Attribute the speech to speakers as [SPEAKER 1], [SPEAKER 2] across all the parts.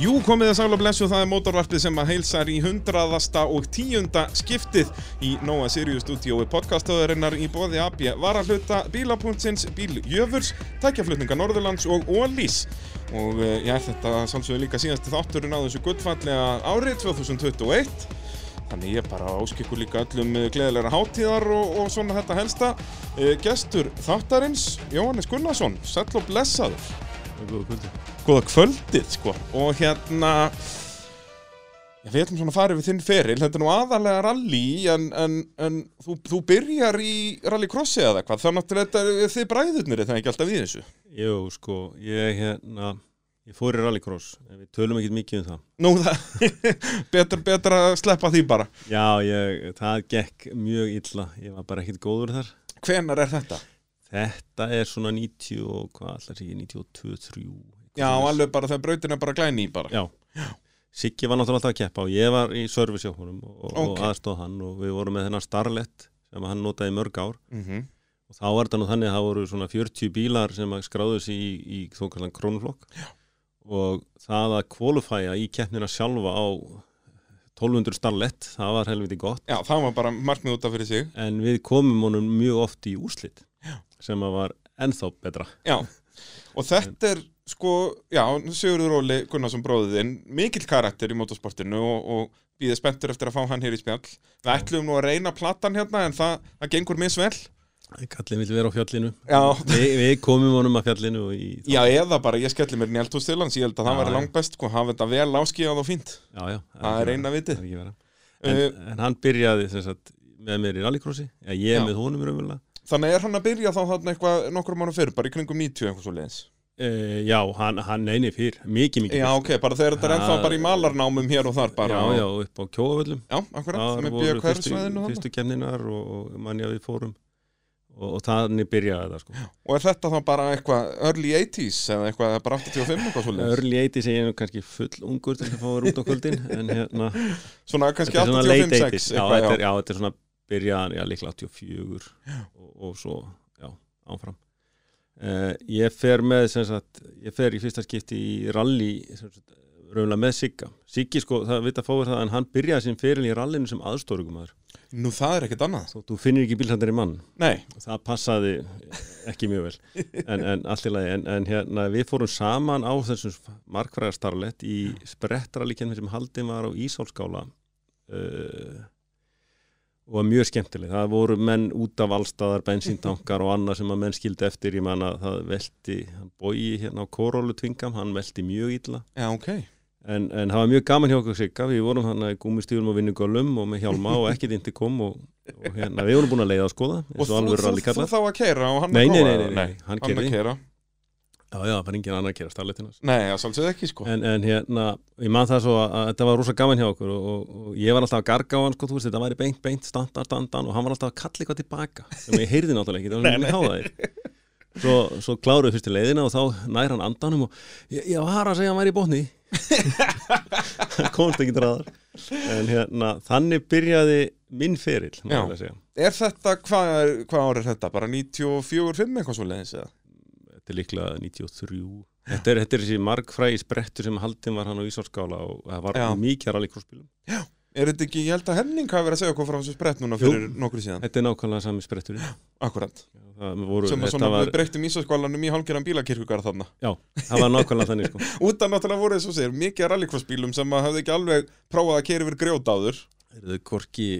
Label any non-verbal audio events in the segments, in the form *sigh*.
[SPEAKER 1] Jú, komið að sála blessu, það er mótorvarpið sem að heilsar í hundraðasta og tíunda skiptið í Nóa Sirius stúdíói podcastöðurinnar í bóði AB varahluta bíla.sins, bíljöfurs, tækjaflutninga Norðurlands og Ólís. Og eh, já, þetta sálsögur líka síðasti þátturinn á þessu gullfallega árið 2021. Þannig ég bara áskikku líka öllum eh, gleðilegra hátíðar og, og svona þetta helsta. Eh, Gestur þáttarins, Jóhannes Gunnarsson, sæll og blessaður.
[SPEAKER 2] Góða kvöldi
[SPEAKER 1] Góða kvöldið, sko. Og hérna, já, við ætlum svona að fara yfir þinn feril. Þetta er nú aðalega rally, en, en, en þú, þú byrjar í rallycrossi eða hvað. Þá náttúrulega þetta, þið bræðurnir er það ekki alltaf í þessu.
[SPEAKER 2] Jú, sko, ég hérna Ég fór í rallycross, en við tölum ekkert mikið um það
[SPEAKER 1] Nú, það, *laughs* betra, betra að sleppa því bara.
[SPEAKER 2] Já, ég, það gekk mjög illa Ég var bara ekkert góður þar
[SPEAKER 1] Hvenar er þetta?
[SPEAKER 2] Þetta er svona 90 og hvað allar sé ég, 92, 3
[SPEAKER 1] Já, alveg bara þegar brautin er bara glæni í bara.
[SPEAKER 2] Já, Siggi var náttúrulega alltaf að keppa og ég var í service hjá honum og, og
[SPEAKER 1] Ok.
[SPEAKER 2] aðstóð hann og við vorum með þennan Starlet sem hann notaði í mörg ár
[SPEAKER 1] Mm
[SPEAKER 2] og þá var þetta nú þannig að það voru svona 40 bílar sem að skráðu sig í, í þó kallan krónflokk og það að kvalifæja í keppnina sjálfa á 1200 starlett, það var helviti gott
[SPEAKER 1] Já, það var bara markmið út af fyrir sig.
[SPEAKER 2] en við komum honum mjög oft í úrslit sem að var ennþá betra
[SPEAKER 1] Já, og þetta er sko, já, Sigurður Óli Gunnarsson bróðiðinn, mikill karakter í motorsportinu og, og býðið spenntur eftir að fá hann hér í spjall. Við ætlum nú að reyna platan hérna en það, það gengur misvel.
[SPEAKER 2] Kallin vill vera á fjallinu
[SPEAKER 1] Já.
[SPEAKER 2] Vi, Við komum honum að fjallinu og í,
[SPEAKER 1] Já, eða bara ég skelli mér néltúst til hans, ég held að það
[SPEAKER 2] Já,
[SPEAKER 1] væri
[SPEAKER 2] já.
[SPEAKER 1] langbest, sko, hafa þetta vel áskíðað og fínt.
[SPEAKER 2] já, já,
[SPEAKER 1] Það er
[SPEAKER 2] ekki
[SPEAKER 1] eina
[SPEAKER 2] verra,
[SPEAKER 1] vitið.
[SPEAKER 2] það er ekki verra.
[SPEAKER 1] Uh,
[SPEAKER 2] en, en hann byrjaði sem sagt, með mér í rallycrossi já, ég
[SPEAKER 1] Já.
[SPEAKER 2] með honum raunverulega
[SPEAKER 1] þannig er hann að byrja þá þarna eitthvað nokkrum mánu fyrr, bara í kringum 90 eitthvað svo leiðins.
[SPEAKER 2] uh, Já, hann, hann neini fyrr, mikið mikið
[SPEAKER 1] Já,
[SPEAKER 2] fyrr.
[SPEAKER 1] ok, bara þegar þetta er ennþá
[SPEAKER 2] Það-
[SPEAKER 1] bara í malarnámum hér og þar bara.
[SPEAKER 2] já, já, upp á kjóavöllum
[SPEAKER 1] Já, akkurat,
[SPEAKER 2] Það
[SPEAKER 1] það með
[SPEAKER 2] voru
[SPEAKER 1] bjöð
[SPEAKER 2] fyrstu,
[SPEAKER 1] hverfisvæðinu þarna.
[SPEAKER 2] fyrstu kemninar og, og manni að við fórum og, og þannig byrjaði þetta sko.
[SPEAKER 1] Og er þetta þá bara eitthvað early 80s eða eitthvað bara 85 eitthvað svo leiðis?
[SPEAKER 2] Early 80s er ég nú kannski full ungur til að fá að vera út á kvöldin en hérna,
[SPEAKER 1] Svona kannski
[SPEAKER 2] þetta er svona late
[SPEAKER 1] 85-6
[SPEAKER 2] 80s já,
[SPEAKER 1] eitthvað, já.
[SPEAKER 2] þetta er, já, þetta er svona byrjaðan, já, líklega 84 og, og svo, já, áfram uh, ég fer með sem sagt, ég fer í fyrsta skipti í rally, sem sagt, raunlega með Sigga Siggi, sko, það vita fáir það en hann byrjaði sem feril í rallinu sem aðstórugumadur
[SPEAKER 1] Nú það er ekkert annað.
[SPEAKER 2] þó þú finnir ekki bílhandari mann
[SPEAKER 1] Nei,
[SPEAKER 2] það passaði ekki mjög vel en, en allt í lagi en, en hérna við fórum saman á þessum markfræðarstarlett í sprettralíkjum sem haldin var á Ísálskála uh, og var mjög skemmtileg það voru menn út af allstaðar bensíntankar og annað sem að menn skildi eftir ég man að það velti, hann bói hérna á Korólu tvingam, hann velti mjög illa
[SPEAKER 1] já ok.
[SPEAKER 2] en, en það var mjög gaman hjá okkur sigga við vorum hann að gúmistíðum og vinnugölum og með hjálma og ekkert indikom og, og hérna, við vorum búin að leiða að skoða
[SPEAKER 1] Og
[SPEAKER 2] eins og
[SPEAKER 1] þú,
[SPEAKER 2] alveg
[SPEAKER 1] þú, þú
[SPEAKER 2] rallykallar
[SPEAKER 1] þá að keira og hann
[SPEAKER 2] Nei,
[SPEAKER 1] að
[SPEAKER 2] nei,
[SPEAKER 1] prófa
[SPEAKER 2] nei,
[SPEAKER 1] það?
[SPEAKER 2] nei, nei, hann
[SPEAKER 1] hann að
[SPEAKER 2] keyrði.
[SPEAKER 1] keira.
[SPEAKER 2] já, já, það var engin annar að gera starleitinas
[SPEAKER 1] Nei, það sálsið ekki sko.
[SPEAKER 2] en, en hérna, ég man það svo að, að þetta var rosa gaman hjá okkur og, og, og ég var alltaf að garga á hann sko, þú veist, þetta væri beint, beint, standan, standan og hann var alltaf að kalla eitthvað tilbaka sem ég heyrði náttúrulega ekki, það var mjög háðaðir svo, svo kláruðu fyrstu leiðina og þá nær hann andanum og ég, ég var að segja að hann væri í *laughs* botni hann komst ekki dráðar en hérna, þannig byrjaði minn ferill, má
[SPEAKER 1] Já.
[SPEAKER 2] ég að segja
[SPEAKER 1] Er þetta, hvað er- hvað ár er þetta? Bara 94-5 eitthvað svo leiðis eða?
[SPEAKER 2] þetta er líklega 93 þetta er, þetta er þessi margfræði sprettur sem haldin var hann á Ísálskála og það var
[SPEAKER 1] Já.
[SPEAKER 2] mikið rallycrossbílum
[SPEAKER 1] Er þetta ekki, ég held að Henning hafi verið að segja okkur frá þessu sprett núna
[SPEAKER 2] Jú.
[SPEAKER 1] fyrir nokkru síðan.
[SPEAKER 2] þetta er nákvæmlega sami sprettur
[SPEAKER 1] Akkurat.
[SPEAKER 2] það, voru,
[SPEAKER 1] Sem að
[SPEAKER 2] þetta
[SPEAKER 1] svona
[SPEAKER 2] var,
[SPEAKER 1] við breyttum ísaskólanum í hálgerðan bílakirkugar þarna.
[SPEAKER 2] já, það var nákvæmlega þannig sko.
[SPEAKER 1] Út af náttúrulega voru þess að segja, mikið rallycross bílum sem að hafði ekki alveg prófað að keira yfir grjót áður.
[SPEAKER 2] er þau eh, korki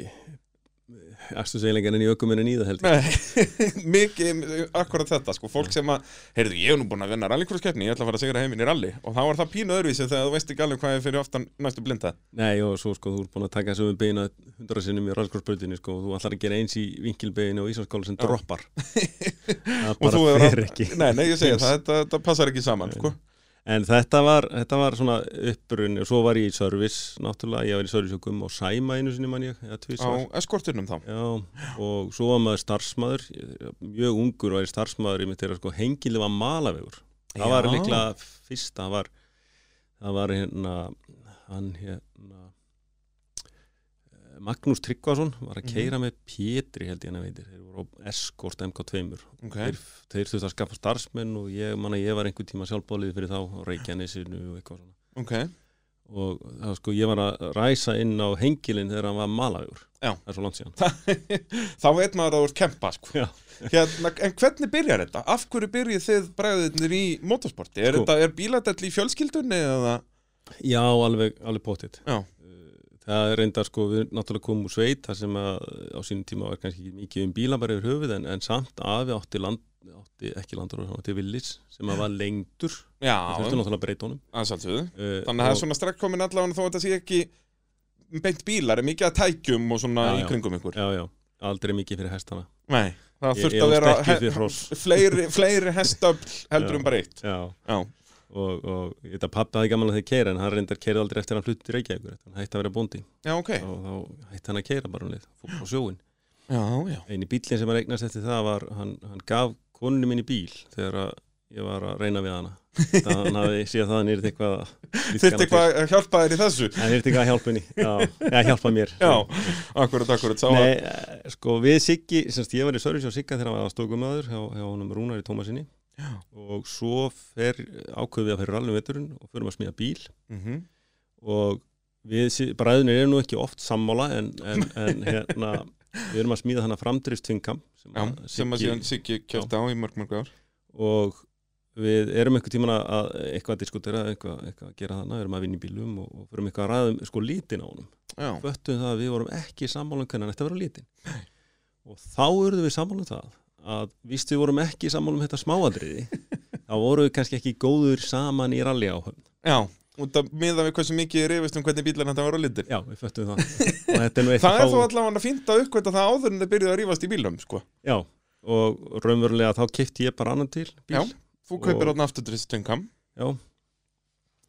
[SPEAKER 2] æstu segilengin en í ökumennin í það held ég
[SPEAKER 1] Nei, *laughs* mikið, akkurat þetta sko, fólk sem að, heyrðu, ég er nú búin að vinna rallycrosskeppni, ég ætla að fara að sigra heiminn í rally og þá var það pínu öðruvísi þegar þú veist ekki alveg hvað er fyrir aftan næstu blinda.
[SPEAKER 2] Nei, og svo sko, þú ert búin að taka þessu við beina hundra sinnum í rallskorsbröðinni sko, og þú ætlar að gera eins í vinkilbeginu og Ísálskála sem
[SPEAKER 1] *laughs*
[SPEAKER 2] droppar það
[SPEAKER 1] Og þú
[SPEAKER 2] bara
[SPEAKER 1] hefur
[SPEAKER 2] fer ekki
[SPEAKER 1] Nei, nei, ég segi það, þetta, þetta passar ekki saman, sko.
[SPEAKER 2] En þetta var, þetta var svona uppbrunni og svo var ég í service náttúrulega, ég var í service hjá Gumma og Sæma einu sinni mann ég, eða
[SPEAKER 1] Á
[SPEAKER 2] tvisvar.
[SPEAKER 1] eskortunum þá.
[SPEAKER 2] Já, og svo var maður starfsmæður, mjög ungur var ég starfsmæður í mitt þeirra sko hengileg var malavegur. Það var
[SPEAKER 1] Já.
[SPEAKER 2] líklega fyrst, það var, það var hérna, hann hérna, eh, Magnús Tryggvason var að keira með Pétri held ég hann að veitir, þeir voru á Escort MK2-mur
[SPEAKER 1] Ok,
[SPEAKER 2] þeir, þeir þurftu að skaffa starfsmenn og ég, manna, ég var einhver tíma sjálfbólið fyrir þá á Reykjanesinu og eitthvað svona
[SPEAKER 1] ok,
[SPEAKER 2] og það, var sko, ég var að ræsa inn á hengilinn þegar hann var malagur
[SPEAKER 1] Já.
[SPEAKER 2] það er svo langt síðan
[SPEAKER 1] þá veit maður að þú ert kempa sko.
[SPEAKER 2] Já.
[SPEAKER 1] hérna, en hvernig byrjar þetta? af hverju byrjið þið bregðirnir í motorsporti? er,
[SPEAKER 2] Sko.
[SPEAKER 1] þetta, er bíladell í fjölskyldunni eða?
[SPEAKER 2] já, alveg, alveg pottitt
[SPEAKER 1] Já.
[SPEAKER 2] það er reynda sko, við náttúrulega komum úr sveit þar sem að á sínum tíma var kannski ekki mikið um bíla bara yfir höfuð en, en samt afi átti, land, átti ekki landur átti villis sem að var lengdur
[SPEAKER 1] Já,
[SPEAKER 2] það þurfti náttúrulega að breyta honum
[SPEAKER 1] að sjálfsögðu
[SPEAKER 2] uh,
[SPEAKER 1] þannig að það er svona strekk komin allavega þó að þetta sé ekki beint bílar, er mikið að tækjum og svona
[SPEAKER 2] Já,
[SPEAKER 1] í
[SPEAKER 2] já.
[SPEAKER 1] kringum ykkur
[SPEAKER 2] já, já, aldrei mikið fyrir hestana
[SPEAKER 1] Nei, það
[SPEAKER 2] Ég-
[SPEAKER 1] þurft
[SPEAKER 2] ég
[SPEAKER 1] að
[SPEAKER 2] ólst
[SPEAKER 1] vera
[SPEAKER 2] ekki
[SPEAKER 1] he-
[SPEAKER 2] fyrir hross.
[SPEAKER 1] fleiri, fleiri hestöfl heldur
[SPEAKER 2] Já.
[SPEAKER 1] um bara eitt
[SPEAKER 2] já,
[SPEAKER 1] Já,
[SPEAKER 2] og, og ég veit að pappi hafði gaman að þeir keira en hann reyndar keira aldrei eftir að hann hlutti reykjavíkur hann hætti að vera bóndi
[SPEAKER 1] já ok Já,
[SPEAKER 2] og þá hætti hann að keira bara um leið fór á sjóin
[SPEAKER 1] já,
[SPEAKER 2] eini bílinn sem hann eignast eftir það var hann, hann gaf konunni minni bíl þegar að ég var að reyna við hana það hann hafi séð það að hann er eitthvað *laughs* að lífga
[SPEAKER 1] þurft
[SPEAKER 2] hana
[SPEAKER 1] eitthvað að hjálpa þér í þessu
[SPEAKER 2] til. hann er eitthvað að hjálpa henni já, eða hjálpa mér
[SPEAKER 1] Já, akkurat, akkurat sá að-
[SPEAKER 2] Nei, eh, sko við Siggi, semst ég var í Sörjus og Sigga þegar hann var aðstokumöður hjá, hjá honum Rúnari Tómasinni
[SPEAKER 1] Já.
[SPEAKER 2] og svo fer ákveðum við að fyrir rallum vetturinn um og förum að smíða bíl
[SPEAKER 1] Mhm.
[SPEAKER 2] og við sí- bræðunir eru nú ekki oft sammála en,
[SPEAKER 1] *laughs*
[SPEAKER 2] en, en hérna við erum að smíða þannig framdrifstvingam sem,
[SPEAKER 1] Já,
[SPEAKER 2] að
[SPEAKER 1] sem að
[SPEAKER 2] Siggi-
[SPEAKER 1] síðan Siggi kjöfti á í mörg mörg ár
[SPEAKER 2] og við erum einhvern tíman að eitthvað að diskutera, eitthvað, eitthvað að gera þannig við erum að vinna í bílum og, og erum eitthvað að ræða um sko lítin á honum,
[SPEAKER 1] Já,
[SPEAKER 2] föttum það að við vorum ekki sammála um hvernig hann ætti að vera lítin og þá urðum við sammála um það að víst við vorum ekki sammála um þetta
[SPEAKER 1] *laughs*
[SPEAKER 2] smáadriði þá vorum við kannski ekki góður saman í rally
[SPEAKER 1] já út að miða við hversu mikið er yfirst um hvernig bílar þetta var á litir
[SPEAKER 2] já, við föttum það og þetta er nú eitt
[SPEAKER 1] Það
[SPEAKER 2] af
[SPEAKER 1] er þó
[SPEAKER 2] fáum-
[SPEAKER 1] allavega fínt að uppkvæta það áður en þið byrjuðu að rífast í bílum, sko
[SPEAKER 2] Já, og raunverulega þá kipti ég bara annan til bíl.
[SPEAKER 1] Já. Þú kaupir
[SPEAKER 2] Og-
[SPEAKER 1] þarna afturdriftstöngam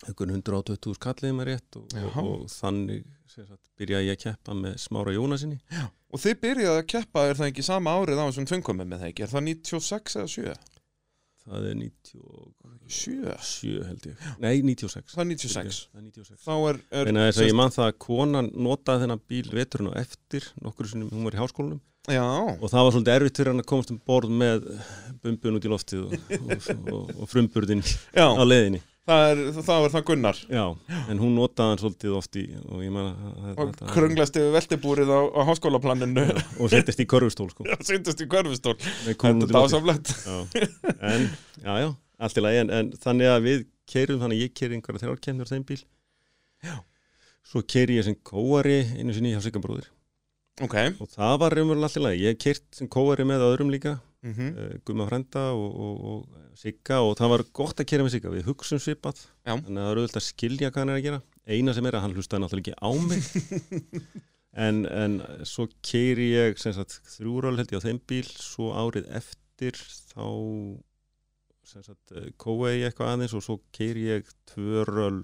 [SPEAKER 2] Einhvern 120 skallið mér rétt og, og,
[SPEAKER 1] Jaha.
[SPEAKER 2] og þannig sem sagt, byrjaði ég að keppa með Smára Jónasinni.
[SPEAKER 1] Og þið byrjaði að keppa, er það ekki sama árið á þessum tvöngkomum með það ekki? Er það 96 eða 7?
[SPEAKER 2] Það er 97
[SPEAKER 1] 7?
[SPEAKER 2] held ég. Nei, 96.
[SPEAKER 1] Það er 96
[SPEAKER 2] Það er 96.
[SPEAKER 1] Þá er, er
[SPEAKER 2] Þannig að þess að ég man það að konan notaði þennan bíl veturinn og eftir nokkur sinnum hún var í háskólanum
[SPEAKER 1] Já,
[SPEAKER 2] og það var svolítið erfitt fyrir hann að komast um borð með bumbun út í loftið og, og, og, og frumburðin
[SPEAKER 1] já,
[SPEAKER 2] á leiðinni.
[SPEAKER 1] það er, það er það Gunnar
[SPEAKER 2] Já, en hún notaði hann svolítið oft í og ég man að
[SPEAKER 1] og
[SPEAKER 2] þetta-
[SPEAKER 1] krönglast yfir veltibúrið á, á háskólaplaninu
[SPEAKER 2] og settist í körfustól sko.
[SPEAKER 1] *laughs* og syndast í körfustól
[SPEAKER 2] með kúluna
[SPEAKER 1] Þetta
[SPEAKER 2] út
[SPEAKER 1] er
[SPEAKER 2] í
[SPEAKER 1] dásamlegt
[SPEAKER 2] loftið. Já. en, já, já, allt í lagi en, en þannig að við keirum, þannig að ég keiri einhverja þrjár kemur á þeim bíl
[SPEAKER 1] Já.
[SPEAKER 2] svo keiri ég sem kóari einu sinni hjá Sigambróðir
[SPEAKER 1] Ok,
[SPEAKER 2] og það var raunverulega allt í lagi, ég hef keirt sem kóari með öðrum líka,
[SPEAKER 1] mhm,
[SPEAKER 2] mm. Gumma Frenda og, og, og Sigga og það var gott að keira með Sigga, við hugsum svipað
[SPEAKER 1] Já.
[SPEAKER 2] þannig að það er auðvitað að skilja hvað hann er að gera eina sem er að hann hlustaði náttúrulega ekki á mig
[SPEAKER 1] *laughs*
[SPEAKER 2] en, en svo keiri ég sem sagt þrjúral held ég á þeim bíl svo árið eftir þá sem sagt kói ég eitthvað aðeins og svo keiri ég tvöröl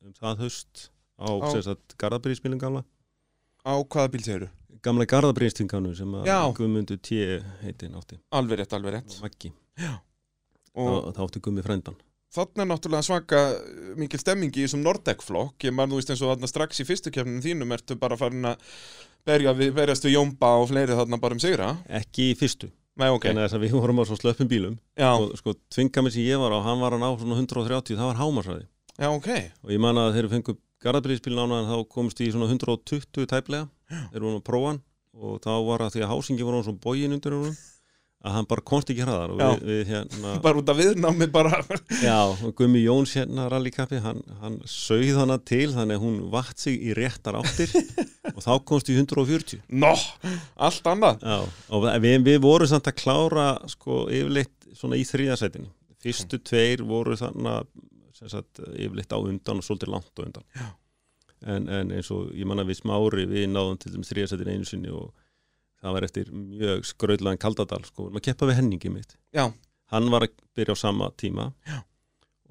[SPEAKER 2] um það höst á
[SPEAKER 1] Á.
[SPEAKER 2] sem sagt garðabríðspilum gamla
[SPEAKER 1] á hvaða bíl segirðu?
[SPEAKER 2] gamla garðabríðstinganum sem að
[SPEAKER 1] Já.
[SPEAKER 2] Guðmundur T. heitin átti
[SPEAKER 1] Alveg rétt, alveg rétt
[SPEAKER 2] Maggi,
[SPEAKER 1] og
[SPEAKER 2] þá, þá átti Gummi Frendan
[SPEAKER 1] þarna er náttúrulega svaka uh, mikil stemming í þessum Nordec-flokk ég man þú veist eins og þarna strax í fyrstu kefninu þínum ertu bara farin að berja við, berjast við Jómba og fleiri þarna bara um sigra
[SPEAKER 2] ekki í fyrstu,
[SPEAKER 1] Nei, ok,
[SPEAKER 2] en þess að við vorum á svo slöppum bílum
[SPEAKER 1] já,
[SPEAKER 2] og sko tvingamið sem ég var á, hann var hann á svona 130, það var hámarsræði
[SPEAKER 1] já, ok
[SPEAKER 2] og ég man að þegar við fengum garðabríðspilin ánaðan þá komist ég í svona 120 tæplega þegar við vorum að prófa hann og þá var að því að hásingi var hann svo bógin undir húnum að hann bara komst ekki hraðar og við, við
[SPEAKER 1] *laughs*
[SPEAKER 2] hérna
[SPEAKER 1] bara út af viðnámi
[SPEAKER 2] *laughs*
[SPEAKER 1] bara
[SPEAKER 2] já, og Gummi Jóns hérna rallykappi hann, hann sögð hana til þannig að hún vatt sig í réttar
[SPEAKER 1] *laughs*
[SPEAKER 2] áttir og þá komst ég í 140
[SPEAKER 1] Nó, allt annað
[SPEAKER 2] Já, og við, við vorum samt að klára sko yfirleitt svona í þriðasætinu fyrstu tveir voru þannig sem sagt yfirleitt á undan og svolítið langt á undan
[SPEAKER 1] Já.
[SPEAKER 2] en, en eins og ég manna við smári við náðum til þeim þriðasætinu einu sinni og það var eftir mjög skrautlaðan kaldadal sko, maður keppa við henningi mitt
[SPEAKER 1] Já.
[SPEAKER 2] hann var að byrja á sama tíma
[SPEAKER 1] Já.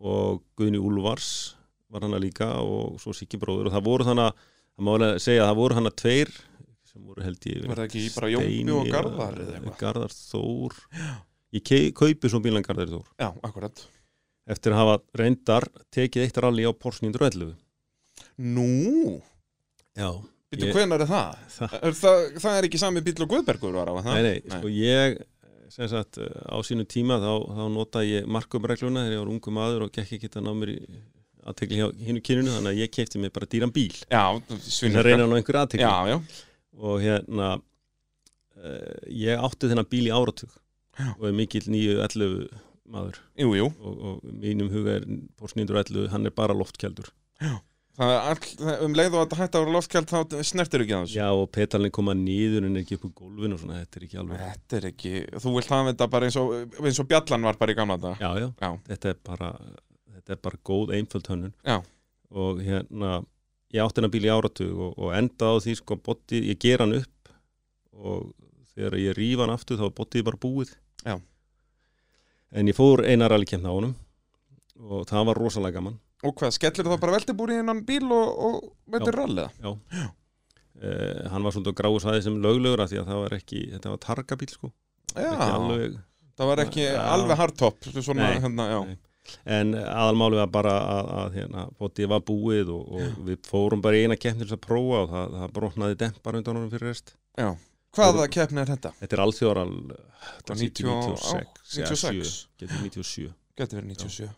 [SPEAKER 2] og Guðni Úlfars var hann að líka og svo Siggi bróður og það voru þannig að það má alveg segja að það voru hann að tveir sem voru held ég
[SPEAKER 1] Var það ekki í bara Jónbi
[SPEAKER 2] Steini
[SPEAKER 1] og
[SPEAKER 2] eða-
[SPEAKER 1] Garðar eða eitthvað?
[SPEAKER 2] Garðar Þór ég kei- kaupi svo bílan Garðar Þór
[SPEAKER 1] Já, akkurat
[SPEAKER 2] eftir að hafa reyndar tekið eitt rally á Porsche 911
[SPEAKER 1] Nú,
[SPEAKER 2] já
[SPEAKER 1] býttu
[SPEAKER 2] Ég-
[SPEAKER 1] hvenar er það?
[SPEAKER 2] það,
[SPEAKER 1] Er það? Það er ekki sami bíl og Guðbergur var á það?
[SPEAKER 2] nei, nei, sko ég sem sagt eh, á sínu tíma þá, þá nota ég markumregluna þegar ég var ungu maður og gekk ekki að ná mér í aðtekli hjá hinnu kyninu þannig að ég keipti mig bara dýran bíl
[SPEAKER 1] já,
[SPEAKER 2] það
[SPEAKER 1] svinnur
[SPEAKER 2] reyna nú einhver aðtekli
[SPEAKER 1] Já, já,
[SPEAKER 2] og hérna uh, ég átti þennan bíl í áratug
[SPEAKER 1] Já.
[SPEAKER 2] og er mikill 911 maður
[SPEAKER 1] jú, jú
[SPEAKER 2] og, og mínum huga er Porsche 911, hann er bara loftkeldur
[SPEAKER 1] Það er all, það- um leið og að hætta að vera loftkjald þá snertir ekki að þessu
[SPEAKER 2] já og petalinn koma nýður en er ekki upp úr gólfinu og svona, þetta er ekki alveg
[SPEAKER 1] Þetta er ekki, þú vilt hafa þetta bara eins og, eins og bjallan var bara í gamla dag
[SPEAKER 2] já, já,
[SPEAKER 1] Já.
[SPEAKER 2] þetta er bara þetta er bara góð einföld hönnun
[SPEAKER 1] Já.
[SPEAKER 2] og hérna ég átti hennar bíl í áratug og, og enda á því sko bótti, ég ger hann upp og þegar ég rýfa hann aftur þá bótti ég bara búið
[SPEAKER 1] Já.
[SPEAKER 2] en ég fór einar alveg á honum og það var rosalega gaman
[SPEAKER 1] Og hvað, skellir það bara veltibúri innan bíl og, og veitir rallið?
[SPEAKER 2] uh, hann var svolítið á gráu sæði sem löglegur af því að það var ekki, þetta var targabíl sko
[SPEAKER 1] Já,
[SPEAKER 2] ekki alveg,
[SPEAKER 1] það var ekki
[SPEAKER 2] Já.
[SPEAKER 1] alveg hardtop Svona,
[SPEAKER 2] Nei.
[SPEAKER 1] hérna, já
[SPEAKER 2] Nei. en aðalmáli var bara að, að hérna, bótið var búið og, og við fórum bara í eina keppni til þess að prófa og það, það brotnaði dempar undan honum fyrir rest
[SPEAKER 1] Hvaða keppni er þetta?
[SPEAKER 2] þetta er alþjóral
[SPEAKER 1] 90 og- 96.
[SPEAKER 2] 96 getur 97
[SPEAKER 1] Gæti verið 97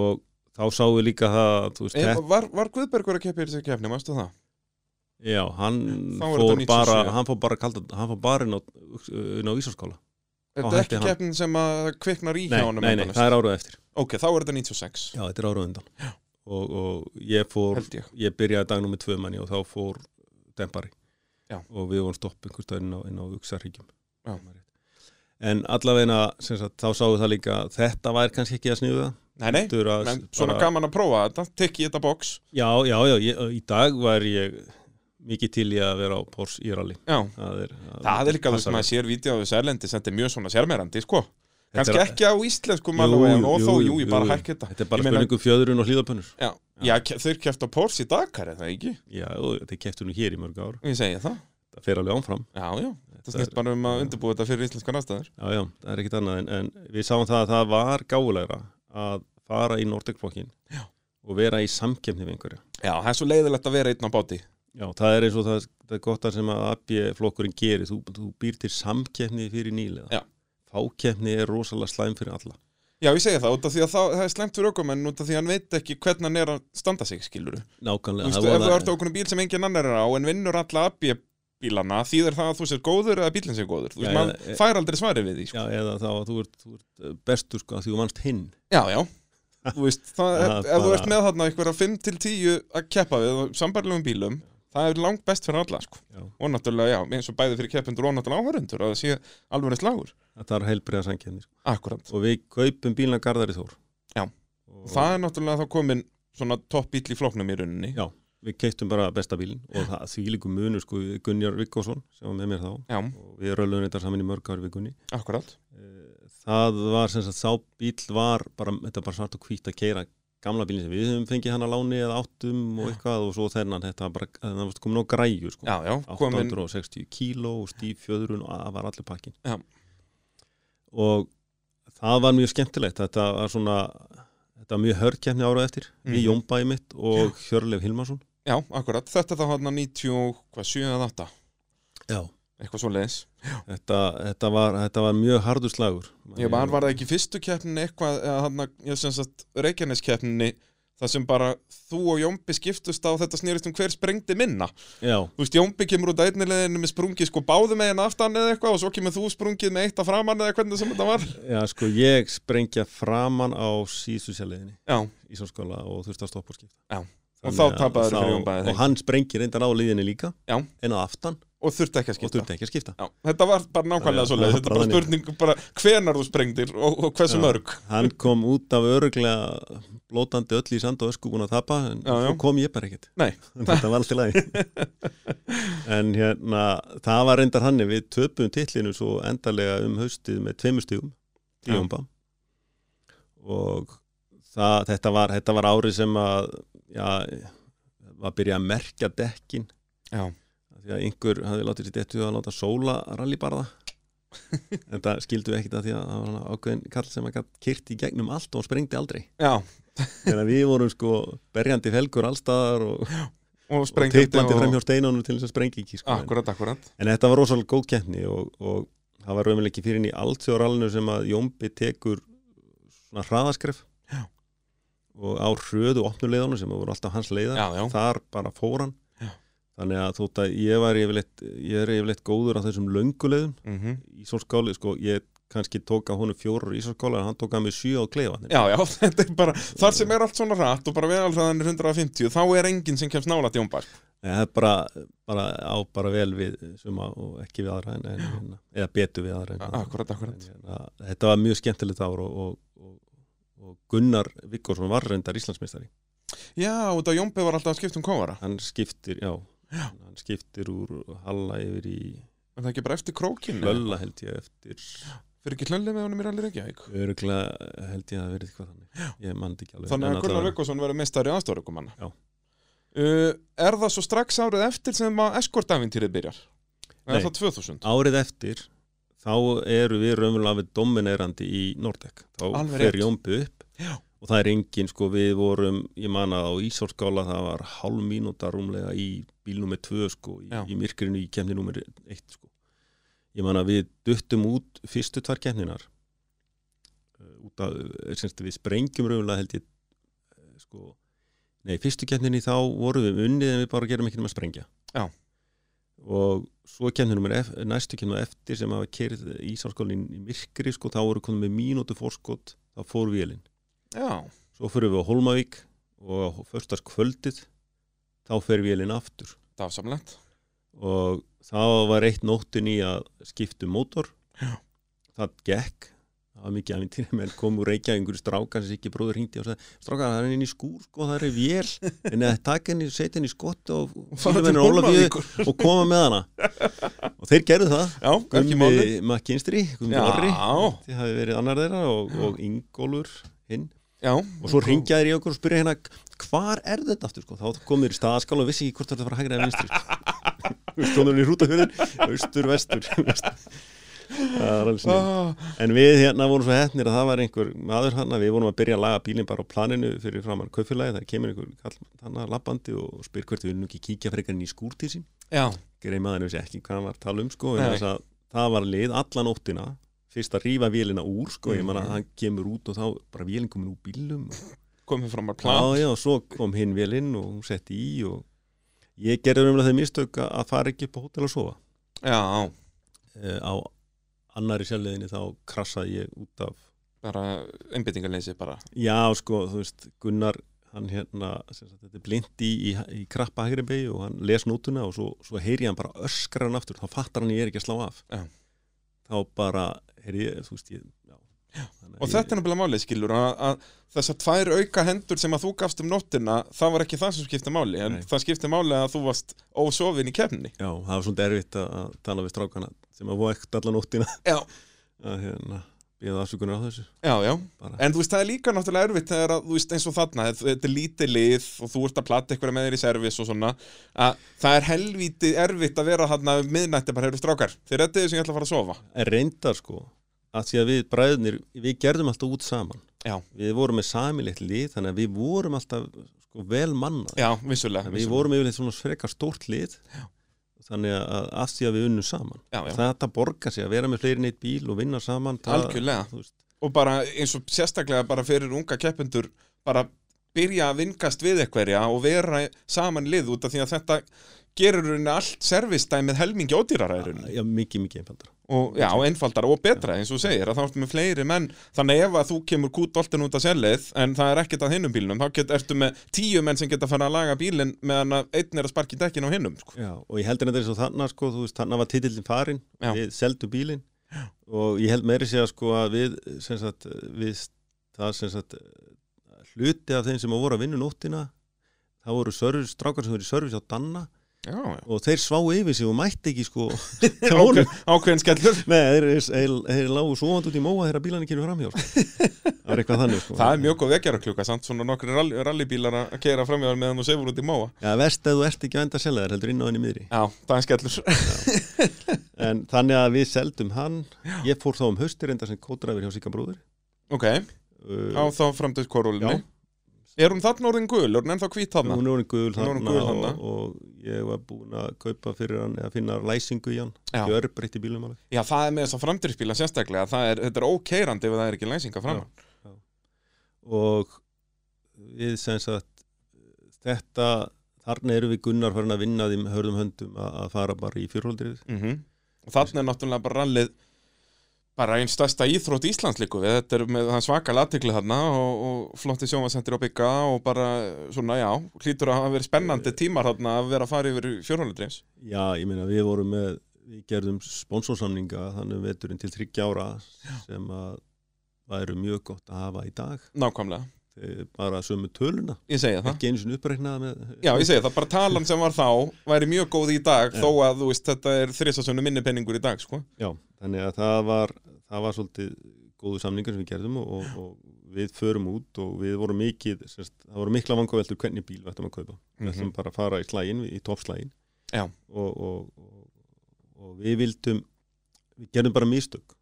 [SPEAKER 2] og þá sáum við líka það þú veist,
[SPEAKER 1] e,
[SPEAKER 2] þetta,
[SPEAKER 1] Var, var Guðbergur að keppa í þessu keppni, mástu það?
[SPEAKER 2] já, hann
[SPEAKER 1] Þá er
[SPEAKER 2] fór
[SPEAKER 1] þetta 97.
[SPEAKER 2] bara hann fór bara kaldan, hann fór bara inn á, inn á Ísaskóla
[SPEAKER 1] Er
[SPEAKER 2] Þá
[SPEAKER 1] þetta
[SPEAKER 2] hætti
[SPEAKER 1] ekki
[SPEAKER 2] hann.
[SPEAKER 1] keppnin sem að kviknar í
[SPEAKER 2] nei,
[SPEAKER 1] hjá honum
[SPEAKER 2] nei, nei,
[SPEAKER 1] endalaust?
[SPEAKER 2] það er árað eftir
[SPEAKER 1] Ok, þá er þetta 96
[SPEAKER 2] já, þetta er árað undan og, og ég fór
[SPEAKER 1] Held ég
[SPEAKER 2] ég byrjaði dag nummið tvö manni og þá fór dempari
[SPEAKER 1] Já.
[SPEAKER 2] og við vorum stopp einhvers staðar inn á, inn á Uxarhyggjum
[SPEAKER 1] Já.
[SPEAKER 2] en allavegna sem sagt, þá sáum við það líka að þetta væri kannski ekki að sniða
[SPEAKER 1] Nei, nei,
[SPEAKER 2] heldur að
[SPEAKER 1] menn, svona gaman að prófa þetta Tekki þetta box
[SPEAKER 2] já, já, já, ég, í dag var ég mikið til í að vera á Porsche í rally
[SPEAKER 1] Já,
[SPEAKER 2] það er, að,
[SPEAKER 1] það er líka þess
[SPEAKER 2] passar
[SPEAKER 1] að maður sér vídeo á þessu erlendis, þetta er mjög svona sérmerandi, sko
[SPEAKER 2] vel. Þetta er
[SPEAKER 1] Kannski
[SPEAKER 2] að-
[SPEAKER 1] ekki á íslensku
[SPEAKER 2] Jú,
[SPEAKER 1] mann og
[SPEAKER 2] jú,
[SPEAKER 1] þó, jú,
[SPEAKER 2] jú,
[SPEAKER 1] ég bara
[SPEAKER 2] jú.
[SPEAKER 1] hækki þetta
[SPEAKER 2] þetta er bara
[SPEAKER 1] Ég meina-
[SPEAKER 2] spurningu fjöðurinn og hlýðarpönnur
[SPEAKER 1] Já, já ke- þeir kæft á Porsche í Dakar, er það ekki?
[SPEAKER 2] já, og þetta er keftunum hér í mörg ár
[SPEAKER 1] Ég segi það
[SPEAKER 2] það fer alveg ánfram
[SPEAKER 1] Já, já, þetta
[SPEAKER 2] Þetta
[SPEAKER 1] snýst
[SPEAKER 2] er-
[SPEAKER 1] bara um að undirbúa þetta fyrir íslenskar aðstæður
[SPEAKER 2] Já, já, það er ekkit annað en, en við sáum það að það var gáfulegra að fara í Nordicflokkin og vera í samkemni við einhverja.
[SPEAKER 1] Já, það er svo leiðilegt að vera einn á báti
[SPEAKER 2] Já, það er eins og það, það er gott að sem að AB-flokkurinn gerir, þú, þú býr til samkemni fyrir nýlega.
[SPEAKER 1] Já.
[SPEAKER 2] Fákemni er rosalega slæm fyrir alla.
[SPEAKER 1] Já, ég segi það, út af því að það, það er slæmt fyrir okkur menn út af því að hann veit ekki hvernig hann er að standa sig, skilur Þú
[SPEAKER 2] Nákvæmlega.
[SPEAKER 1] veist,
[SPEAKER 2] það
[SPEAKER 1] ef þú
[SPEAKER 2] voða-
[SPEAKER 1] ert á okkur bíl sem engin annar er á en vinnur alla AB bílana, þýðir það að þú sér góður eða bílinn sér góður, þú veist,
[SPEAKER 2] Já,
[SPEAKER 1] maður
[SPEAKER 2] eða-
[SPEAKER 1] fær aldrei svarið við því, sko.
[SPEAKER 2] Já, eða þá að þú ert, þú ert bestur sko að því þú vannst hinn.
[SPEAKER 1] Já, já, þú
[SPEAKER 2] *laughs*
[SPEAKER 1] veist, það,
[SPEAKER 2] Það
[SPEAKER 1] ef,
[SPEAKER 2] er
[SPEAKER 1] ef þú
[SPEAKER 2] bara-
[SPEAKER 1] ert með þarna einhverja 5-10 að keppa við og sambarlegum bílum, það er langt best fyrir alla, sko.
[SPEAKER 2] Já.
[SPEAKER 1] Og náttúrulega, já, eins og bæði fyrir keppendur og náttúrulega áhörundur, að það sé alveg slagur.
[SPEAKER 2] Það er heilbriða samkemni. Sko.
[SPEAKER 1] Akkurát.
[SPEAKER 2] Og við kaupum bílna Garðari Þór.
[SPEAKER 1] Já.
[SPEAKER 2] Og
[SPEAKER 1] Það er náttúrulega þá komin svona topp bíl í flóknum í rauninni.
[SPEAKER 2] Já. við keiptum bara besta bílinn og það því líku munur sko við Gunjar Vikkosson sem var með mér þá
[SPEAKER 1] Já,
[SPEAKER 2] og við röluðum þetta saman í mörg ári vikunni
[SPEAKER 1] akkurát.
[SPEAKER 2] Eh, það var sem sagt sá bíl var bara, þetta var bara svart og hvít að keira gamla bílinn sem við höfum fengið hann að láni eða áttum og eitthvað og svo þennan þetta var bara, það var komin á græju sko
[SPEAKER 1] Já, já, komin,
[SPEAKER 2] 860 kíló og stíf fjöðrun og það var allir pakkin
[SPEAKER 1] Já.
[SPEAKER 2] og það var mjög skemmtilegt þetta var svona þetta var mjög hörkjæmni árað eftir mm.
[SPEAKER 1] Mhm.
[SPEAKER 2] við Jónbæi mitt og Hjörleif Hilmarsson
[SPEAKER 1] já, akkurát. Þetta er þá hann 97 eða 8,
[SPEAKER 2] Já.
[SPEAKER 1] eitthvað svo leiðis.
[SPEAKER 2] Þetta, þetta, var, þetta var mjög hardur slagur
[SPEAKER 1] Ég var, var það ekki í fyrstu keppninni eitthvað, eða hann að, ég sem sagt, Reykjaneskeppninni, það sem bara þú og Jómbi skiptust á þetta snýrist um hver sprengdi minna.
[SPEAKER 2] Já,
[SPEAKER 1] Þú veist, Jómbi kemur út að einni leðinu með sprungið sko báðum meginn aftan eða eitthvað og svo kemur þú sprungið með eitt að framann eða hvernig sem þetta var.
[SPEAKER 2] Já, sko, ég sprengja framan á síðustu sérleginni
[SPEAKER 1] Já,
[SPEAKER 2] í sannskóla og þurfti að stoppa og skipta.
[SPEAKER 1] Já. Og
[SPEAKER 2] Þannig
[SPEAKER 1] þá
[SPEAKER 2] að
[SPEAKER 1] tapaðirðu
[SPEAKER 2] þá-
[SPEAKER 1] fyrir Jón Bæði,
[SPEAKER 2] Og hann sprengir reyndan á liðinni líka,
[SPEAKER 1] Já.
[SPEAKER 2] en á aftan
[SPEAKER 1] og þurfti ekki að
[SPEAKER 2] og
[SPEAKER 1] skipta.
[SPEAKER 2] þurfti ekki að skipta.
[SPEAKER 1] Já, þetta var bara nákvæmlega
[SPEAKER 2] Já,
[SPEAKER 1] svo
[SPEAKER 2] það var
[SPEAKER 1] þetta er bara
[SPEAKER 2] bara
[SPEAKER 1] spurning um bara hvenar þú sprengdir og, og hversu
[SPEAKER 2] Já.
[SPEAKER 1] mörg.
[SPEAKER 2] Hann kom út af öruglega blótandi öll í sand og ösku búin að tapa, en
[SPEAKER 1] Já, já.
[SPEAKER 2] svo kom ég bara ekkert.
[SPEAKER 1] Nei.
[SPEAKER 2] En *laughs* Þetta var allt í lagi. en hérna, það var reyndar hannig, við töpum titlinu svo endarlega um haustið með tveimur stígum,
[SPEAKER 1] Já.
[SPEAKER 2] díjomba. Og það, þetta, var, þetta var árið sem að, já, var að byrja að merkja dekkin.
[SPEAKER 1] Já.
[SPEAKER 2] Af Því að einhver hafði látið sér dettu að láta sóla rallybarða. en það skildu ekkit að því að það var svona ákveðin kall sem að gatt kyrt í gegnum allt og sprengdi aldrei.
[SPEAKER 1] Já,
[SPEAKER 2] *laughs* Þegar við vorum sko berjandi felgur allstaðar *laughs* og,
[SPEAKER 1] og
[SPEAKER 2] og
[SPEAKER 1] sprengdi
[SPEAKER 2] teitlandi framhjá steinunum til þess að sprengi ekki. Sko. En-
[SPEAKER 1] Akkurat, akkurat.
[SPEAKER 2] En þetta var rosalega góð keppni og, og það var raunvel ekki fyrir henni allt þjóðarallinu sem að Jómbi tekur svona hraðaskref
[SPEAKER 1] Já.
[SPEAKER 2] og á hröðu opnuleiðunum sem voru alltaf hans leiðar
[SPEAKER 1] já, já,
[SPEAKER 2] þar bara fór hann
[SPEAKER 1] Já.
[SPEAKER 2] þannig að þótt að ég var yfirleitt ég er yfirleitt góður á þessum lönguleiðum
[SPEAKER 1] mhm.
[SPEAKER 2] ísólskáli, sko, ég kannski tók á honum fjórar ísólskála en hann tók að mig sjö á kleifanir
[SPEAKER 1] já, *laughs* já, þetta er bara þar sem er allt svona rætt og bara veðalraðan er 150 þá er enginn sem kemst nála til Jónbakk
[SPEAKER 2] það er bara, bara á bara vel við suma og ekki við aðra en, en, en, eða betur við aðra en,
[SPEAKER 1] akkurat, akkurat,
[SPEAKER 2] en, en, þetta var mjög skemmtilegt ár og, og, og, og Gunnar Viggórsson var reyndar Íslandsmeistari
[SPEAKER 1] já, út af Jónbi var alltaf að skipta um kóvara
[SPEAKER 2] hann skiptir, já, hann skiptir úr Halla yfir í
[SPEAKER 1] en það er ekki bara eftir krókinn eða?
[SPEAKER 2] Lölla held ég eftir
[SPEAKER 1] fyrir ekki hlönlega með honum í allir ekki
[SPEAKER 2] öruglega held ég að það hafi verið eitthvað þannig ég mann ekki
[SPEAKER 1] þannig
[SPEAKER 2] alveg En
[SPEAKER 1] að Gunnar
[SPEAKER 2] allavega-
[SPEAKER 1] Vökkosson verið meistari aðstofrökumanna
[SPEAKER 2] Já.
[SPEAKER 1] uh, er það svo strax árið eftir sem að eskortavintýrið byrjar Nei.
[SPEAKER 2] Nei.
[SPEAKER 1] er það 2000
[SPEAKER 2] árið eftir þá eru við raunverulega við dominerandi í Nordek þá
[SPEAKER 1] Alveg
[SPEAKER 2] fer
[SPEAKER 1] rétt.
[SPEAKER 2] Jómbu upp
[SPEAKER 1] Já.
[SPEAKER 2] og það er engin sko við vorum ég man að á Ísólskála það var hálf mínúta rúmlega í bílnum með tvö sko í,
[SPEAKER 1] Já.
[SPEAKER 2] í myrkrinu í kemni númer eitt sko ég man að við duttum út fyrstu tvær kemninar út að semst, við sprengjum raunverulega held ég eh, sko nei fyrstu kemninni þá vorum við unnið en við bara gerum ekki nema að sprengja og svo kemur nummer ef- næstu kemur eftir sem hafa kerið ísárskólinn í myrkri sko, þá voru konum með mínútu fórskot þá fór vélinn.
[SPEAKER 1] já,
[SPEAKER 2] Svo fyrir við á Holmavík og á förstast kvöldið þá fer vélinn aftur
[SPEAKER 1] dafsamlegt
[SPEAKER 2] og þá var eitt nóttin í að skipta um mótor
[SPEAKER 1] Já.
[SPEAKER 2] það gekk það var mikið aventýri menn kom úr reykja einhverju strákar sem ekki bróður hringdi og sagði strákar það er inn í skúr sko það er vél en að taka henni setja henni í skott og
[SPEAKER 1] Fara
[SPEAKER 2] fara
[SPEAKER 1] til
[SPEAKER 2] henni Ólafíu
[SPEAKER 1] Hólmavíkur.
[SPEAKER 2] og koma með hana og þeir gerðu það
[SPEAKER 1] *laughs* já, ekki máli
[SPEAKER 2] Gummi McKinstry, Gummi
[SPEAKER 1] Já.
[SPEAKER 2] Orri þið hafi verið annar þeirra og, og Ingólfur hinn
[SPEAKER 1] já,
[SPEAKER 2] og svo ringja þeir í okkur og spyrja hérna hvar er þetta aftur sko, þá komið þeir í staðaskála og vissi ekki hvort þetta var hægra eða vinstri sko. stóðum við í rútafjörðin austur, vestur, *laughs* vestur. það var alveg snið
[SPEAKER 1] Ah,
[SPEAKER 2] en við hérna vorum svo hettnir að það var einhver maður hann að við vorum að byrja að laga bílinn bara á planinu fyrir framann kaupfélagi, það kemur einhver kall hann að lappandi og spyr hvert við viljum ekki kíkja frekar inn í skúrtísin
[SPEAKER 1] já,
[SPEAKER 2] greimaðinu vissi ekki hvað hann var að tala um sko,
[SPEAKER 1] Nei.
[SPEAKER 2] en þess að það var lið alla nóttina fyrst að rífa vélina úr sko, ég man að
[SPEAKER 1] Mhm.
[SPEAKER 2] hann kemur út og þá bara vélin komin úr bílum
[SPEAKER 1] komið fram að plan
[SPEAKER 2] já, já, og svo kom hinn vélinn og hún setti í og ég gerði umlega þau mistök að- að fara ekki upp á hótel að sofa
[SPEAKER 1] já,
[SPEAKER 2] e, á annari sjálfleginni þá krassaði ég út af
[SPEAKER 1] bara einbyttingarleysi bara
[SPEAKER 2] já, sko, þú veist, Gunnar hann hérna, sem sagt, þetta er blind í, í, í krappa hægri beigju og hann les nótuna og svo, svo heyri ég hann bara öskra hann aftur þá fattar hann ég er ekki að slá af
[SPEAKER 1] Já.
[SPEAKER 2] þá bara, heyri ég, þú veist ég, já, Þannig að
[SPEAKER 1] Og
[SPEAKER 2] ég-
[SPEAKER 1] þetta er náttúrulega málið skilur að, að þessar tvær auka hendur sem að þú gafst um nóttina það var ekki það sem skipti máli en
[SPEAKER 2] Nei.
[SPEAKER 1] það skipti máli að þú varst ósofin í kefni
[SPEAKER 2] já, það var svona erfitt að, að tala við strákana sem að vóa ekkert alla nóttina
[SPEAKER 1] Já,
[SPEAKER 2] *laughs* að hérna, býða afsökunar á þessu
[SPEAKER 1] já, já
[SPEAKER 2] bara,
[SPEAKER 1] En þú veist, það er líka náttúrulega erfitt þegar að, þú veist, eins og þarna, þetta- þetta er lítið lið og þú ert að platta eitthvað með þér í servis og svona að það er helvítið erfitt að vera þarna um miðnætti bara hefur strákar þegar þetta er sem ég ætla að fara að sofa
[SPEAKER 2] en reyndar sko að því að við bræðnir, við gerðum alltaf út saman
[SPEAKER 1] Já.
[SPEAKER 2] við vorum með samilegt lið þannig að við vorum alltaf sko, vel mannað
[SPEAKER 1] Já, vissulega,
[SPEAKER 2] En Við vorum yfirleitt svona frekar stórt lið þannig að af því að við unnum saman
[SPEAKER 1] já, já,
[SPEAKER 2] þetta borgar sig að vera með fleiri neitt bíl og vinna saman það-
[SPEAKER 1] Algjörlega.
[SPEAKER 2] þú veist,
[SPEAKER 1] og bara eins og sérstaklega bara fyrir unga keppendur bara byrja að vingast við eitthverja og vera saman lið út af því að þetta gerir rauninni allt servistæmið helmingi ódýrara í rauninni
[SPEAKER 2] Já, mikið, mikið einfaldra
[SPEAKER 1] og já, einfaldara og betra eins og þú segir að þá ertu með fleiri menn þannig ef að þú kemur kútoltin út af sellið en það er ekkert að hinnum bílnum þá get, ertu með tíu menn sem geta fara að laga bílinn meðan að einn er að sparki dekkin á hinnum sko.
[SPEAKER 2] já, og ég heldur þetta er svo þannig sko, þú veist, þannig var titillin farin
[SPEAKER 1] Já.
[SPEAKER 2] við seldu bílin og ég held meiri segja sko að við, sem sagt, við það sem sagt hluti af þeim sem voru að vinna nóttina það voru service, strákar sem voru í service á Danna
[SPEAKER 1] já, já.
[SPEAKER 2] og þeir svá yfir sig og mætti ekki
[SPEAKER 1] *laughs*
[SPEAKER 2] sko hjá honum.
[SPEAKER 1] Ákveð, ákveðin skellur
[SPEAKER 2] Nei, þeir, þeir, þeir lágu svovand út í móa þegar bílarnir kemur framhjá sko. Það var eitthvað þannig sko.
[SPEAKER 1] *laughs* það er mjög góð vekjara klukka samt svona nokkri rally, rallybílar að keira framjáður meðan þú sefur út í móa
[SPEAKER 2] Já, verst að þú ert ekki að venda selja þér heldur inn á henni miðri
[SPEAKER 1] já, það er skellur
[SPEAKER 2] En þannig að við seldum hann Ég fór þá um haustir enda sem kótræfur hjá Sika bróður
[SPEAKER 1] Ok, á þá framdöð korúlinni
[SPEAKER 2] Já.
[SPEAKER 1] Er hún þarna orðin gul, er hún ennþá hvít þarna?
[SPEAKER 2] Hún er orðin guðul
[SPEAKER 1] Hún er orðin
[SPEAKER 2] þarna
[SPEAKER 1] gul þarna.
[SPEAKER 2] og, og ég var búin að kaupa fyrir hann eða finna læsingu í hann
[SPEAKER 1] Já.
[SPEAKER 2] Gjörbreytti bílum alveg
[SPEAKER 1] Já, það er með þess að framdöðspíla sérstaklega það er, Þetta er ókeirandi ef það er ekki læsinga framan
[SPEAKER 2] og við sem sagt þetta, þarna eru við Gunnar farin að vinna því með hörðum höndum að, að fara bara í fjórhóldrið
[SPEAKER 1] mm og þannig er náttúrulega bara rallið bara einn stærsta íþrótt Íslands líku við þetta er með hann svaka latikli þarna og, og flotti sjómasendir á bygga og bara svona já, hlýtur að hafa verið spennandi tímar þarna að vera að fara yfir fjórhóladreifs
[SPEAKER 2] Já, ég meina við vorum með við gerðum sponsorsamninga þannig um veturinn til 30 ára sem að væru mjög gott að hafa í dag
[SPEAKER 1] nákvæmlega,
[SPEAKER 2] Eh, bara sömu töluna
[SPEAKER 1] ég segi það
[SPEAKER 2] ekki einu sinni uppreiknaða með
[SPEAKER 1] Já, ég segi það, bara talan sem var þá væri mjög góð í dag,
[SPEAKER 2] Já.
[SPEAKER 1] þó að þú veist, þetta er þrisasunum minni penningur í dag, sko
[SPEAKER 2] Já, þannig að það var, það var svolítið góðu samningar sem við gerðum og, og, og við förum út og við vorum mikið, sérst, það voru mikla vangaveldur hvernig bíl við ættum að kaupa. Við ættum bara að fara í slægin, í toppslægin
[SPEAKER 1] Mhm. Já.
[SPEAKER 2] og, og, og, og við vildum, við gerðum bara mistök.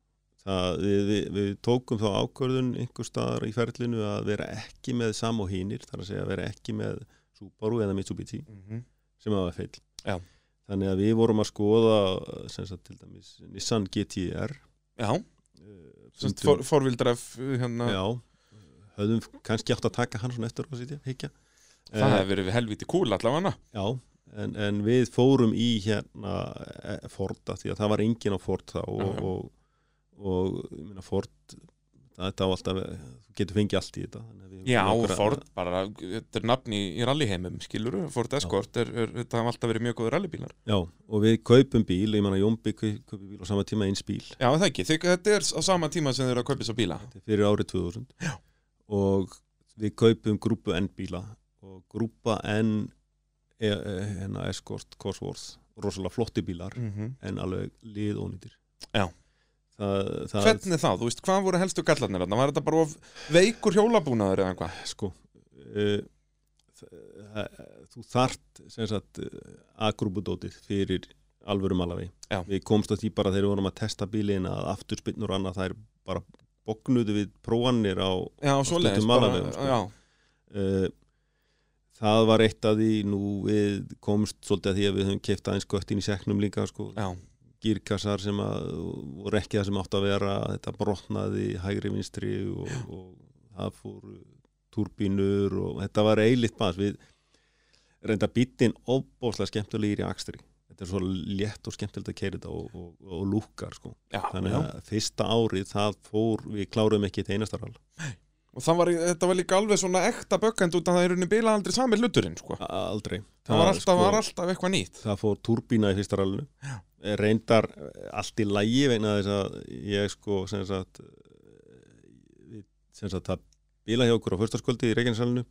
[SPEAKER 2] Það, við, við, við tókum þá ákvörðun einhver staðar í ferlinu að vera ekki með sam og hínir, þar að segja að vera ekki með Subaru eða Mitsubishi
[SPEAKER 1] Mhm.
[SPEAKER 2] sem það var feill.
[SPEAKER 1] Já.
[SPEAKER 2] Þannig að við vorum að skoða sem sagt til dæmis Nissan GT-R
[SPEAKER 1] Já,
[SPEAKER 2] eh,
[SPEAKER 1] sem sagt,
[SPEAKER 2] fundum-
[SPEAKER 1] for, forvildref hérna,
[SPEAKER 2] Já, höfðum kannski átt að taka hann svona eftir og sitja, higgja
[SPEAKER 1] það hefur verið helviti kúl allavega
[SPEAKER 2] Já, en, en við fórum í hérna eh, Ford að því að það var engin á Ford þá og,
[SPEAKER 1] Já.
[SPEAKER 2] og, og, ég meina Ford þetta á alltaf, eh, þú getur fengið allt í þetta þannig að við-
[SPEAKER 1] Já,
[SPEAKER 2] okkur að-
[SPEAKER 1] Ford, bara, þetta er nafn í, í rallyheimum, skilur Ford Escort, er, er, þetta hafa alltaf verið mjög góður rallybílar
[SPEAKER 2] Já, og við kaupum bíl, ég meina Jómbi kaup- kaupir bíl á sama tíma eins bíl
[SPEAKER 1] Já, það ekki, Þið, þetta er á sama tíma sem þau eru að kaupa þess að bíla
[SPEAKER 2] Þetta er fyrir árið 2000 Já. og við kaupum grúpu N bíla og grúpa N e, e, hérna Escort, Cosworth rosalega flotti bílar
[SPEAKER 1] mm
[SPEAKER 2] en alveg lið ónýtir
[SPEAKER 1] Já.
[SPEAKER 2] það, það
[SPEAKER 1] Hvernig þá, þú veist, hvað voru helstu gallarnir þarna? Var þetta bara of veikur hjólabúnaður eða hvað?
[SPEAKER 2] sko uh, þú þart sem sagt agrúbudótið fyrir alvöru malavi
[SPEAKER 1] Já.
[SPEAKER 2] við komst að því bara þegar við vorum að testa bílin að afturspinnur og annað það er bara bóknuðu við prófanir á
[SPEAKER 1] Já, svoleiðis,
[SPEAKER 2] stundum
[SPEAKER 1] bara,
[SPEAKER 2] malavegum, sko.
[SPEAKER 1] já,
[SPEAKER 2] Eh, það var eitt af því nú við komst svolítið að því að við höfum keift aðeins göttin í seknum líka sko,
[SPEAKER 1] já,
[SPEAKER 2] gírkassar sem að voru ekki það sem átt að vera þetta brotnaði hægri vinstri og, og það fór turbínur og þetta var eilitt bas við reynda bítin ofbóðslega skemmtulegir í akstri þetta er svo létt og skemmtilegt að keira þetta og, og, og lúkkar sko
[SPEAKER 1] já,
[SPEAKER 2] þannig
[SPEAKER 1] já.
[SPEAKER 2] að fyrsta árið það fór við kláruðum ekki eitt einastarhal
[SPEAKER 1] Og það var, þetta var líka alveg svona ekta bökkend út að það er unni bila aldrei sami hluturinn, sko.
[SPEAKER 2] aldrei
[SPEAKER 1] Það var alltaf,
[SPEAKER 2] sko.
[SPEAKER 1] var alltaf eitthvað nýtt.
[SPEAKER 2] það fór turbína í fyrsta rallinu reyndar eh, allt í lægi vegna þess að ég sko sem sagt, eh, við- sem sagt það bila hjá okkur á förstaskvöldi í Reykjanesrallinu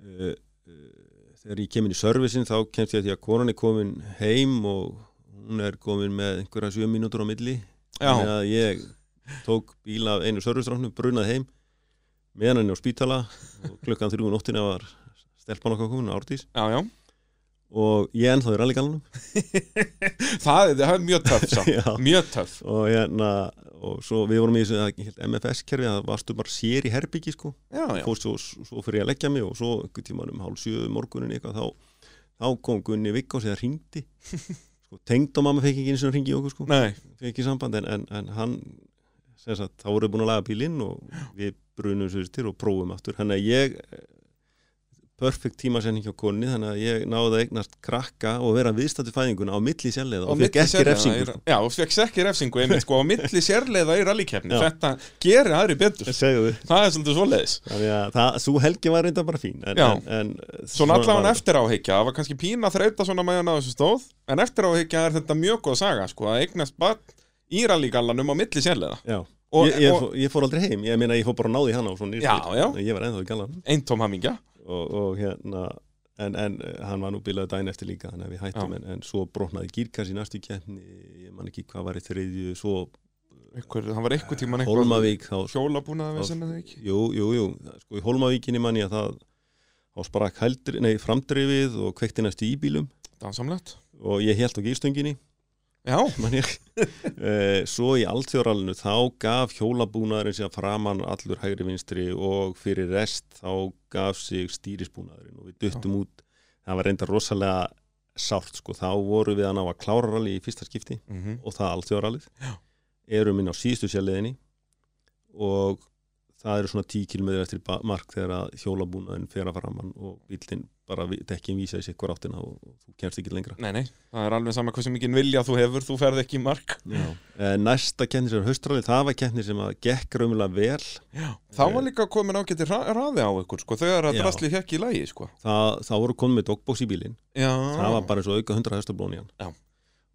[SPEAKER 2] Eh, eh, þegar ég kemur í servicin þá kemst ég að því að konan er komin heim og hún er komin með einhverja sjö mínútur á milli
[SPEAKER 1] Já,
[SPEAKER 2] þannig að ég tók bíl af einu servicráknu, brunaði heim meðan henni á spítala og klukkan þrjúin óttina var stelpan okkar komin, Árdís
[SPEAKER 1] já, já.
[SPEAKER 2] og ég ennþá í rallygalanum
[SPEAKER 1] Það, er- það er mjög töff sá.
[SPEAKER 2] *laughs* Já.
[SPEAKER 1] mjög töff.
[SPEAKER 2] og hérna og svo við vorum í þessu MFS-kerfi það varstu bara sér í herbyggi sko
[SPEAKER 1] Já, já.
[SPEAKER 2] fórst svo, svo fyrir ég að leggja mig og svo einhvern tímann um hálf sjö morgunin eitthvað þá, þá kom Gunni Vigg og sér
[SPEAKER 1] *laughs*
[SPEAKER 2] hringdi sko, tengd og mamma fekk ekki eins og hringi okkur sko
[SPEAKER 1] Nei,
[SPEAKER 2] fekk ekki samband en, en, en hann sem sagt, þá voru við búin að laga bílinn og við brunum svo til og prófum aftur þannig að ég eh, perfekt tímasending hjá konni þannig að ég náði að eignast krakka og vera viðstættu fæðinguna á milli sérlega og, og fekk
[SPEAKER 1] milli
[SPEAKER 2] ekki
[SPEAKER 1] sérleiða
[SPEAKER 2] refsingu
[SPEAKER 1] í-
[SPEAKER 2] sko.
[SPEAKER 1] Já, og fekk ekki refsingu einmitt, sko, á
[SPEAKER 2] *laughs*
[SPEAKER 1] milli sérleiða í rallykefni.
[SPEAKER 2] Já.
[SPEAKER 1] Þetta gerir aðri betur.
[SPEAKER 2] segðu þið
[SPEAKER 1] Það er svolítið svoleiðis.
[SPEAKER 2] Þannig að það, svo helgi var reynda bara fín en,
[SPEAKER 1] Já.
[SPEAKER 2] en, en,
[SPEAKER 1] Svona allavega
[SPEAKER 2] var-
[SPEAKER 1] eftir áhyggja, það var kannski pína þreyta svona meðan að þessu stóð, en eftir áhyggja er þetta mjög góð saga, sko, að eignast barn í rallygallanum á milli sérleiða.
[SPEAKER 2] Já,
[SPEAKER 1] Og-
[SPEAKER 2] ég, ég,
[SPEAKER 1] og-
[SPEAKER 2] fó- ég fór aldrei heim, ég meina ég fór bara að náði hana og svona í
[SPEAKER 1] Já,
[SPEAKER 2] spil.
[SPEAKER 1] já.
[SPEAKER 2] En Ég var ennþá í gallan
[SPEAKER 1] Eintóm hamingja.
[SPEAKER 2] og, og hérna En, en eh, hann var nú bilaði dæn eftir líka þannig að við hættum
[SPEAKER 1] Já.
[SPEAKER 2] en, en svo brotnaði gírkass í næstu keppni ég man ekki hvað var í þriðju svo
[SPEAKER 1] Einhver, það var einhver tíman
[SPEAKER 2] Holmavík þá,
[SPEAKER 1] hjólabúnaði við sem það ekki
[SPEAKER 2] jú, jú, jú sko í Holmavíkinni man ég að það þá sprakk hældri, nei, framdrifið og kveikti næstu í bílum
[SPEAKER 1] dansamlegt
[SPEAKER 2] og ég held á gírstöngin
[SPEAKER 1] já,
[SPEAKER 2] man ég *laughs* Eh, svo í allþjóralinu þá gaf hjólabúnaðurinn sér framan allur hægri vinstri og fyrir rest þá gaf sig stýrisbúnaðurinn og við duttum út það var reynda rosalega sárt sko, þá voru við að ná að klára rally í fyrsta skipti
[SPEAKER 1] mm
[SPEAKER 2] og það allþjóralið erum inn á síðustu sérleðinni og það eru svona 10 km eftir ba- mark þegar að hjólabúnaðin fer að framann og bílinn bara vi- dekkin vísa í sikkur áttina og, og þú kemst ekki lengra
[SPEAKER 1] Nei, nei, það er alveg sama hversu mikið vilja þú hefur, þú ferð ekki í mark
[SPEAKER 2] Eh, næsta keppni sem er haustralið það var keppni sem að gekk raunverulega vel
[SPEAKER 1] Já, þá var líka komin ágæti ra raði á ykkur, sko, þegar að
[SPEAKER 2] Já.
[SPEAKER 1] drasli hekk í lagi, sko
[SPEAKER 2] það, það voru konum með dogbóks í bílinn
[SPEAKER 1] Já,
[SPEAKER 2] það var bara eins og auka 100 haustablón í
[SPEAKER 1] Ah. Já.
[SPEAKER 2] hann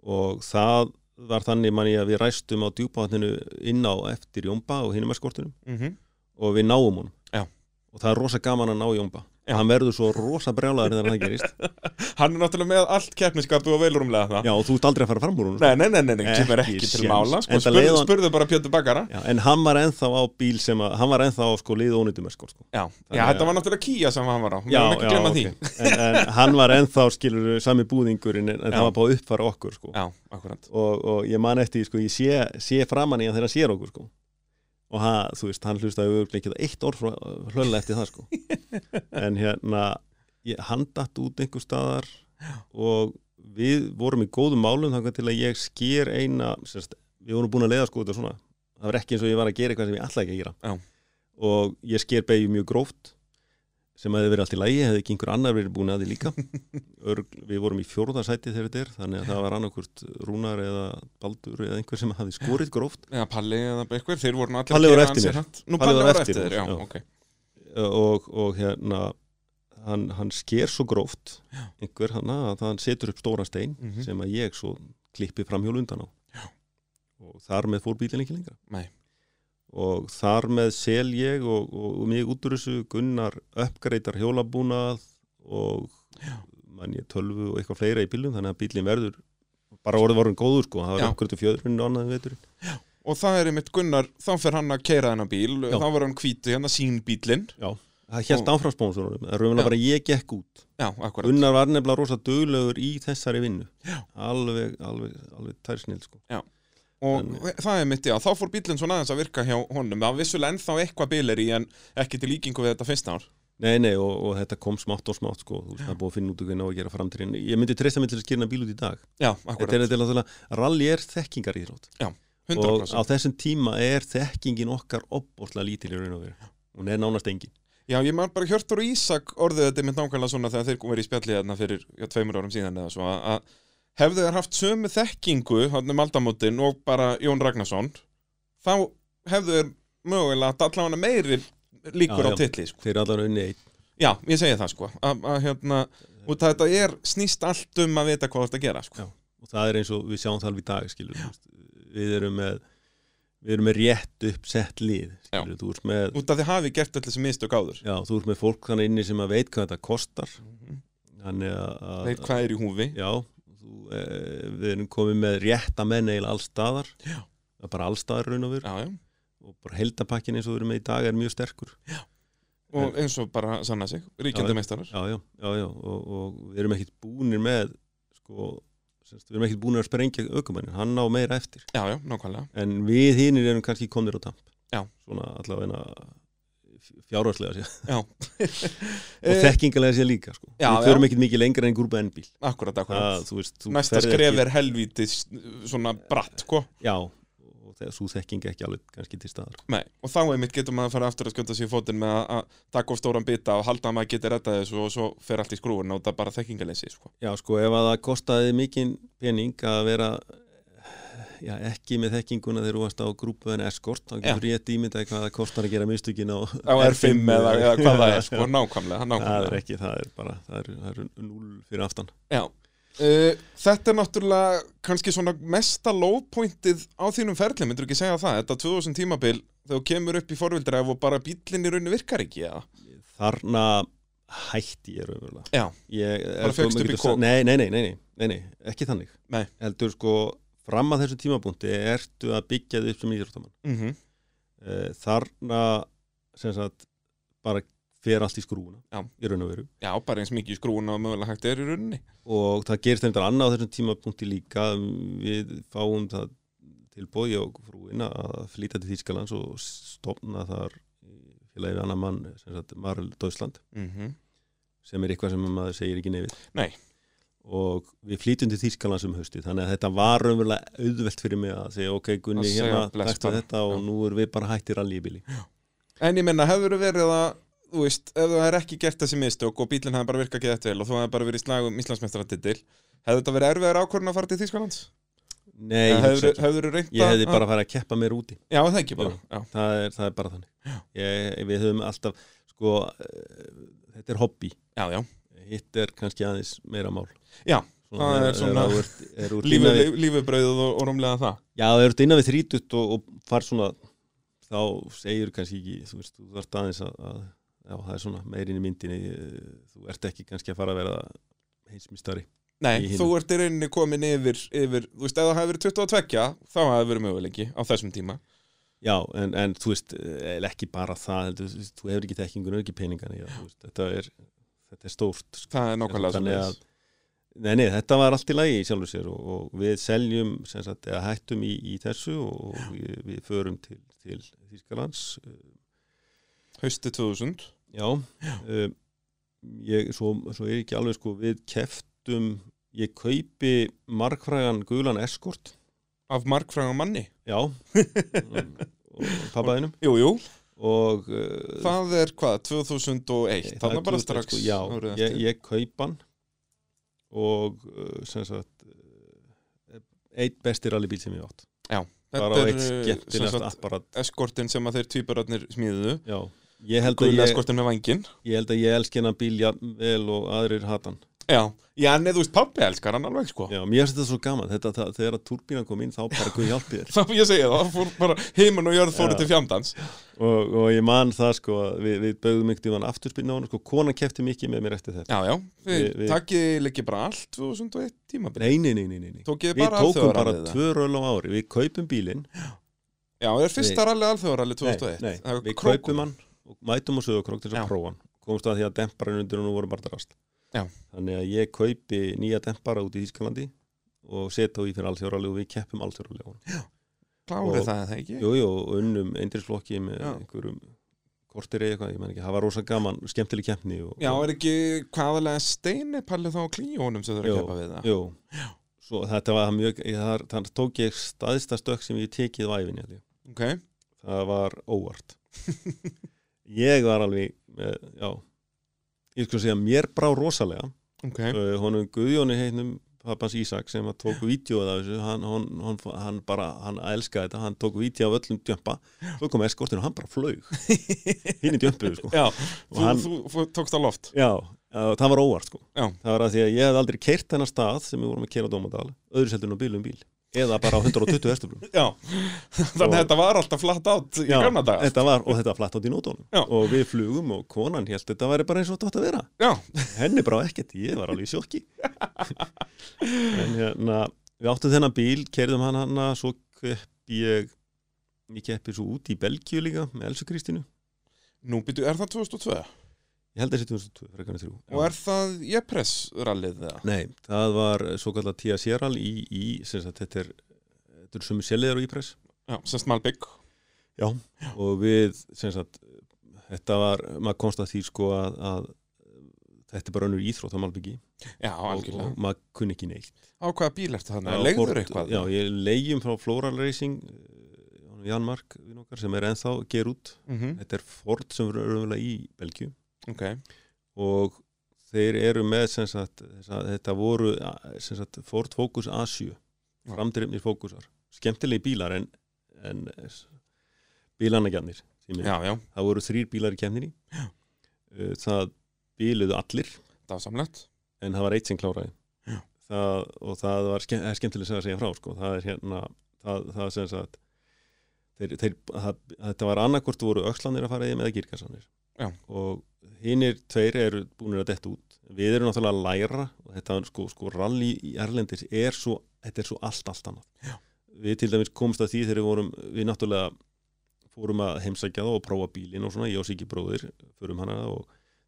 [SPEAKER 2] og það var þannig manni að við ræstum á djúpavatninu inn á eftir Jómba og hinum eskortinum
[SPEAKER 1] Mhm.
[SPEAKER 2] og við náum honum
[SPEAKER 1] Já.
[SPEAKER 2] og það er rosa gaman að ná Jómba
[SPEAKER 1] Já.
[SPEAKER 2] hann verður svo rosa brjálaður þegar það
[SPEAKER 1] *laughs*
[SPEAKER 2] gerist
[SPEAKER 1] Hann er náttúrulega með allt keppniskapu og velurumlega það
[SPEAKER 2] Já, og þú ert aldrei að fara fram úr honum
[SPEAKER 1] Nei, nei, nei, nei, nei,
[SPEAKER 2] Ekki
[SPEAKER 1] kemur ekki til
[SPEAKER 2] séns.
[SPEAKER 1] mála, sko,
[SPEAKER 2] Enda
[SPEAKER 1] spurðu,
[SPEAKER 2] leið hann-
[SPEAKER 1] spurðu bara Pjöndu Bakara
[SPEAKER 2] Já, en hann var ennþá á bíl sem að hann var ennþá á sko liða ónýtum eskort sko.
[SPEAKER 1] Já, já,
[SPEAKER 2] Þannig að-
[SPEAKER 1] þetta var náttúrulega kýja sem hann var á, við erum ekki glemma því
[SPEAKER 2] ok. en, en hann var ennþá skilur sami búðingurinn en, en
[SPEAKER 1] Já.
[SPEAKER 2] það var bara uppfara okkur sko.
[SPEAKER 1] Já, akkurat
[SPEAKER 2] og, og ég man eftir, því, sko, ég sé, sé framan í hann þegar hann sér okkur, sko og hann, þú veist, hann hlustaði auðvitað ekki eitt orð frá hlölla eftir það, sko en hérna, ég, hann datt út einhver staðar og við vorum í góðum málum þangar til að ég sker eina sérst, við vorum búin að leiða sko þetta svona það var ekki eins og ég var að gera eitthvað sem ég alltaf ekki að gera
[SPEAKER 1] Já.
[SPEAKER 2] og ég sker beigju mjög gróft sem hefði verið allt í lægi, hefði ekki einhver annar verið búin að því líka Örg, við vorum í fjórðasæti þegar þetta er þannig að það var annarkvort Rúnar eða Baldur eða einhver sem hafði skorið gróft
[SPEAKER 1] Já, Palli eða eitthvað, þeir voru nú allir
[SPEAKER 2] Palli
[SPEAKER 1] að
[SPEAKER 2] var
[SPEAKER 1] gera
[SPEAKER 2] eftir
[SPEAKER 1] ansi
[SPEAKER 2] mér.
[SPEAKER 1] hratt. Nú,
[SPEAKER 2] Palli
[SPEAKER 1] Palli
[SPEAKER 2] var
[SPEAKER 1] var
[SPEAKER 2] eftir
[SPEAKER 1] eftir þér,
[SPEAKER 2] mér,
[SPEAKER 1] já,
[SPEAKER 2] já.
[SPEAKER 1] ok
[SPEAKER 2] og, og hérna hann, hann sker svo gróft einhver hann að hann setur upp stóra stein
[SPEAKER 1] Mhm.
[SPEAKER 2] sem að ég svo klippi framhjól undan á Já. og þar með fór bílinn ekki lengra
[SPEAKER 1] Nei.
[SPEAKER 2] og þar með sel ég og, og, og mig út úr þessu gunnar uppgreitar hjólabúnað og mann ég tölvu og eitthvað fleira í bílum þannig að bílinn verður bara orðið var hann góður sko, það
[SPEAKER 1] Já.
[SPEAKER 2] var uppgreitur fjöðurinn og annaðin veturinn
[SPEAKER 1] Og það er einmitt Gunnar, þá fer hann að keira hennar bíl,
[SPEAKER 2] Já.
[SPEAKER 1] þá var hann hvítu hérna sín bílinn
[SPEAKER 2] það held áfram spónsorunum, það er
[SPEAKER 1] Já.
[SPEAKER 2] raunlega bara ég gekk út
[SPEAKER 1] Já, akkurat
[SPEAKER 2] Gunnar var nefnilega rosa duglegur í þessari vinnu alveg, alveg, alveg tærsnill sko.
[SPEAKER 1] Og
[SPEAKER 2] En-
[SPEAKER 1] það er mitt, já, þá fór bílinn svona aðeins að virka hjá honum Það var vissulega ennþá eitthvað bíl er í en ekki til líkingu við þetta fyrsta ár
[SPEAKER 2] Nei, nei, og, og þetta kom smátt og smátt sko. Þú veist, það er búið að finna út hvernig á að gera framtíðin Ég myndi treysta mig til að skýrna bíl út í dag
[SPEAKER 1] Já,
[SPEAKER 2] Þetta
[SPEAKER 1] akkurat,
[SPEAKER 2] er þetta rally er þekkingar í þrótt og á
[SPEAKER 1] 100%
[SPEAKER 2] þessum tíma er þekkingin okkar opbóðslega lítil í raun og veru Hún er nánast engin
[SPEAKER 1] Já, ég maður bara Hjörtur og Ísak orðið þetta mitt nákvæmlega svona þegar þeir komið í spjallið hérna fyrir já, tveimur árum síðan eða svo að- að hefðu þeir haft sömu þekkingu hann um aldamótin og bara Jón Ragnarsson þá hefðu þeir mögulega að allavega meiri líkur
[SPEAKER 2] Já,
[SPEAKER 1] á
[SPEAKER 2] já.
[SPEAKER 1] titli sko.
[SPEAKER 2] Þeir eru allar unni einn
[SPEAKER 1] Já, ég segi það sko að, að hérna, og þetta er snýst allt um að vita hvað þetta gera sko.
[SPEAKER 2] Já. og það er eins og við sjáum það alveg í dag skilur, þú veist. við erum með við erum með rétt uppsett lið skilur, þú ert með
[SPEAKER 1] út af því hafi gert allir sem mistök áður
[SPEAKER 2] Já, þú ert með fólk þannig inni sem að veit hvað þetta kostar þannig að, að
[SPEAKER 1] veit hvað er í húfi
[SPEAKER 2] já, þú, e, við erum komið með rétta menn eiginlega allstaðar
[SPEAKER 1] Já.
[SPEAKER 2] Það er bara allstaðar raun og veru
[SPEAKER 1] já, já.
[SPEAKER 2] og bara heldapakkin eins og við erum með í dag er mjög sterkur
[SPEAKER 1] og eins og bara sanna sig
[SPEAKER 2] Já, já.
[SPEAKER 1] ríkjandameistarar
[SPEAKER 2] já, já, já, já og, og við erum ekkit búnir með sko, semst, við erum ekkit búnir að sprengja aukumannin, hann ná meira eftir
[SPEAKER 1] já, já, nákvæmlega
[SPEAKER 2] en við hinnir erum kannski komnir á tamp
[SPEAKER 1] Já.
[SPEAKER 2] svona allavega fjárværslega sér
[SPEAKER 1] já.
[SPEAKER 2] og
[SPEAKER 1] Eh,
[SPEAKER 2] þekkingalega sér líka sko.
[SPEAKER 1] já,
[SPEAKER 2] við förum ekkit mikið lengra en grúpa ennbíl
[SPEAKER 1] akkurat, akkurat
[SPEAKER 2] það, þú veist, þú
[SPEAKER 1] næsta
[SPEAKER 2] ferð
[SPEAKER 1] skref
[SPEAKER 2] ekki-
[SPEAKER 1] er helvítið svona bratt sko.
[SPEAKER 2] já, og þegar svo þekking ekki alveg kannski til staðar
[SPEAKER 1] Nei, og þá einmitt getur maður að fara aftur að skjóta sér í fótinn með að- að taka of stóran bita og halda að maður getur rettað þessu og svo fer allt í skrúin og það er bara þekkingaleysi sko.
[SPEAKER 2] já, sko, ef að það kostaði mikinn pening að vera já, ekki með þekkinguna þegar þú varst á grúpu en eskort, þá getur rétt ímyndað hvað það kostar að gera mistökin á,
[SPEAKER 1] á R5 eða, eða hvað
[SPEAKER 2] *laughs*
[SPEAKER 1] það er
[SPEAKER 2] Já,
[SPEAKER 1] sko, nákvæmlega,
[SPEAKER 2] það er
[SPEAKER 1] nákvæmlega.
[SPEAKER 2] ekki, það er bara það er, það er núl fyrir aftan
[SPEAKER 1] Já. Uh, þetta er náttúrulega kannski svona mesta lowpointið á þínum ferli, myndur ekki segja það þetta 2000 tímabil þegar þú kemur upp í forvildræf og bara bíllinn í rauninu virkar ekki eða?
[SPEAKER 2] þarna hætti ég raunverulega
[SPEAKER 1] Já.
[SPEAKER 2] ég,
[SPEAKER 1] Bara
[SPEAKER 2] sko,
[SPEAKER 1] fékkst upp í
[SPEAKER 2] maður getur sagt-
[SPEAKER 1] kók?
[SPEAKER 2] nei nei nei, nei, nei, nei, nei, ekki þannig
[SPEAKER 1] Nei.
[SPEAKER 2] heldur sko, fram að þessum tímapunkti ertu að byggja þið upp sem íþróttamann
[SPEAKER 1] Mm
[SPEAKER 2] Eh, þarna sem sagt, bara fer allt í skrúuna
[SPEAKER 1] Já.
[SPEAKER 2] í raun og veru
[SPEAKER 1] Já, bara eins mikið í skrúna og mögulega hægt er í rauninni
[SPEAKER 2] og það gerist einhver annað á þessum tímapunkti líka Um, við fáum það tilbúið ég og frúin að flýta til Þýskalands og stopna þar félagi við annan mann, sem sagt Marl Döðsland
[SPEAKER 1] mm
[SPEAKER 2] Mhm. sem er eitthvað sem maður segir ekki nefið
[SPEAKER 1] Nei.
[SPEAKER 2] og við flytjum til Þýskalands um hausti þannig að þetta var raunverulega auðvelt fyrir mig að segja ok Gunni
[SPEAKER 1] Að segja
[SPEAKER 2] hérna,
[SPEAKER 1] bless
[SPEAKER 2] takta
[SPEAKER 1] bara.
[SPEAKER 2] þetta og
[SPEAKER 1] Já.
[SPEAKER 2] nú erum við bara hættir allir í bíli
[SPEAKER 1] En ég menna, hefur verið að þú veist, ef það er ekki gert þessi mistök og bílinn hefði bara virkað ekki þetta vel og þú hefði bara verið í slag um Íslandsmeistaratitil hefði þetta verið erfiðar ákvörðin að fara til Þýskalands?
[SPEAKER 2] Nei, ég, hugsa
[SPEAKER 1] Hefur
[SPEAKER 2] ekki.
[SPEAKER 1] þú reynt
[SPEAKER 2] ég hefði
[SPEAKER 1] að-
[SPEAKER 2] bara farið að keppa mér úti
[SPEAKER 1] Já, það ekki bara
[SPEAKER 2] Jú.
[SPEAKER 1] Já,
[SPEAKER 2] það er, það er bara þannig ég, við höfum alltaf sko, eh, þetta er hobby
[SPEAKER 1] já, já.
[SPEAKER 2] hitt er kannski aðeins meira mál
[SPEAKER 1] Já, það er svona Lífið-
[SPEAKER 2] lífið
[SPEAKER 1] líf- Lífið brauðið og, og rómlega það
[SPEAKER 2] já, það eru innan við þrítut og, og far svona þá segir kannski ekki þú veist, þú þarft aðeins að, að já, það er svona meirin í myndinni eh, þú ert ekki kannski að fara að vera heimsmistari
[SPEAKER 1] Nei,
[SPEAKER 2] Í hinu.
[SPEAKER 1] þú ert í rauninni komin yfir, yfir þú veist, ef það hefði verið 22 þá hefði verið möguleiki á þessum tíma
[SPEAKER 2] já, en, en þú veist, eh, ekki bara það heldur, þú, veist, þú hefur ekki þekkingun og ekki peningana já, veist, þetta er þetta er stórt sko.
[SPEAKER 1] Það er nákvæmlega
[SPEAKER 2] Þannig
[SPEAKER 1] svoleiðis.
[SPEAKER 2] að- Nei, nei, þetta var allt í lagi í sjálfu sér og, og við seljum, sem sagt, eða hættum í, í þessu og við, við förum til, til Þýskalands. eh,
[SPEAKER 1] Hausti 2000
[SPEAKER 2] Já, um, ég, svo, svo er ekki alveg sko, við keftum, ég kaupi markfrægan gulan eskort,
[SPEAKER 1] af markfræðan manni *laughs*
[SPEAKER 2] já, um, og pappaðinum
[SPEAKER 1] Jú, jú,
[SPEAKER 2] og uh,
[SPEAKER 1] það er hvað, 2001
[SPEAKER 2] Það
[SPEAKER 1] þannig bara
[SPEAKER 2] 2001,
[SPEAKER 1] strax
[SPEAKER 2] sko, já,
[SPEAKER 1] árið
[SPEAKER 2] ég,
[SPEAKER 1] eftir.
[SPEAKER 2] ég kaup hann og uh, sem sagt uh, eitt besti rallybíl sem ég átt bara á
[SPEAKER 1] Þetta
[SPEAKER 2] eitt
[SPEAKER 1] er eh, sem
[SPEAKER 2] skemmtilegast
[SPEAKER 1] sagt,
[SPEAKER 2] apparat
[SPEAKER 1] eskortin sem að þeir tvíburarnir smíðuðu
[SPEAKER 2] já, ég held, að
[SPEAKER 1] Guðlega
[SPEAKER 2] ég,
[SPEAKER 1] eskortin með vangin
[SPEAKER 2] ég held að ég elski hennan bíl jafn vel og aðrir hatan
[SPEAKER 1] Já, já, en eða þú veist, pappi elskar hann alveg sko
[SPEAKER 2] já, mér finnst þetta svo gaman, þetta, það, þegar að turbínan kom inn þá bara guð hjálpi
[SPEAKER 1] *laughs*
[SPEAKER 2] þér
[SPEAKER 1] Þá ég segi *laughs* það, það fór bara heimin og jörð fóru
[SPEAKER 2] Já.
[SPEAKER 1] til fjandans
[SPEAKER 2] og, og ég man það sko, að við, við bögum ykkur mann afturspilna á hann, sko, konan kefti mikið með mér eftir þetta
[SPEAKER 1] Já, já, við,
[SPEAKER 2] Við- við-
[SPEAKER 1] takkið leikki bara allt 2001 tímabil
[SPEAKER 2] nei, nei, nei, nei, nei, nei.
[SPEAKER 1] Tókið
[SPEAKER 2] við
[SPEAKER 1] bara
[SPEAKER 2] tókum bara
[SPEAKER 1] alþjóðarallið, eða?
[SPEAKER 2] tvö röl á ári við kaupum bílinn
[SPEAKER 1] Já, það er fyrsta
[SPEAKER 2] Nei.
[SPEAKER 1] rally alþjóðaralli
[SPEAKER 2] nei,
[SPEAKER 1] 2001 Það
[SPEAKER 2] nei,
[SPEAKER 1] er
[SPEAKER 2] við
[SPEAKER 1] Krókur.
[SPEAKER 2] kaupum hann og mætum á söðokrók til þess
[SPEAKER 1] Já.
[SPEAKER 2] að prófa hann komst að því að demparinn undir hann voru bara drast
[SPEAKER 1] Já.
[SPEAKER 2] þannig að ég kaupi nýja dempara út í Ískalandi og setja á í fyrir alþjóralegu og við keppum alþjóralegu
[SPEAKER 1] Klárið
[SPEAKER 2] og-
[SPEAKER 1] það, er það ekki?
[SPEAKER 2] jú, jú, og unnum eindrisflokki með
[SPEAKER 1] Já.
[SPEAKER 2] einhverjum kortir eða eitthvað, ég menn ekki, það var rosa gaman skemmtileg keppni og,
[SPEAKER 1] Já, er ekki hvaðalega steini pallið þá á klíónum sem þau eru að
[SPEAKER 2] Jú,
[SPEAKER 1] keppa við það?
[SPEAKER 2] jú. Svo, þetta var mjög, ég, þar, þar tók ég staðista stökk sem ég hef tekið á æfinni held ég.
[SPEAKER 1] Ok,
[SPEAKER 2] það var óvart ég var alveg eh, já ég sko segja, mér brá rosalega
[SPEAKER 1] ok,
[SPEAKER 2] okay. honum Guðjóni heitnum pappans Ísak sem að tók vídjóð af þessu hann, hann, hann, hann bara, hann elskaði þetta hann tók vídjóð af öllum djömpa svo kom eskortinu og hann bara
[SPEAKER 1] *laughs*
[SPEAKER 2] flaug hinn í djömpuðu sko
[SPEAKER 1] já,
[SPEAKER 2] Og
[SPEAKER 1] þú,
[SPEAKER 2] hann-
[SPEAKER 1] þú, þú tókst á loft
[SPEAKER 2] já, eh, það var óvart sko
[SPEAKER 1] Já.
[SPEAKER 2] það var að því að ég hef aldrei keirt þennan stað sem við vorum að keira á Dómadal öðru seldur á bíl um bíl eða bara á 120 hestaflum
[SPEAKER 1] Já, *laughs* þannig að þetta var alltaf flatt átt í
[SPEAKER 2] Já,
[SPEAKER 1] gamla daga
[SPEAKER 2] þetta var, og þetta var flatt átt í nótunum
[SPEAKER 1] Já.
[SPEAKER 2] og við flugum og konan held þetta væri bara eins og þetta átt að vera
[SPEAKER 1] Já,
[SPEAKER 2] henni brá ekkert, ég var alveg í
[SPEAKER 1] *laughs*
[SPEAKER 2] sjokki en hérna við áttum þennan bíl, kerðum hann hanna svo keppi ég ég keppi svo út í Belgíu líka með Elsu Kristínu,
[SPEAKER 1] nú byrju, er það 2002?
[SPEAKER 2] ég held þessi 2002 frekar en þrjú.
[SPEAKER 1] Og er það Jepress rallið það?
[SPEAKER 2] Nei, það var svo kallar T.A. Sérall í, í sem sagt, þetta er þetta er sumi sérlegar og ípress
[SPEAKER 1] Já, sem smalbygg
[SPEAKER 2] og við sem sagt, þetta var, maður komst að því sko að, að þetta er bara önnur íþrótt á Malbyggi
[SPEAKER 1] Já,
[SPEAKER 2] og,
[SPEAKER 1] algjörlega
[SPEAKER 2] og maður kunni ekki neitt
[SPEAKER 1] Á hvaða bíl ertu þannig?
[SPEAKER 2] Já,
[SPEAKER 1] Legður
[SPEAKER 2] Ford-
[SPEAKER 1] eitthvað?
[SPEAKER 2] Já, ég leigjum frá Floral Racing eh, honum Jan Mark vinn okkar sem er ennþá ger út
[SPEAKER 1] Mhm,
[SPEAKER 2] þetta er Ford sem eru raunverulega í Belgju
[SPEAKER 1] Ok,
[SPEAKER 2] og þeir eru með sem sagt, þessa, þetta voru a- sem sagt, Ford Focus A7
[SPEAKER 1] Já.
[SPEAKER 2] framdrifnir fókusar, skemmtilegi bílar en, en eh, s- bílanagjarnir því miður.
[SPEAKER 1] já, já,
[SPEAKER 2] það voru þrýr bílar í kemninni það bíluðu allir
[SPEAKER 1] dásamlegt
[SPEAKER 2] en það var eitt sem kláraði
[SPEAKER 1] Já.
[SPEAKER 2] það, og það var ske, það er skemmtileg sem að segja frá sko. það er hérna það, það sem sagt þeir, þeir, það, þetta var annarkvort voru öxlanir að fara í með gírkassanir
[SPEAKER 1] Já.
[SPEAKER 2] og hinnir tveir eru búinir að detta út við erum náttúrulega að læra og þetta sko, sko rally í Erlendis er svo, þetta er svo allt allt annað
[SPEAKER 1] Já.
[SPEAKER 2] við til dæmis komst að því þegar við vorum við náttúrulega fórum að heimsækja það og prófa bílinn og svona, ég og Siggi bróðir förum hana og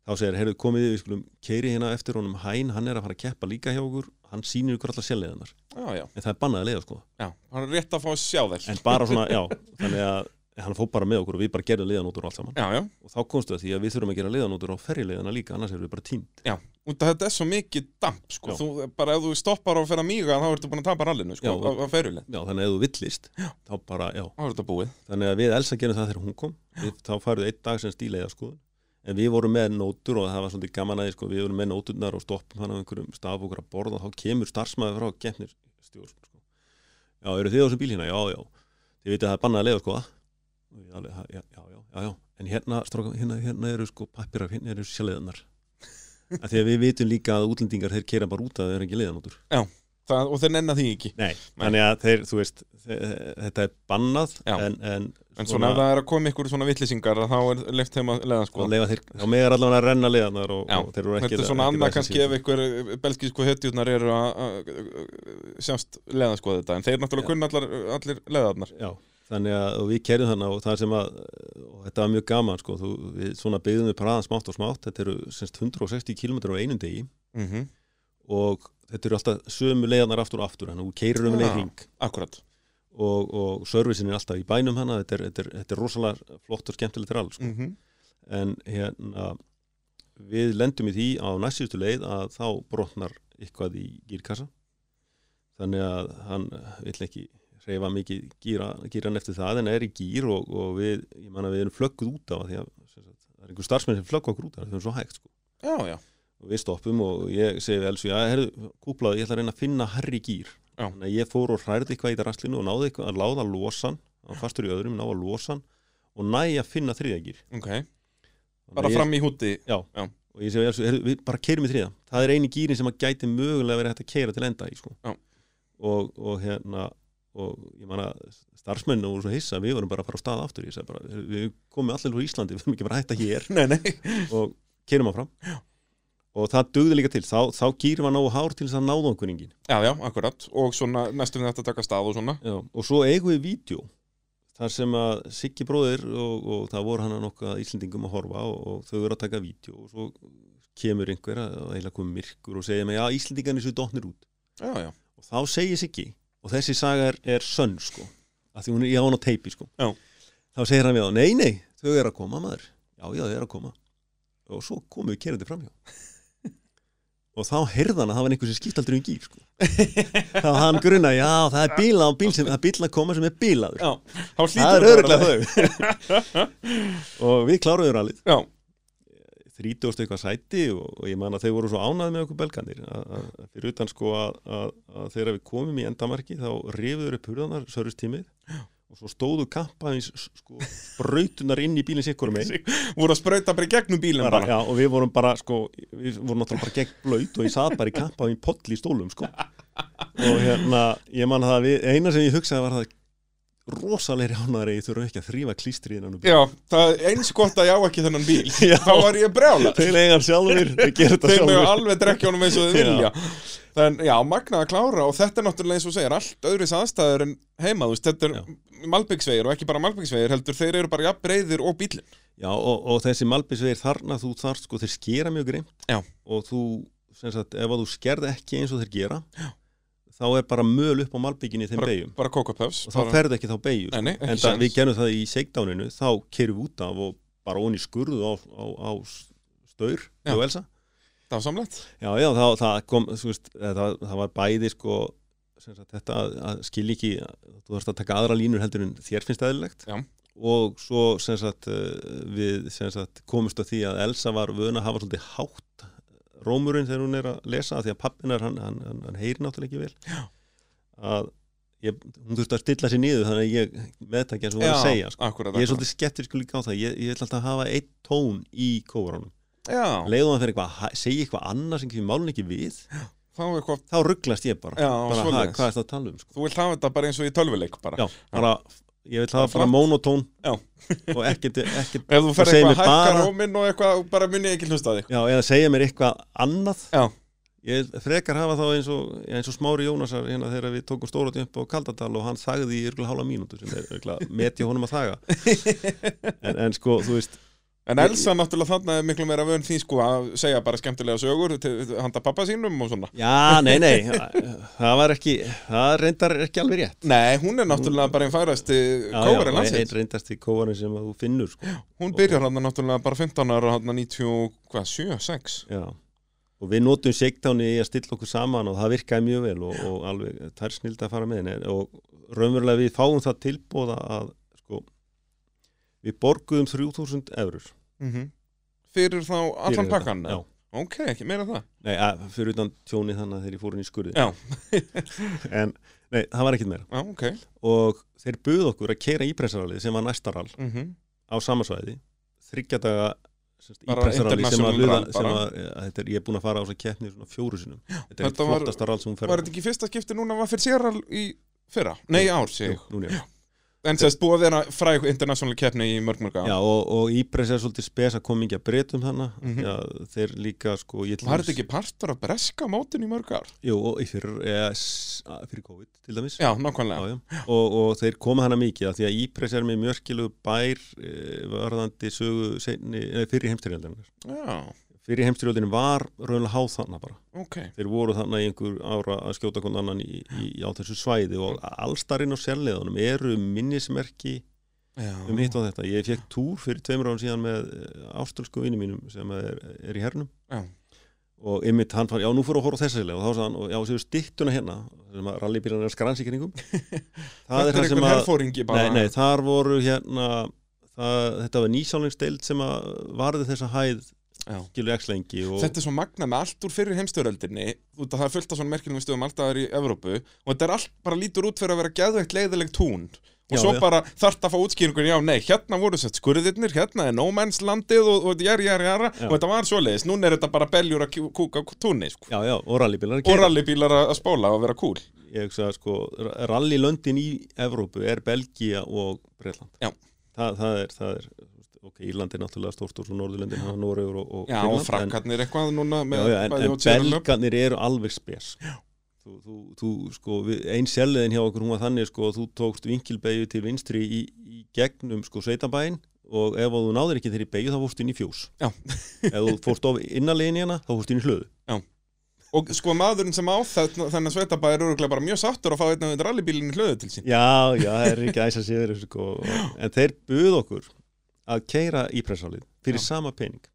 [SPEAKER 2] þá segir, heyrðu komið þið, við skulum keiri hérna eftir honum Hæn, hann er að fara að keppa líka hjá okkur hann sýnir ykkur allar sjálfleðinar
[SPEAKER 1] Já, já,
[SPEAKER 2] en það er bannað að leiða sko,
[SPEAKER 1] já, hann er rétt að fá að sjá þér
[SPEAKER 2] en bara svona, já þannig að hann fór bara með okkur og við bara gerðum leiðanótur og allt saman
[SPEAKER 1] já, já,
[SPEAKER 2] og þá komstu að því að við þurfum að gera leiðanótur á ferjuleiðana líka, annars erum við bara tímt
[SPEAKER 1] já og þetta er svo mikið damp sko.
[SPEAKER 2] Já.
[SPEAKER 1] þú, bara ef þú stoppar á að fyrir að míga þá ertu búin að tapa rallinu sko,
[SPEAKER 2] Já,
[SPEAKER 1] á, á ferjuleg
[SPEAKER 2] Já, þannig að ef þú villist, þá bara, já
[SPEAKER 1] þá er þetta búið
[SPEAKER 2] þannig að við Elsa gerum það þegar hún kom við, þá færðu einn dag sem stíleiða skoðun en við vorum með nótur og það var svolítið gaman að því, sko, við vorum með nóturnar og stoppum hann á einhverjum staf okkur að borða og þá kemur starfsmæður frá gefnir stjórn sko. já, eru þið á þessum bíl hérna? Já, já þið vitið að það er bannað að leiða skoða Og ég alveg, já, já, já, já, já en hérna, stróka, hérna, hérna eru sko pappirar hérna eru
[SPEAKER 1] *laughs*
[SPEAKER 2] sjæleiðanar að því að við vitum líka að útlendingar þeir keira bara út að þeir eru ekki leiðanótur
[SPEAKER 1] það, og þeir nennar því ekki
[SPEAKER 2] Nei, þannig að þeir, þú veist, þe- þetta er bannað
[SPEAKER 1] Já.
[SPEAKER 2] en, en,
[SPEAKER 1] en svona ef það er að koma ykkur svona vittlisingar þá er leift þeim að leiða sko
[SPEAKER 2] og leifa þeir, þá megar allavega að renna leiðanar og,
[SPEAKER 1] Já,
[SPEAKER 2] og þeir eru ekki
[SPEAKER 1] Þetta er svona
[SPEAKER 2] ekki
[SPEAKER 1] annað
[SPEAKER 2] ræsið
[SPEAKER 1] kannski
[SPEAKER 2] sig.
[SPEAKER 1] ef ykkur belgísku hetjurnar eru að- að að- sjást leða sko þetta en þeir náttúrulega
[SPEAKER 2] Já.
[SPEAKER 1] kunna allar, allir leðarnar
[SPEAKER 2] Já, þannig að og við kerjum þannig og það sem að, og þetta var mjög gaman sko, þú, við svona byggðum við praðan smátt og smátt þetta eru semst 160 km á einum degi
[SPEAKER 1] mm -hmm.
[SPEAKER 2] og þetta eru alltaf sömu leiðanar aftur og aftur, þannig að þú keirir um
[SPEAKER 1] Já.
[SPEAKER 2] leið hring
[SPEAKER 1] Akkurat
[SPEAKER 2] og, og servicin er alltaf í bænum hana, þetta er, þetta er, þetta er rosalega flott og skemmtilegt rall sko.
[SPEAKER 1] mm -hmm.
[SPEAKER 2] en hérna við lendum í því á næstjústu leið að þá brotnar eitthvað í gírkassa þannig að hann vill ekki reyfa mikið gíra, gíran eftir það en er í gír og, og við, ég man að við erum flögguð út af af því að sem sagt, það er einhver starfsmenn sem flöggu okkur út af því að það er svo hægt sko.
[SPEAKER 1] Já, já,
[SPEAKER 2] og við stoppum og ég segi við Elsu já, herðu, kúplaðu, ég ætla að reyna að finna herri gír
[SPEAKER 1] Já.
[SPEAKER 2] þannig að ég fór og hræði eitthvað í rastlinu og náði eitthvað að láða losan hann var fastur í öðrum, náða losan og næja að finna þriðja gír
[SPEAKER 1] ok
[SPEAKER 2] Þannig
[SPEAKER 1] Bara
[SPEAKER 2] að ég-
[SPEAKER 1] fram í húti
[SPEAKER 2] og ég segi, "Elsu, heyrðu, við bara keirum í þriða það er eini gýrin sem að gæti mögulega verið hægt að keira til enda í sko.
[SPEAKER 1] Já.
[SPEAKER 2] og, og hérna og ég man að starfsmennu voru svo hissa við vorum bara að fara á stað aftur ég segi bara, "Heyrðu, við komum allir úr Íslandi, *laughs* við erum ekki bara að hætta hér
[SPEAKER 1] Nei, nei
[SPEAKER 2] og keirum áfram Já. og það dugði líka til, þá, þá gýrum að nógu hár til þess að náða okkur engin
[SPEAKER 1] Já, já, akkurat Og svona næstum þetta að taka stað og svona
[SPEAKER 2] Já, og svo eigum við vídeo þar sem að Siggi bróðir og, og það voru hann að nokka Íslendingum að horfa og, og þau eru að taka vídeo og svo kemur einhver að að eiginlega komið myrkur og segja mig, já, Íslendingarnir séu dotnir út
[SPEAKER 1] Já, já,
[SPEAKER 2] og þá segir Siggi, og þessi saga er, er sönn, sko, að því hún er í án á teipi, sko
[SPEAKER 1] Já.
[SPEAKER 2] þá segir hann við á, nei, nei, þau eru að koma, maður já, já, þau eru að koma og svo komum við kerandi framhjá *laughs* og þá heyrði hann að það var einhver sem skipt aldrei um gír, sko þá hann grunna, já, það er bíla á bíl sem, það er bíl að koma sem er bílaður
[SPEAKER 1] já Þá
[SPEAKER 2] það
[SPEAKER 1] hlýtur
[SPEAKER 2] er
[SPEAKER 1] þetta að vera
[SPEAKER 2] öruglega þau *laughs* og við kláruðum rallið
[SPEAKER 1] Já,
[SPEAKER 2] 30 eitthvað sæti og, og ég man að þau voru svo ánað með okkur belgandir að, að, að fyrir utan sko að, að, að þegar við komum í endamarki þá rifuður upp hurðanar sörustímið og svo stóðu kampaðins sko brautunar inn í bílinn sikkur með
[SPEAKER 1] *laughs* voru að sprauta bara í gegnum bílinn bara
[SPEAKER 2] já, og við vorum bara sko við vorum náttúrulega bara gegn blöyt og ég satt bara í kampaðin polli í stólum sko og hérna ég man að það við, eina sem ég hugsaði var það rosalegri ánæðri ég þurfa ekki að þrýfa klístriðinan
[SPEAKER 1] Já, það er eins gott að ég á ekki þennan bíl
[SPEAKER 2] *laughs* Já.
[SPEAKER 1] Þá var ég brjála
[SPEAKER 2] Þeir eiga hann sjálfur, þeir gera þetta
[SPEAKER 1] Þeir mjög
[SPEAKER 2] sjálfur
[SPEAKER 1] alveg drekja honum eins og þau
[SPEAKER 2] Já.
[SPEAKER 1] vilja Þann, já, magnað að klára og þetta er náttúrulega eins og þú segir allt öðris aðstæður en heima þú veist, þetta
[SPEAKER 2] Já.
[SPEAKER 1] er malbyggsvegir og ekki bara malbyggsvegir heldur, þeir eru bara jafn breyðir og bílinn
[SPEAKER 2] Já, og, og þessi malbisvegir þarna þú þarft sko, þeir skera mjög greimt
[SPEAKER 1] Já.
[SPEAKER 2] og þú, sem sagt, ef að þú skerð ekki eins og þeir gera Já. þá er bara möl upp á malbygginu í þeim
[SPEAKER 1] Bara-
[SPEAKER 2] beigjum
[SPEAKER 1] bara kókapöfs
[SPEAKER 2] og þá ferðu ekki þá beigjur
[SPEAKER 1] Nei, nei, ekki
[SPEAKER 2] en
[SPEAKER 1] séns.
[SPEAKER 2] það, við gerum það í seikdáninu þá kerum við út af og bara onni skurðu á, á, á staur
[SPEAKER 1] Já.
[SPEAKER 2] og Elsa
[SPEAKER 1] Það var samlegt
[SPEAKER 2] Já, já, það, það kom, þú veist, eh, það, það var bæði sko, sem sagt, þetta að, að skilja ekki, þú þarfst að taka aðra línur heldur en þér finnst eðlilegt
[SPEAKER 1] Já.
[SPEAKER 2] og svo sem sagt, eh, við sem sagt, komumst að því að Elsa var vöna að hafa svolítið hátt rómurinn þegar hún er að lesa af því að pappinar, hann, hann, hann, hann heyri náttúrulega ekki vel
[SPEAKER 1] Já.
[SPEAKER 2] að ég, hún þurfti að stilla sér niður þannig að ég meðtakja eins og hún var að segja sko.
[SPEAKER 1] akkurat,
[SPEAKER 2] ég er
[SPEAKER 1] akkurat.
[SPEAKER 2] svolítið skeptisk líka á það, ég, ég ætla alltaf að hafa eitt tón í kóranum
[SPEAKER 1] Já,
[SPEAKER 2] leiðum hann fyrir eitthvað, að hæ- segja eitthvað annað sem kemur málun ekki við,
[SPEAKER 1] þá er eitthvað
[SPEAKER 2] þá rugglast ég bara
[SPEAKER 1] Já,
[SPEAKER 2] bara ha,
[SPEAKER 1] svoleiðis.
[SPEAKER 2] hvað er það að tala um sko?
[SPEAKER 1] Þú vilt hafa þetta bara eins og í tölvuleik bara
[SPEAKER 2] já, bara, ég vil
[SPEAKER 1] Bara
[SPEAKER 2] hafa bara
[SPEAKER 1] flatt.
[SPEAKER 2] monotón
[SPEAKER 1] Já.
[SPEAKER 2] og ekkert, ekkert
[SPEAKER 1] Ef þú
[SPEAKER 2] Og
[SPEAKER 1] fer
[SPEAKER 2] segir
[SPEAKER 1] eitthvað
[SPEAKER 2] mér
[SPEAKER 1] hækkar
[SPEAKER 2] bara-
[SPEAKER 1] róminn og eitthvað bara muni ég ekki hlusta á þig
[SPEAKER 2] já, eða segja mér eitthvað annað
[SPEAKER 1] Já.
[SPEAKER 2] ég vil frekar hafa þá eins og, eins og smári Jónasar hérna þegar við tókum stóra upp á Kaldadal og hann
[SPEAKER 1] *laughs*
[SPEAKER 2] þagði í yrgulega hálfa mínútu sem er yrgulega metja honum að þaga en, en sko, þú veist
[SPEAKER 1] En Elsa náttúrulega þarna er miklu meira vön því sko að segja bara skemmtilega sögur til til handa pappa sínum og svona.
[SPEAKER 2] Já, nei, nei, það var ekki, það reyndar ekki alveg rétt.
[SPEAKER 1] Nei, hún er náttúrulega bara einn færasti kóverið
[SPEAKER 2] einn
[SPEAKER 1] landsins.
[SPEAKER 2] reyndast í kóvarinn sem að þú finnur, sko.
[SPEAKER 1] Hún byrjar hann náttúrulega bara 15 ára, hann 97, 6.
[SPEAKER 2] Já. Og við notum shakedownið í að stilla okkur saman og það virkaði mjög vel og, og alveg, það er snild að fara með henni. Og raunverulega við fáum það tilbúða að, sko, við borguðum 3000 eurur.
[SPEAKER 1] Mm Fyrir þá allan
[SPEAKER 2] Fyrir þetta.
[SPEAKER 1] pakkan?
[SPEAKER 2] Já.
[SPEAKER 1] Ok, ekki meira en það.
[SPEAKER 2] Nei, að, fyrir utan tjóni þannig að þeir fóru inn í skurði.
[SPEAKER 1] Já.
[SPEAKER 2] *laughs* en, nei, það var ekkit meira.
[SPEAKER 1] Já, ok.
[SPEAKER 2] Og þeir buðu okkur að keira ípressaralið sem var næstarall
[SPEAKER 1] Mm
[SPEAKER 2] á samasvæði þryggja daga semst,
[SPEAKER 1] Bara
[SPEAKER 2] ípressaralli sem
[SPEAKER 1] international
[SPEAKER 2] að luða
[SPEAKER 1] rall
[SPEAKER 2] sem
[SPEAKER 1] bara.
[SPEAKER 2] að, að þetta er, ég er búin að fara á þess að keppni svona fjóru sinum þetta er
[SPEAKER 1] þetta
[SPEAKER 2] þetta
[SPEAKER 1] var-
[SPEAKER 2] flottasta rall sem hún fer
[SPEAKER 1] Var þetta ekki fyrsta skipti núna var fyrir séral í fyrra? Nei, ár, segi ég.
[SPEAKER 2] núna, já.
[SPEAKER 1] En sérst búið að vera fræg international keppni í mörg mörg ár.
[SPEAKER 2] Já, og, og ípress er svolítið spes að koma ekki að breytum þannig
[SPEAKER 1] Mhm.
[SPEAKER 2] já, þeir líka sko ég til
[SPEAKER 1] Var þetta
[SPEAKER 2] dæmis-
[SPEAKER 1] ekki partur af breska mótin í mörg ár?
[SPEAKER 2] Jú, og í fyrir, eða, s- að- fyrir COVID til dæmis
[SPEAKER 1] Já, nákvæmlega.
[SPEAKER 2] Já, já. Og, og þeir koma hana mikið að því að ípress er með mjörkilu bær e, varðandi sögu seinni, e, fyrir heimstyrjöldin
[SPEAKER 1] Já,
[SPEAKER 2] fyrir heimstyrjöldin var raunlega háð þarna bara
[SPEAKER 1] ok.
[SPEAKER 2] þeir voru þarna í einhver ára að skjóta konan annan í, í, á þessu svæði og allstarinn og sérleðunum eru minnismerki
[SPEAKER 1] Já.
[SPEAKER 2] um hitt á þetta. Ég fekk túr fyrir tveimur án síðan með eh, ástralsku vinnu mínum sem er, er í hernum
[SPEAKER 1] Já.
[SPEAKER 2] og ymmit hann fann, já nú fyrir að horfa á þessa sérlega og þá sagði hann, og já séu styttuna hérna sem að rallybílan er að
[SPEAKER 1] *laughs*
[SPEAKER 2] skransi kringum það
[SPEAKER 1] Þetta
[SPEAKER 2] er það sem
[SPEAKER 1] einhver
[SPEAKER 2] að,
[SPEAKER 1] herfóringi bara.
[SPEAKER 2] nei, nei, þar voru hérna það, þetta var nýsálingsdeild sem að varði þessa hæð
[SPEAKER 1] Já.
[SPEAKER 2] gilu x-lengi og
[SPEAKER 1] Þetta er svo magna með allt úr fyrir heimstöðröldinni út að það er fullt af svona merkjum stöðum alltaf í Evrópu og þetta er allt bara lítur út fyrir að vera geðveikt leiðileg tún og
[SPEAKER 2] Já,
[SPEAKER 1] svo
[SPEAKER 2] já.
[SPEAKER 1] bara þarft að fá útskýringun já, nei, hérna voru sett skurðirnir, hérna er no man's landið og, og jæri, jæri, jæra
[SPEAKER 2] Já.
[SPEAKER 1] og þetta var svoleiðis, núna er þetta bara beljur að kjú- kúka á túnni, sko
[SPEAKER 2] já, já, og rallybílar
[SPEAKER 1] og rallybílar að að spóla og vera cool
[SPEAKER 2] ég hugsa sko, rallilöndin í Evrópu er Belgia og Breitland
[SPEAKER 1] Já.
[SPEAKER 2] Þa, það er, það er ok, Írland er náttúrulega stórt og svo Norðurlöndin hafa Noregur og, og
[SPEAKER 1] Já, og frakkarnir eitthvað núna
[SPEAKER 2] en, já,
[SPEAKER 1] með
[SPEAKER 2] já, en,
[SPEAKER 1] bæði
[SPEAKER 2] en
[SPEAKER 1] og tjörlöp.
[SPEAKER 2] Belgarnir eru alveg spes þú, þú, þú sko við, ein selliðin hjá okkur hún var þannig sko að þú tókst vinkilbeigju til vinstri í, í gegnum sko sveitabæin og ef að þú náðir ekki þeirri beigju þá fórst inn í fjós
[SPEAKER 1] Já.
[SPEAKER 2] ef þú fórst of innanlegin hérna þá fórst inn í hlöðu
[SPEAKER 1] og sko maðurinn sem á þetta þannig að sveitabæði er örugglega bara mjög sáttur að fá einhvern veginn rallybílinn í hlöðu til sín
[SPEAKER 2] Já, já, það er ekki æsa síður sko. En þeir buð okkur að keira ípressálið fyrir
[SPEAKER 1] Já.
[SPEAKER 2] sama pening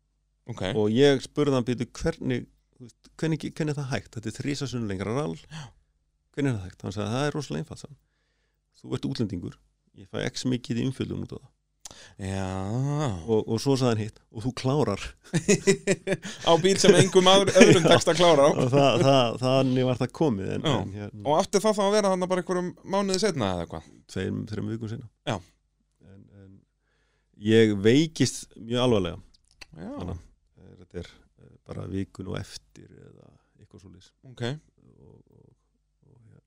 [SPEAKER 1] okay.
[SPEAKER 2] og ég spurði hann býtu hvernig, þú veist, hvernig, hvernig er það hægt þetta er þrísasunum lengra rall hvernig er það hægt, hann sagði það er rosalega einfalt sagði hann. þú ert útlendingur ég fæ ekki mikið í umfjöldum út á það
[SPEAKER 1] Já
[SPEAKER 2] og, og svo sagði hann hitt og þú klárar
[SPEAKER 1] Á bíl sem engum aður, öðrum tekst að klára á
[SPEAKER 2] og það, það, þannig var það komið en,
[SPEAKER 1] Já.
[SPEAKER 2] en hérna,
[SPEAKER 1] Og átti það þá að vera þannig bara einhverjum mánuði setna eða eitthvað
[SPEAKER 2] tveim, þreim vikum sinna
[SPEAKER 1] Já.
[SPEAKER 2] en, en ég veikist mjög alvarlega
[SPEAKER 1] Já,
[SPEAKER 2] Þannig. er, þetta er eh, bara vikun og eftir eða eitthvað svo lýs
[SPEAKER 1] ok
[SPEAKER 2] og, og, og hérna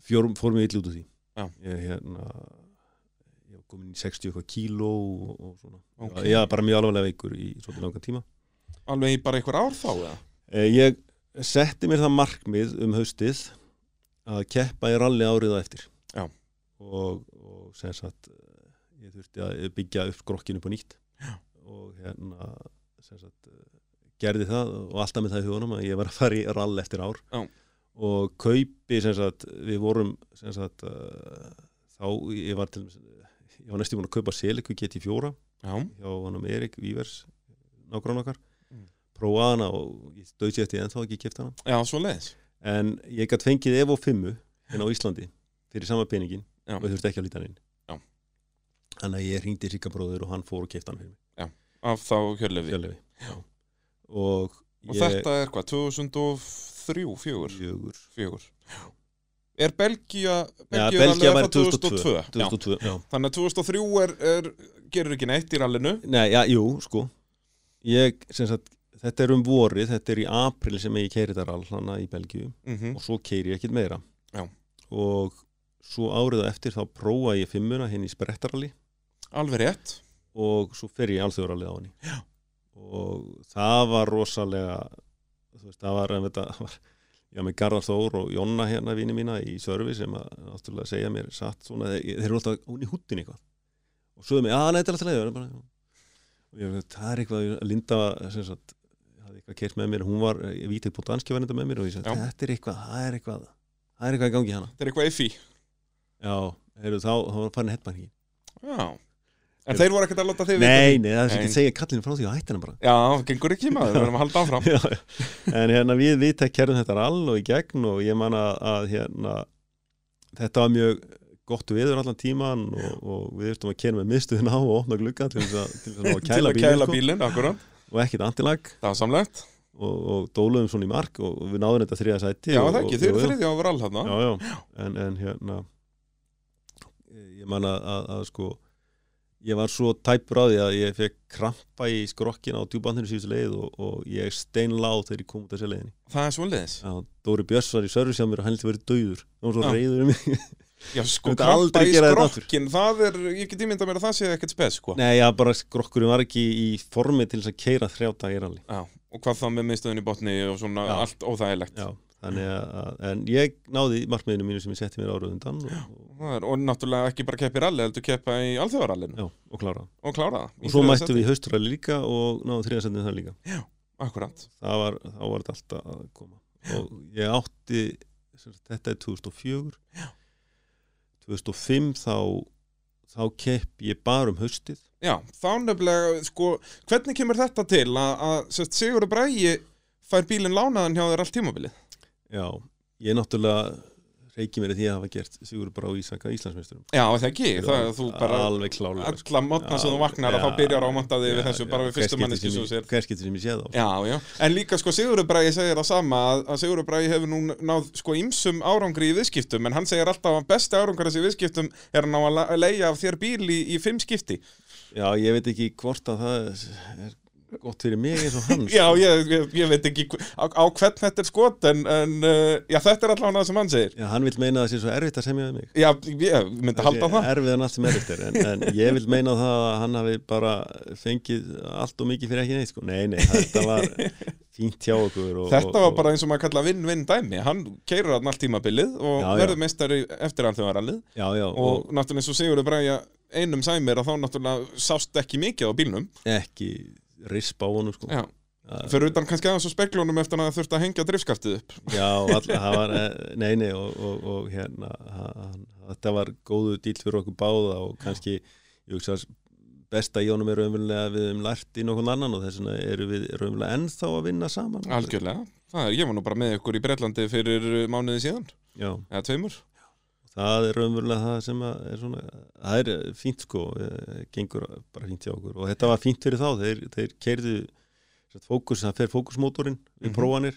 [SPEAKER 2] Fjór, fór mig illa út úr því
[SPEAKER 1] Já.
[SPEAKER 2] ég hérna ég var komin í 60 eitthvað kíló og, og svona,
[SPEAKER 1] Ok.
[SPEAKER 2] ég var bara mjög alvarlega veikur í svolítið langan tíma
[SPEAKER 1] Alveg í bara einhver ár þá eða
[SPEAKER 2] Eh, ég setti mér það markmið um haustið að keppa í ralli árið á eftir
[SPEAKER 1] Já.
[SPEAKER 2] og, og sem sagt eh, ég þurfti að byggja upp grokkinu på nýtt Já. og hérna sem sagt eh, gerði það og alltaf með það í hugunum að ég var að fara í rall eftir ár
[SPEAKER 1] Já.
[SPEAKER 2] og kaupi sem sagt við vorum sem sagt eh, þá ég var til ég var næstu búin að kaupa seliku GT4
[SPEAKER 1] Já,
[SPEAKER 2] hjá honum Erik Vívers nágrán okkar
[SPEAKER 1] Mm.
[SPEAKER 2] prófaði hana og ég stöðs ég eftir ennþá ekki kipta hana
[SPEAKER 1] já, svo leiðis
[SPEAKER 2] en ég gætt fengið Evo 5 hérna á Íslandi fyrir sama peningin
[SPEAKER 1] Já.
[SPEAKER 2] og ég þurfti ekki að líta hann
[SPEAKER 1] Já.
[SPEAKER 2] inn þannig að ég hringdi Sigga bróður og hann fór og kipta hann fyrir mig
[SPEAKER 1] Af þá hjörlefi
[SPEAKER 2] Fjöllefi. og,
[SPEAKER 1] Og þetta er hvað, 2003, 4
[SPEAKER 2] fjögur
[SPEAKER 1] 4 Er Belgia
[SPEAKER 2] Já,
[SPEAKER 1] Belgíu
[SPEAKER 2] Belgia
[SPEAKER 1] rallið
[SPEAKER 2] var
[SPEAKER 1] frá
[SPEAKER 2] 2002,
[SPEAKER 1] 2002.
[SPEAKER 2] 2002. Já.
[SPEAKER 1] Já. Þannig að 2003 er, er, gerir ekki neitt í rallinu
[SPEAKER 2] Nei, já, jú, sko ég, sem sagt, þetta er um vorið þetta er í april sem ég keiri þetta rall hana í Belgíu
[SPEAKER 1] Mhm.
[SPEAKER 2] og svo keiri ég ekkert meira
[SPEAKER 1] Já.
[SPEAKER 2] og svo árið á eftir þá prófa ég fimmuna henni í sprettaralli
[SPEAKER 1] Alveg rétt
[SPEAKER 2] og svo fer ég alþjóðrallið á henni Já. og það var rosalega þú veist, það var, en þetta var Já, með Garðar Þór og Jonna hérna vini mína í Sörfi sem að náttúrulega segja mér satt svona, þeir, þeir eru alltaf hún í húttin eitthvað og svo er mér, að nei, þetta er alltaf leið ég, það er eitthvað að Linda var, sem sagt, hafði eitthvað kert með mér, hún var, ég vítið búið danski verðinda með mér og ég sagði,
[SPEAKER 1] Já.
[SPEAKER 2] þetta er eitthvað, það er eitthvað það er eitthvað í gangi í hana
[SPEAKER 1] þetta er eitthvað effi
[SPEAKER 2] já, heyrðu, þá, þá var farin hettmæringi
[SPEAKER 1] já. en þeir voru ekkert að láta þeir
[SPEAKER 2] nei, nei, það er
[SPEAKER 1] Nei.
[SPEAKER 2] ekki að segja kallinu frá því og hættina bara
[SPEAKER 1] já, gengur ekki maður, við verðum að halda
[SPEAKER 2] *laughs*
[SPEAKER 1] áfram
[SPEAKER 2] Já, já. en hérna við við kerðum þetta alveg í gegn og ég man að, að hérna, þetta var mjög gott viður allan tíman og, og við þurftum að kera með miðstuðin á og opna glugga til þess að,
[SPEAKER 1] *laughs*
[SPEAKER 2] til þess að, ná að
[SPEAKER 1] til
[SPEAKER 2] kæla
[SPEAKER 1] að
[SPEAKER 2] bílinn
[SPEAKER 1] kæla
[SPEAKER 2] sko,
[SPEAKER 1] bílinn, akkurat
[SPEAKER 2] og ekkit antilag
[SPEAKER 1] það var samlegt,
[SPEAKER 2] og, og dóluðum svona í mark og við náðum þetta þriða sæti
[SPEAKER 1] já
[SPEAKER 2] og,
[SPEAKER 1] það ekki,
[SPEAKER 2] og-
[SPEAKER 1] þeir eru
[SPEAKER 2] jú, jú.
[SPEAKER 1] þriðja overall þarna
[SPEAKER 2] já, já. En, en hérna ég man að, að, að sko ég var svo tæpur á því að ég fekk krampa í skrokkina á djúbandinu síðustu leið og, og ég steinláð þegar ég kom út af þessi leiðin
[SPEAKER 1] það er svoleiðis,
[SPEAKER 2] Já, Dóri Björns var í service hjá mér og hann hefði verið dauður hann var svo
[SPEAKER 1] Já.
[SPEAKER 2] reyður um mig
[SPEAKER 1] já sko
[SPEAKER 2] Ég myndi
[SPEAKER 1] krampa
[SPEAKER 2] aldrei
[SPEAKER 1] í
[SPEAKER 2] gera þetta aftur.
[SPEAKER 1] skrokkin það er, ég get ímynda mér að það sé ekkert spes sko.
[SPEAKER 2] *laughs* Nei, já, bara skrokkurinn var ekki í formi til þess að keira þrjá dagir alveg
[SPEAKER 1] já, og hvað þá með miðstöðun í botni og svona
[SPEAKER 2] Já.
[SPEAKER 1] allt óþægilegt
[SPEAKER 2] Já, þannig að, en ég náði markmiðinu mínu sem ég setti mér árað undan og, og,
[SPEAKER 1] Það er, og náttúrulega ekki bara keppa í rally heldur keppa í alþjóðarallinu
[SPEAKER 2] já, og klára
[SPEAKER 1] og klára það
[SPEAKER 2] og svo mættum við í hausturæli líka og náðum þriðasendin það líka
[SPEAKER 1] akkurat,
[SPEAKER 2] það var, þá var þetta alltaf að koma og ég átti sem sagt, þetta er 2004 2005 þá þá kepp ég bara um haustið
[SPEAKER 1] já, þá nefnilega sko, hvernig kemur þetta til að, að Sigurður Brægi fær bílinn lánaðan hjá þér allt tímabilið
[SPEAKER 2] Já, ég náttúrulega reiki mér að því að hafa gert Sigur Brá Ísaka Íslandsmeisturum
[SPEAKER 1] já, það ekki, það er þú bara
[SPEAKER 2] Alveg klálega sko.
[SPEAKER 1] alla mótna sem þú vaknar að
[SPEAKER 2] Já,
[SPEAKER 1] þá byrjar ámöndaði við
[SPEAKER 2] já,
[SPEAKER 1] þessu
[SPEAKER 2] já,
[SPEAKER 1] bara við
[SPEAKER 2] hver
[SPEAKER 1] fyrstu
[SPEAKER 2] skipti
[SPEAKER 1] manneski
[SPEAKER 2] sem
[SPEAKER 1] sem þú
[SPEAKER 2] ég-
[SPEAKER 1] sér
[SPEAKER 2] Hver skiptir sem ég séð á sko.
[SPEAKER 1] Já, já, en líka sko Sigurður Bræði segir það sama að, að Sigurður Bræði hefur nú náð sko ymsum árangri í viðskiptum en hann segir alltaf að besti árangur þessi viðskiptum er að ná að la- leigja af þér bíl í, í fimm skipti
[SPEAKER 2] Já, ég veit ekki hvort að það er gott fyrir mig eins og sko. hans
[SPEAKER 1] *laughs* Já, ég, ég, ég veit ekki hv- á, á hvern þetta er skot en, en uh, já, þetta er allavega það sem hann segir
[SPEAKER 2] Já, hann vil meina að það sé svo erfitt að semja við mig
[SPEAKER 1] Já, ég myndi halda það
[SPEAKER 2] Erfið en allt sem erfitt er en, en ég vil meina það að hann hafi bara fengið allt og mikið fyrir ekki neitt sko. Nei, nei, þetta
[SPEAKER 1] *laughs*
[SPEAKER 2] var fínt hjá okkur og,
[SPEAKER 1] Þetta var
[SPEAKER 2] og,
[SPEAKER 1] bara eins og maður kalla vinn-vinn dæmi Hann keirir hann allt tímabilið og
[SPEAKER 2] Já, já.
[SPEAKER 1] verður meistari eftir hann þegar hann lið
[SPEAKER 2] Já, já,
[SPEAKER 1] og
[SPEAKER 2] og,
[SPEAKER 1] náttúrulega eins og Sigurður Bræja einum sæmir að þá náttúrulega sást ekki mikið á bílnum
[SPEAKER 2] ekki rispa á honum sko.
[SPEAKER 1] Já,
[SPEAKER 2] Það-
[SPEAKER 1] fyrir utan kannski aðeins á speklunum eftir að það þurfti að hengja drifskaftið upp
[SPEAKER 2] Já, all, það var, eh, nei, nei og, og, og hérna, hann, þetta var góðu dýl fyrir okkur báða og kannski, ég hugsa að besta í honum er raunverulega að við hefum lært í nokkuð annan og þess vegna erum við raunverulega ennþá að vinna saman.
[SPEAKER 1] Algjörlega, það er, ég var nú bara með ykkur í Bretlandi fyrir uh, mánuði síðan
[SPEAKER 2] Já,
[SPEAKER 1] eða tveimur
[SPEAKER 2] það er raunverulega það sem að er svona, það er fínt sko, eh, gengur bara fínt hjá okkur og þetta var fínt fyrir þá, þeir, þeir keirðu fókus, það fer fókusmótorinn við
[SPEAKER 1] Mhm.
[SPEAKER 2] prófanir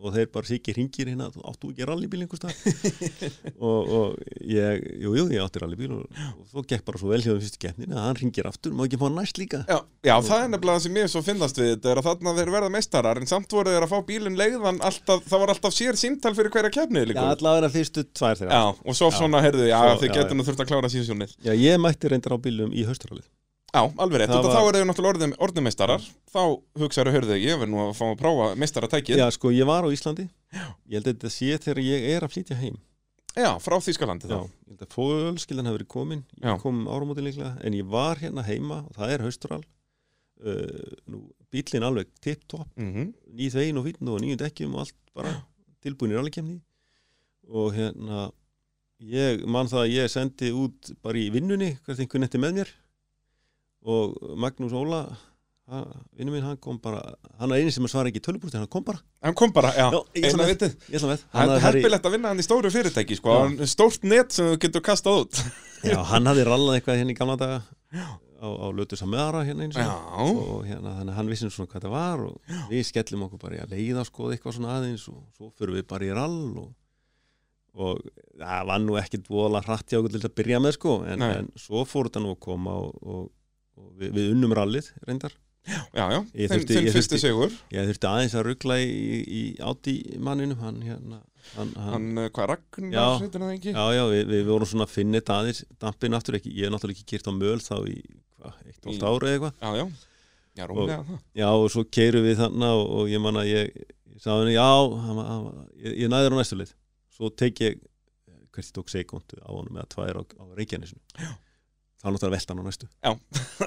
[SPEAKER 2] og þeir bara sikið hringir hérna, þú áttu ekki rallybíl einhvers dag *laughs* og, og ég, jú, jú, ég átti rallybíl og, og þó gekk bara svo vel hjá þeim fyrstu keppnin að hann hringir aftur, má ekki fá hann næst líka
[SPEAKER 1] Já, já það er nefnilega það sem ég svo finnast við þetta er að þarna þeir verða meistarar en samt voru þeir að fá bílinn leiðan alltaf, það var alltaf sér símtal fyrir hverja kefnið
[SPEAKER 2] Já,
[SPEAKER 1] líka
[SPEAKER 2] allavega fyrstu tvær þeirra
[SPEAKER 1] Já, og svo
[SPEAKER 2] Já.
[SPEAKER 1] svona, heyrðu, já,
[SPEAKER 2] Svo-
[SPEAKER 1] þið
[SPEAKER 2] já,
[SPEAKER 1] getur nú þurft að klára síðsjónið
[SPEAKER 2] Já, ég mætti reyndar á bílum í hausturalið
[SPEAKER 1] Já, alveg rétt,
[SPEAKER 2] Það
[SPEAKER 1] þetta
[SPEAKER 2] var-
[SPEAKER 1] þá eru þau náttúrulega orðin, orðinmeistarar þá hugsaðu, heyrðu, ég verð nú að fá að prófa meistaratækið, já.
[SPEAKER 2] Já, sko, ég var á Íslandi Ég held að þetta sé þegar ég er að flytja heim
[SPEAKER 1] frá Þýskalandi
[SPEAKER 2] Já,
[SPEAKER 1] þá
[SPEAKER 2] ég held að fólskildan hafi verið komin
[SPEAKER 1] Já.
[SPEAKER 2] ég kom áramóti líklega, en ég var hérna heima og það er haustural uh, nú, bílinn alveg tipp-topp
[SPEAKER 1] mm
[SPEAKER 2] nýð veginn og fýtn og nýjum dekkjum og allt bara tilbúinir alveg kemni og hérna ég man það að ég sendi út bara í vinnunni, hvert einhvern eftir með mér og Magnús Óla ha- vinnu minn, hann kom bara hann er eini sem að svara ekki tölupúrst hann kom bara,
[SPEAKER 1] Hann kom bara, já,
[SPEAKER 2] Já, ég ætla
[SPEAKER 1] eina
[SPEAKER 2] með.
[SPEAKER 1] vitið
[SPEAKER 2] ég ætla með
[SPEAKER 1] Það er
[SPEAKER 2] hafði farið-
[SPEAKER 1] heppilegt að vinna hann í stóru fyrirtæki sko,
[SPEAKER 2] Já.
[SPEAKER 1] hann- stórt net sem þú getur kastað út
[SPEAKER 2] *laughs* já, hann hafði rallað eitthvað hérna í gamla daga á, á lötu sammeðara hérna eins og
[SPEAKER 1] Já,
[SPEAKER 2] og hérna, þannig að hann vissi nú svona hvað það var og við skellum okkur bara í að leiða skoða eitthvað svona aðeins og svo fyrir við bara í rall og, og það var nú ekkit voðalega hratt hjá okkur til að byrja með sko en,
[SPEAKER 1] Nei.
[SPEAKER 2] en svo fór þetta nú að koma og, og, og við, við unnum rallið reyndar
[SPEAKER 1] já, já,
[SPEAKER 2] Ég
[SPEAKER 1] þinn
[SPEAKER 2] þurfti-
[SPEAKER 1] þinn
[SPEAKER 2] ég
[SPEAKER 1] fyrsti
[SPEAKER 2] þurfti-
[SPEAKER 1] sigur
[SPEAKER 2] ég þurfti aðeins að ruggla í, í átt í manninum hann hérna hann, hann,
[SPEAKER 1] Hann, eh, hvað,
[SPEAKER 2] Já.
[SPEAKER 1] Ragnar, heitir hann ekki?
[SPEAKER 2] Já, já, við, við vorum svona að finna þetta aðeins dampin aftur ekki, ég hef náttúrulega ekki kyrt á möl þá í, hvað, eitt og
[SPEAKER 1] Í-
[SPEAKER 2] allt ára eða eitthvað
[SPEAKER 1] Já, já, já, rúmlega það *laughs*
[SPEAKER 2] Já, og svo keirum við þarna og, og ég man að ég, ég sagði henni, já, hann, var- hann, var- ég, ég næður á næstu leið. Svo tek ég, hvert ég tók sekundu á honum eða tvær á, á Reykjanesinu. þá náttúrulega velta hann á næstu
[SPEAKER 1] á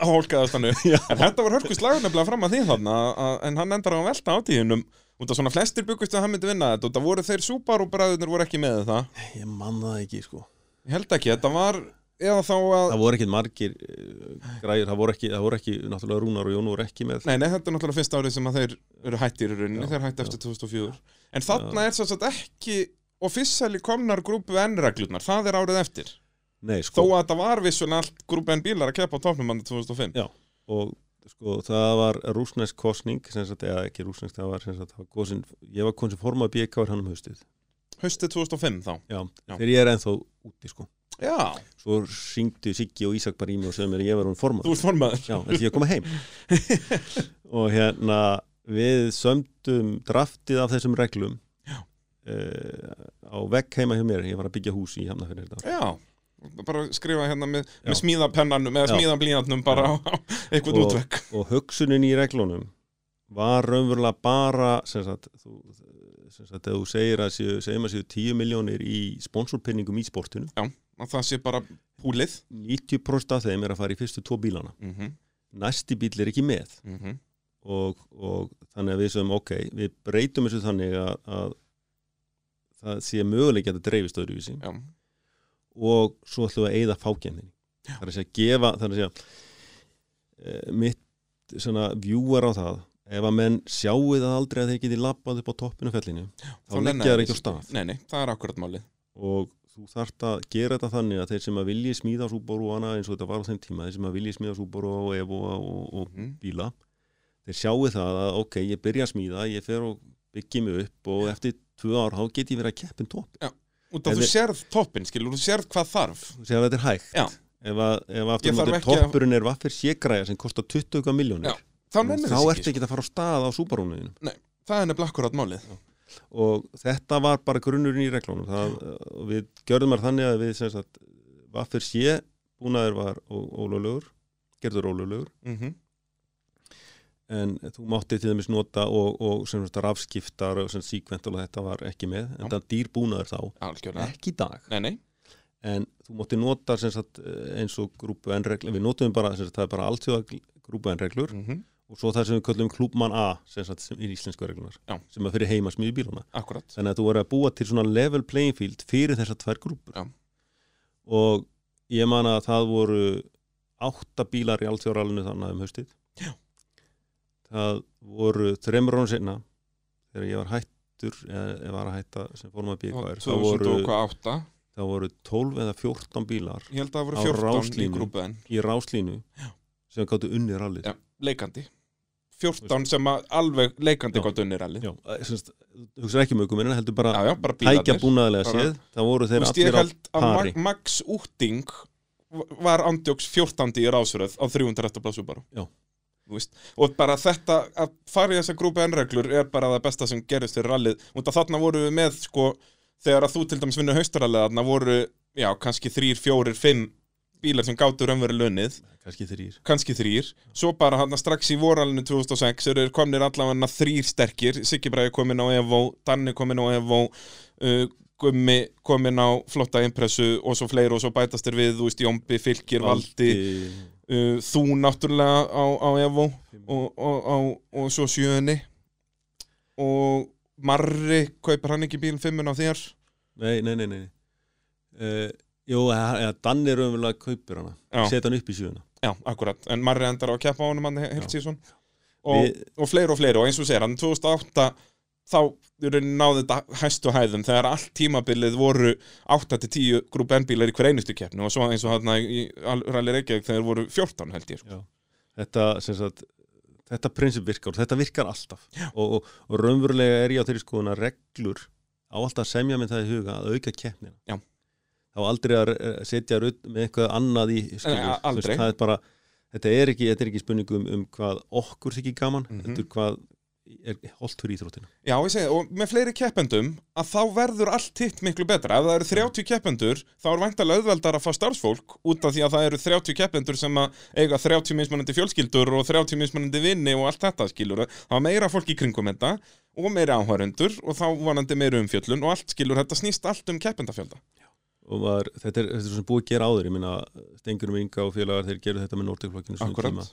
[SPEAKER 1] hólkaðastanu
[SPEAKER 2] Já.
[SPEAKER 1] en þetta var hörku slagur nefnilega fram að því þarna að- en hann endar á að velta á tíðunum út af svona flestir byggust að hann myndi vinna þetta og það voru þeir súpar og bræðurnir voru ekki með þetta
[SPEAKER 2] ég man það ekki sko
[SPEAKER 1] ég held ekki, þetta var eða þá að,
[SPEAKER 2] það voru ekkit margir uh, græður, það voru ekki, það voru ekki náttúrulega Rúnar og Jón voru ekki með
[SPEAKER 1] nei, nei, þetta er náttúrulega fyrsta árið sem að þeir eru hættir í rauninni,
[SPEAKER 2] Já,
[SPEAKER 1] þeir hætti eftir 2004 en þarna er svo að ekki officially komnar grúpu N-reglunar, það er árið eftir
[SPEAKER 2] nei
[SPEAKER 1] þó
[SPEAKER 2] sko
[SPEAKER 1] að þetta var vissulega allt grúpu N-bílar að keppa á topnum andan 2005
[SPEAKER 2] Já. og sko það var rúsnesk kosning sem sagt, eða ekki rúsnesk, það var sem sagt, það var kosin, ég var kosin formaði BK var hann um haustið
[SPEAKER 1] haustið 2005 þá
[SPEAKER 2] já,
[SPEAKER 1] Já.
[SPEAKER 2] þegar ég er ennþá úti sko
[SPEAKER 1] já,
[SPEAKER 2] svo syngdu Siggi og Ísak bara í mig og sögðu mér að ég var hún formað
[SPEAKER 1] þú ert formaður
[SPEAKER 2] já, eftir ég að koma
[SPEAKER 1] *laughs*
[SPEAKER 2] heim og hérna við sömdum draftið af þessum reglum
[SPEAKER 1] Já.
[SPEAKER 2] eh, á vegg heima hjá mér ég var að byggja hús í Hafnafjörn þetta
[SPEAKER 1] Já, bara skrifa hérna með, með
[SPEAKER 2] Já.
[SPEAKER 1] smíðapennanum eða
[SPEAKER 2] Já.
[SPEAKER 1] smíðablínatnum bara á, á eitthvað
[SPEAKER 2] Og-
[SPEAKER 1] útvekk
[SPEAKER 2] og hugsunin í reglunum var raunverulega bara sem sagt, þú, sem sagt ef þú segir að séu, segjum að séu 10 miljónir í sponsorpinningum í sportinu
[SPEAKER 1] að það sé bara púlið
[SPEAKER 2] 90% af þeim er að fara í fyrstu tvo bílana
[SPEAKER 1] mm -hmm,
[SPEAKER 2] næsti bíl er ekki með
[SPEAKER 1] mm
[SPEAKER 2] og, og þannig að við sögum ok, við breytum þessu þannig að, að það sé möguleik að þetta dreifist öðruvísi
[SPEAKER 1] Já,
[SPEAKER 2] og svo ætlum við að eyða fákjæmðinni það er að segja að gefa það er að segja eh, mitt svona vjúar á það ef að menn sjáu það aldrei að þeir geti labbað upp á toppinu á fjallinu
[SPEAKER 1] nenna
[SPEAKER 2] þá leggja
[SPEAKER 1] þeir
[SPEAKER 2] þeir ekki á stað
[SPEAKER 1] Nei, nei, það er akkurat málið
[SPEAKER 2] og þú þarft að gera þetta þannig að þeir sem að vilji smíða súbóru og annað eins og þetta var á þeim tíma þeir sem að vilji smíða súbóru og evo og, og
[SPEAKER 1] mm
[SPEAKER 2] bíla þeir sjáu það að ok, ég byrja að smíða ég fer og byggi mig upp og eftir tvö ár þá get ég verið að keppin topp
[SPEAKER 1] Út af
[SPEAKER 2] En
[SPEAKER 1] þú
[SPEAKER 2] við-
[SPEAKER 1] sérð toppin, skilur, þú sérð hvað þarf
[SPEAKER 2] þú segir að þetta er hægt
[SPEAKER 1] Já.
[SPEAKER 2] ef, að, ef aftur
[SPEAKER 1] Ég þarf
[SPEAKER 2] mótið
[SPEAKER 1] ekki að-
[SPEAKER 2] toppurinn er vaffir ségræja sem kostar 20
[SPEAKER 1] Já,
[SPEAKER 2] miljónir
[SPEAKER 1] Þá nennir
[SPEAKER 2] þá
[SPEAKER 1] þess
[SPEAKER 2] ertu
[SPEAKER 1] ekki,
[SPEAKER 2] ekki að fara á stað á súbarúnuðinu
[SPEAKER 1] sko. það er nefnilega akkurat málið
[SPEAKER 2] og þetta var bara grunnurinn í reglunum það, og við gjörðum þar þannig að við sem sagt, vaffir sé búnaður var ólöglegur gerður ólöglegur
[SPEAKER 1] mm
[SPEAKER 2] en þú mátti til dæmis nota og, og sem sagt rafskiptar og sem síkvental og þetta var ekki með en
[SPEAKER 1] Já.
[SPEAKER 2] það dýr búnaður þá,
[SPEAKER 1] Algjörlega
[SPEAKER 2] ekki í dag
[SPEAKER 1] Nei, nei,
[SPEAKER 2] en þú mátti nota sem sagt, eh, eins og grúpu N-reglur við notum bara, sem sagt, það er bara alltjóða grúpu N-reglur
[SPEAKER 1] mm
[SPEAKER 2] og svo það sem við köllum klúbmann A sem, sagt, sem er íslensku reglunar
[SPEAKER 1] Já.
[SPEAKER 2] sem er fyrir heima smíðu bíluna
[SPEAKER 1] akkurat
[SPEAKER 2] þannig að þú voru að búa til svona level playing field fyrir þessar tvær grúpur
[SPEAKER 1] Já.
[SPEAKER 2] og ég man að það voru átta bílar í alltjóralinu þannig um haustið
[SPEAKER 1] Já.
[SPEAKER 2] það voru þremur rónu sinna þegar ég var hættur eða ég var að hætta sem fórum að
[SPEAKER 1] Og
[SPEAKER 2] bíkvæðir það voru,
[SPEAKER 1] 2008,
[SPEAKER 2] það voru 12 eða 14 bílar
[SPEAKER 1] ég held að það voru
[SPEAKER 2] á
[SPEAKER 1] 14 í
[SPEAKER 2] ráslínu.
[SPEAKER 1] grúpu en
[SPEAKER 2] í ráslínu Já. sem gáttu unni rallið
[SPEAKER 1] Já, leikandi 14 sem að alveg leikandi
[SPEAKER 2] Já.
[SPEAKER 1] gott unnir allir
[SPEAKER 2] Já, eh, sem sagt, þú hugsaði ekki um aukuminn heldur bara
[SPEAKER 1] Já, já, bara
[SPEAKER 2] tækja
[SPEAKER 1] bílarnir
[SPEAKER 2] búnaðilega
[SPEAKER 1] Bara-
[SPEAKER 2] séð það voru
[SPEAKER 1] Þú
[SPEAKER 2] þeir
[SPEAKER 1] veist, ég
[SPEAKER 2] allir á
[SPEAKER 1] held að
[SPEAKER 2] pari.
[SPEAKER 1] Mag Max Úting var andjóks 14. í rásröð á 300 plásu bara.
[SPEAKER 2] Já.
[SPEAKER 1] Þú veist, og bara þetta að fara í þessa grúpa ennreglur er bara það besta sem gerist fyrir rallið. Út að þarna voru við með, sko, þegar að þú til dæmis vinnur haustarallið, þarna voru, já, kannski þrýr, fjórir, fimm bílar sem gátu raunveru lönnið,
[SPEAKER 2] kannski þrýr
[SPEAKER 1] kannski þrýr. Svo bara hann strax í voralinu 2006 eru þeir komnir allavega þrýr sterkir, Siggi Bræði komin á Evo, Danni komin á Evo, uh, Gummi komin á flotta impressu og svo fleiri og svo bætast þér við, þú veist, Jómbi, Fylgir, Valdi, uh, þú náttúrulega á, á Evo og, og, og, og svo sjöunni og Marri kaupar hann ekki bíl fimmun á þér
[SPEAKER 2] nei, nei, nei, nei. Uh, jú, eða Danni raunverulega kaupir hana
[SPEAKER 1] Já.
[SPEAKER 2] setja hann upp í sjöuna
[SPEAKER 1] Já, akkurat, en Marri endar á að keppa á honum hann heilt síðan og,
[SPEAKER 2] Við-
[SPEAKER 1] og fleiri og fleiri og eins og segir hann 2008 þá í rauninni náði þetta hæstu hæðum þegar allt tímabilið voru 8-10 grúpa N-bílar í hver einustu keppni og svo eins og hann í Al- Rally Reykjavík þegar voru 14 held ég sko.
[SPEAKER 2] þetta, sem sagt þetta prinsip virkar og þetta virkar alltaf og, og, og raunverulega er ég á þeirri skoðuna reglur á alltaf að semja með það í huga að auka keppnina
[SPEAKER 1] Já.
[SPEAKER 2] þá aldrei að eh, setja rudd með eitthvað annað í skilur,
[SPEAKER 1] Nei, a-
[SPEAKER 2] þú
[SPEAKER 1] aldrei.
[SPEAKER 2] það er bara, þetta er ekki, þetta er ekki spurning um, um hvað okkur þykir gaman
[SPEAKER 1] Mhm.
[SPEAKER 2] þetta er hvað er holdt fyrir íþróttina
[SPEAKER 1] Já, ég segi, og með fleiri keppendum að þá verður allt hitt miklu betra ef það eru 30 keppendur, þá er væntalega auðveldar að fá starfsfólk út af því að það eru 30 keppendur sem að eiga 30 mismunandi fjölskyldur og 30 mismunandi vinni og allt þetta skilur, þá er meira fólk í kringum þetta og meira áhörundur og þá vonandi meira umfjöllun og allt skilur, þetta snýst allt um keppendafjölda
[SPEAKER 2] og, og var, þetta er, þetta er svona búið að gera áður ég minna, Stengurum Inga og félagar þeir gerðu þetta með Nortekflokkinu
[SPEAKER 1] Akkurat.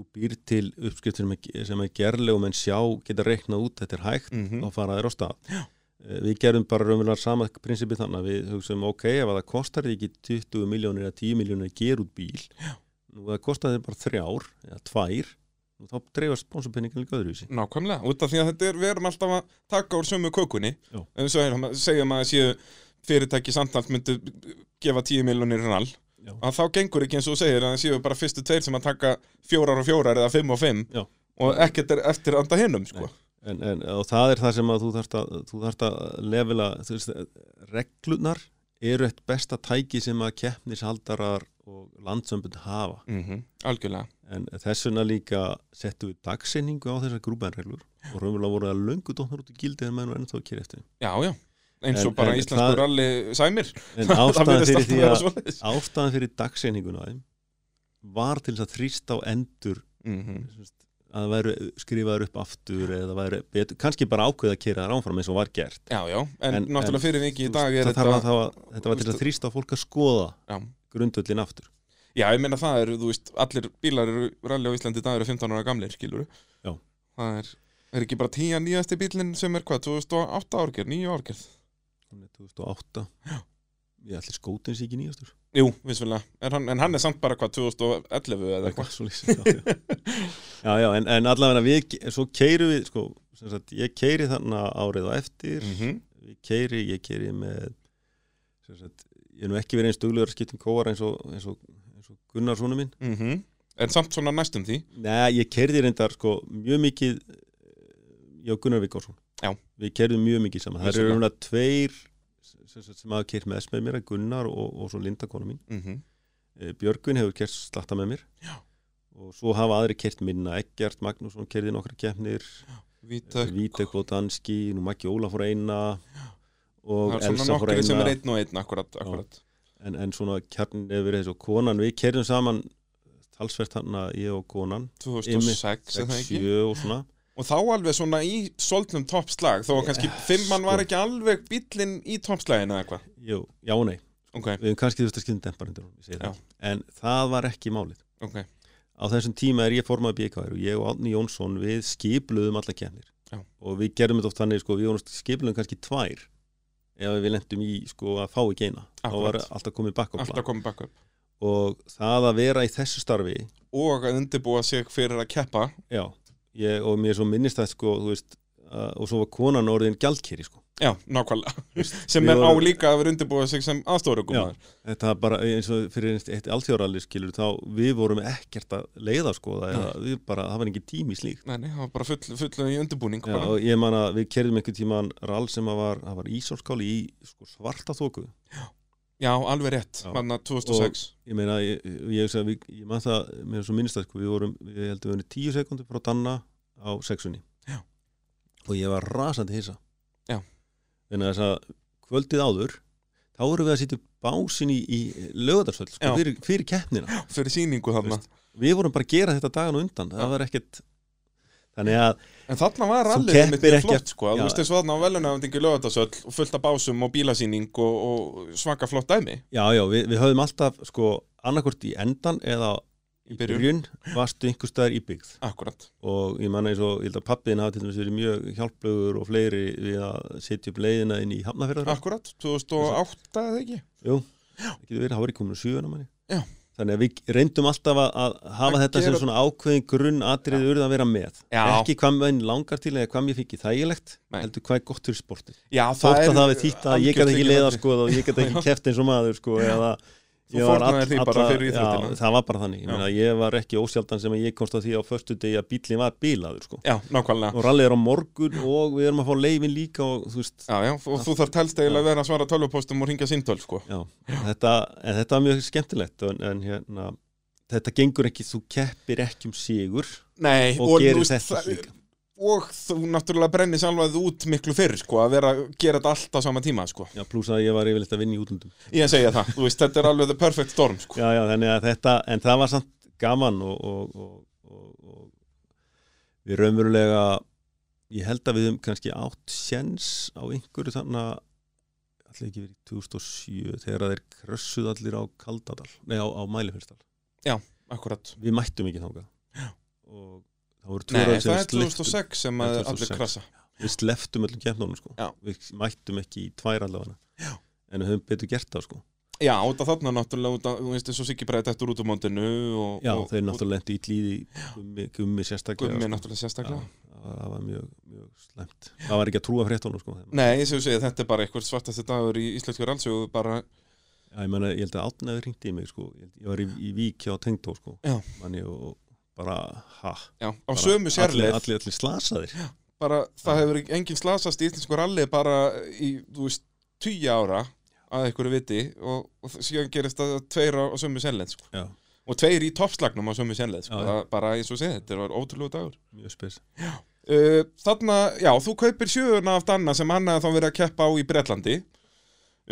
[SPEAKER 2] þú býr til uppskiptur sem er gerlegum en sjá geta reiknað út þetta er hægt
[SPEAKER 1] Mm
[SPEAKER 2] þá fara þér á stað Eh, við gerum bara raunverulega sama prinsipi þannig að við hugsaum ok, ef að það kostar þig ekki 20 miljónir eða 10 miljónir að gera út bíl
[SPEAKER 1] Já.
[SPEAKER 2] nú það kostar þig bara þrjár eða tvær, nú þá dreifast sponsorpenningan líka öðruvísi
[SPEAKER 1] Nákvæmlega, út af því að þetta er, við erum alltaf að taka úr sömu kökunni
[SPEAKER 2] Já.
[SPEAKER 1] en svo erum, segjum að séu fyrirtæki samtalt myndu gefa 10 miljonir rall
[SPEAKER 2] Já.
[SPEAKER 1] að þá gengur ekki eins og þú segir að það séu bara fyrstu tveir sem að taka fjórar og fjórar eða fimm og fimm
[SPEAKER 2] Já.
[SPEAKER 1] og ekkert er eftir anda hinnum sko.
[SPEAKER 2] en, en, og það er það sem að þú þarft að, þú þarft að levela þú veist, reglunar eru eitt besta tæki sem að keppnishaldarar og landsömbund hafa
[SPEAKER 1] mm Algjörlega
[SPEAKER 2] en þess vegna líka settum við dagsinningu á þessar grúbenreglur og raunverulega voru það löngu dóknar út í gildi en menn og ennþá kýr eftir þeim.
[SPEAKER 1] Já, já, eins og
[SPEAKER 2] En-
[SPEAKER 1] bara
[SPEAKER 2] en
[SPEAKER 1] íslenskur
[SPEAKER 2] það-
[SPEAKER 1] rally sæmir
[SPEAKER 2] en *laughs* ástæðan
[SPEAKER 1] virðist alltaf
[SPEAKER 2] fyrir, því
[SPEAKER 1] vera
[SPEAKER 2] að,
[SPEAKER 1] svoleiðis.
[SPEAKER 2] ástæðan fyrir dagsinninguna á þeim var til þess að þrýsta á endur
[SPEAKER 1] Mhm.
[SPEAKER 2] sem sagt, að það væru skrifaður upp aftur eða væru betur, kannski bara ákveða að kýra þar áfram eins og var gert
[SPEAKER 1] Já, já, en,
[SPEAKER 2] En-
[SPEAKER 1] náttúrulega fyrir viki í
[SPEAKER 2] Þú
[SPEAKER 1] dag
[SPEAKER 2] veist,
[SPEAKER 1] er
[SPEAKER 2] það þarf að,
[SPEAKER 1] þetta
[SPEAKER 2] það var, þetta var til að þrýsta á fólk að skoða
[SPEAKER 1] Já.
[SPEAKER 2] grundvöllin aftur
[SPEAKER 1] Já, ég meina það eru, þú veist, allir bílar eru rally á Íslandi í dag eru 15 ára gamlir, skilur
[SPEAKER 2] Já.
[SPEAKER 1] Það er, er ekki bara 10 nýjasti bílinn sem er hvað, 2008 árgerð, 9 árgerð
[SPEAKER 2] hún er 2008 ég ætli skótin sé ekki nýjastur
[SPEAKER 1] Jú, vissulega, en hann, en hann er samt bara hvað, 2011 eða eitthvað
[SPEAKER 2] svo lýs já, já. já, já, en, en allavega við, ke- svo keirum við sko, sem sagt, ég keiri þarna árið á eftir
[SPEAKER 1] mm
[SPEAKER 2] við keiri, ég keiri með sem sagt, ég er nú ekki verið einn stuglegur að skipta um kóar eins og, eins og, eins og Gunnar svona minn
[SPEAKER 1] En samt svona næstum því
[SPEAKER 2] Nei, ég kerði reyndar sko mjög mikið ég og Gunnar Vikársson
[SPEAKER 1] Já.
[SPEAKER 2] Við kerðum mjög mikið saman, það eru
[SPEAKER 1] Vissulega.
[SPEAKER 2] rúna tveir sem, sagt sem hafa kert með þess með mér Gunnar og, og svo Linda kona mín
[SPEAKER 1] mm
[SPEAKER 2] Eh, Björgvin hefur kert slatta með mér
[SPEAKER 1] Já.
[SPEAKER 2] og svo hafa aðri kert minna Eggert Magnússon kerði nokkra keppnir
[SPEAKER 1] Vítak,
[SPEAKER 2] Vítek Botanski, nú Maggi Óla fór eina
[SPEAKER 1] það
[SPEAKER 2] og
[SPEAKER 1] er svona
[SPEAKER 2] Elsa fór
[SPEAKER 1] nokkri sem
[SPEAKER 2] eina
[SPEAKER 1] er einn og einn, akkurat, akkurat.
[SPEAKER 2] en, en svona kjarnin hefur verið þessu og konan, við kerðum saman talsvert hann að ég og konan
[SPEAKER 1] 2006 eða
[SPEAKER 2] 6,
[SPEAKER 1] ekki
[SPEAKER 2] 7 og svona
[SPEAKER 1] Og þá alveg svona í soltnum toppslag Þó að kannski
[SPEAKER 2] Eh,
[SPEAKER 1] fimmann var
[SPEAKER 2] sko.
[SPEAKER 1] ekki alveg bíllinn í toppslagin eða eitthvað
[SPEAKER 2] Jú, já og nei,
[SPEAKER 1] Ok,
[SPEAKER 2] við höfum kannski þurft að skipta um demparindur ég segi það. en það var ekki málið
[SPEAKER 1] ok,
[SPEAKER 2] á þessum tíma er ég formað BKR og ég og Átni Jónsson við skipluðum alla kemnir
[SPEAKER 1] Já.
[SPEAKER 2] og við gerum þetta oft þannig sko, við vorum skipluðum kannski tvær ef við lendum í sko, að fá ekki eina þá var
[SPEAKER 1] Akkurat.
[SPEAKER 2] alltaf komið bakk á
[SPEAKER 1] alltaf
[SPEAKER 2] plan
[SPEAKER 1] komið bakk upp
[SPEAKER 2] og það að vera í þessu starfi
[SPEAKER 1] og að undirbúa sig fyrir að keppa
[SPEAKER 2] já, ég, og mér svo minnist það sko, þú veist, að, og svo var konan orðin gjaldkeri sko.
[SPEAKER 1] já,
[SPEAKER 2] *laughs*
[SPEAKER 1] nákvæmlega sem
[SPEAKER 2] við
[SPEAKER 1] er á
[SPEAKER 2] vorum-
[SPEAKER 1] líka að vera undirbúa sig sem aðstórugumar
[SPEAKER 2] þetta bara eins og fyrir einst eitt allþjórali skilur þá við vorum ekkert að leiða sko, það, við bara, það var engin tími slík
[SPEAKER 1] nei, nei, það var bara full, full í undirbúning
[SPEAKER 2] Já,
[SPEAKER 1] bara.
[SPEAKER 2] og ég man að við kerðum einhvern tíman rall sem að var, það var ísórskáli í sko, svarta þóku
[SPEAKER 1] já, alveg rétt,
[SPEAKER 2] Já.
[SPEAKER 1] manna 2006
[SPEAKER 2] ég meina, ég, ég, hugsa að við- ég man það, mér er svo minnist það sko, við vorum, ég held að við vorum tíu sekundur frá Danna á sexunni
[SPEAKER 1] Já.
[SPEAKER 2] og ég var rasandi hissa
[SPEAKER 1] Já.
[SPEAKER 2] en þess að kvöldið áður þá vorum við að sitja básin í, í lögadarsöld sko,
[SPEAKER 1] Já.
[SPEAKER 2] fyrir, fyrir keppnina
[SPEAKER 1] fyrir síningu þarna
[SPEAKER 2] við vorum bara að gera þetta dagan og undan
[SPEAKER 1] Já.
[SPEAKER 2] það var ekkert þannig að
[SPEAKER 1] en þarna var
[SPEAKER 2] Þú
[SPEAKER 1] rallið einmitt
[SPEAKER 2] keppir
[SPEAKER 1] mjög
[SPEAKER 2] ekkert.
[SPEAKER 1] flott sko, að
[SPEAKER 2] Já.
[SPEAKER 1] þú veist eins og þarna á velunafendingu lögatarsöll og fullt af básum og bílasýning og, og svaka flott dæmi
[SPEAKER 2] Já, já, við, við höfum alltaf sko annarkvort í endan eða
[SPEAKER 1] Í
[SPEAKER 2] í
[SPEAKER 1] byrjun.
[SPEAKER 2] byrjun varstu einhver staðar í byggð
[SPEAKER 1] akkurat,
[SPEAKER 2] og ég manna eins og ég held að pappiðin hafi til dæmis verið mjög hjálplugur og fleiri við að setja upp leiðina inn í Hafnafjörðar
[SPEAKER 1] akkurat 2008 eða ekki
[SPEAKER 2] getur verið, hárið komin sjöuna manni
[SPEAKER 1] Já.
[SPEAKER 2] Þannig að við reyndum alltaf að, að hafa
[SPEAKER 1] Að
[SPEAKER 2] þetta
[SPEAKER 1] gera-
[SPEAKER 2] sem svona ákveðin grunn atriði urð að vera með
[SPEAKER 1] Já.
[SPEAKER 2] ekki hvað mér langar til eða hvað mér fikk í þægilegt
[SPEAKER 1] Nei.
[SPEAKER 2] heldur hvað er gott fyrir sportið
[SPEAKER 1] já,
[SPEAKER 2] þótt
[SPEAKER 1] er
[SPEAKER 2] að það við þýtt að ég gæti ekki
[SPEAKER 1] algjört
[SPEAKER 2] leiða
[SPEAKER 1] lykilatriði.
[SPEAKER 2] sko og ég gæti ekki keft eins og maður sko eða
[SPEAKER 1] Þú
[SPEAKER 2] ég var
[SPEAKER 1] fórnaðir
[SPEAKER 2] all-
[SPEAKER 1] því bara fyrir íþróttina.
[SPEAKER 2] já, það var bara
[SPEAKER 1] Já.
[SPEAKER 2] þannig, ég, meina, ég var ekki ósjaldan sem að ég komst að því á föstu degi að bílinn var bílaður sko
[SPEAKER 1] já, nákvæmlega
[SPEAKER 2] og rallið er á morgun og við erum að fá leifin líka og þú veist,
[SPEAKER 1] Já, já, og þú þarf telst eiginlega að vera að svara tölvupóstum og ringja símtöl, sko.
[SPEAKER 2] já, þetta, en þetta var mjög skemmtilegt en, en hérna, þetta gengur ekki, þú keppir ekki um sigur
[SPEAKER 1] Nei,
[SPEAKER 2] og,
[SPEAKER 1] þú
[SPEAKER 2] gerir
[SPEAKER 1] veist,
[SPEAKER 2] þetta
[SPEAKER 1] það-
[SPEAKER 2] líka
[SPEAKER 1] og þú náttúrulega brennir sjálfað út miklu fyrr sko, að vera að gera þetta allt á sama tíma sko.
[SPEAKER 2] já, pluss að ég var yfirleitt að vinna í útlundum
[SPEAKER 1] ég segja það, þú veist, þetta er alveg the perfect storm sko.
[SPEAKER 2] já, já, þannig að þetta, en það var samt gaman og, og, og, og, og við raunverulega ég held að við höfum kannski átt sjens á einhverju þannig að allir ekki verið í 2007 þegar þeir krössuð allir á Kaldadal nei á, á Mælifyrstal
[SPEAKER 1] akkurat
[SPEAKER 2] við mættum ekki þáka og það voru tvö
[SPEAKER 1] Nei,
[SPEAKER 2] ráð sem
[SPEAKER 1] það
[SPEAKER 2] við
[SPEAKER 1] er 2006 sem að
[SPEAKER 2] Nei, 2006.
[SPEAKER 1] allir krasa
[SPEAKER 2] við sleftum öllum keppnunum sko.
[SPEAKER 1] Já.
[SPEAKER 2] við mættum ekki í tvær allavega en við höfum betur gert það sko.
[SPEAKER 1] Já, út af þarna náttúrulega, út af, þú veist, þessu Siggi bregði eftir út um móndinu og,
[SPEAKER 2] já,
[SPEAKER 1] og,
[SPEAKER 2] þeir
[SPEAKER 1] og
[SPEAKER 2] náttúrulega lendi í líði gummi, gummi sérstaklega
[SPEAKER 1] gummi
[SPEAKER 2] sko.
[SPEAKER 1] náttúrulega sérstaklega.
[SPEAKER 2] Já, það var- það var mjög, mjög slemt það var ekki að trúa fréttónum sko.
[SPEAKER 1] Nei, eins og ég segi, þetta er bara eitthvað svartasti dagur í íslensku rannsögu, bara,
[SPEAKER 2] Já, ég, meina, ég held að átnaði ringdi í mig sko. Ég held- ég var í, í vík hjá tengdó sko.
[SPEAKER 1] Já.
[SPEAKER 2] Man, ég, og bara ha
[SPEAKER 1] já, á
[SPEAKER 2] bara
[SPEAKER 1] sömu
[SPEAKER 2] allir,
[SPEAKER 1] sérleif,
[SPEAKER 2] allir, allir slasaðir
[SPEAKER 1] bara, það hefur enginn slasast í íslensku ralli bara í, þú veist, tíu ára að einhverju viti og, og síðan gerist það tveir á, á sömu sérleif, sko.
[SPEAKER 2] já,
[SPEAKER 1] Og tveir í toppslagnum á sömu sérleif, sko.
[SPEAKER 2] Já, já.
[SPEAKER 1] Það, bara eins og ég segi, þetta var ótrúlega dagur.
[SPEAKER 2] mjög spes
[SPEAKER 1] Uh, þarna, já, þú kaupir sjöuna af Danna sem hann hafði þá verið að keppa á í Bretlandi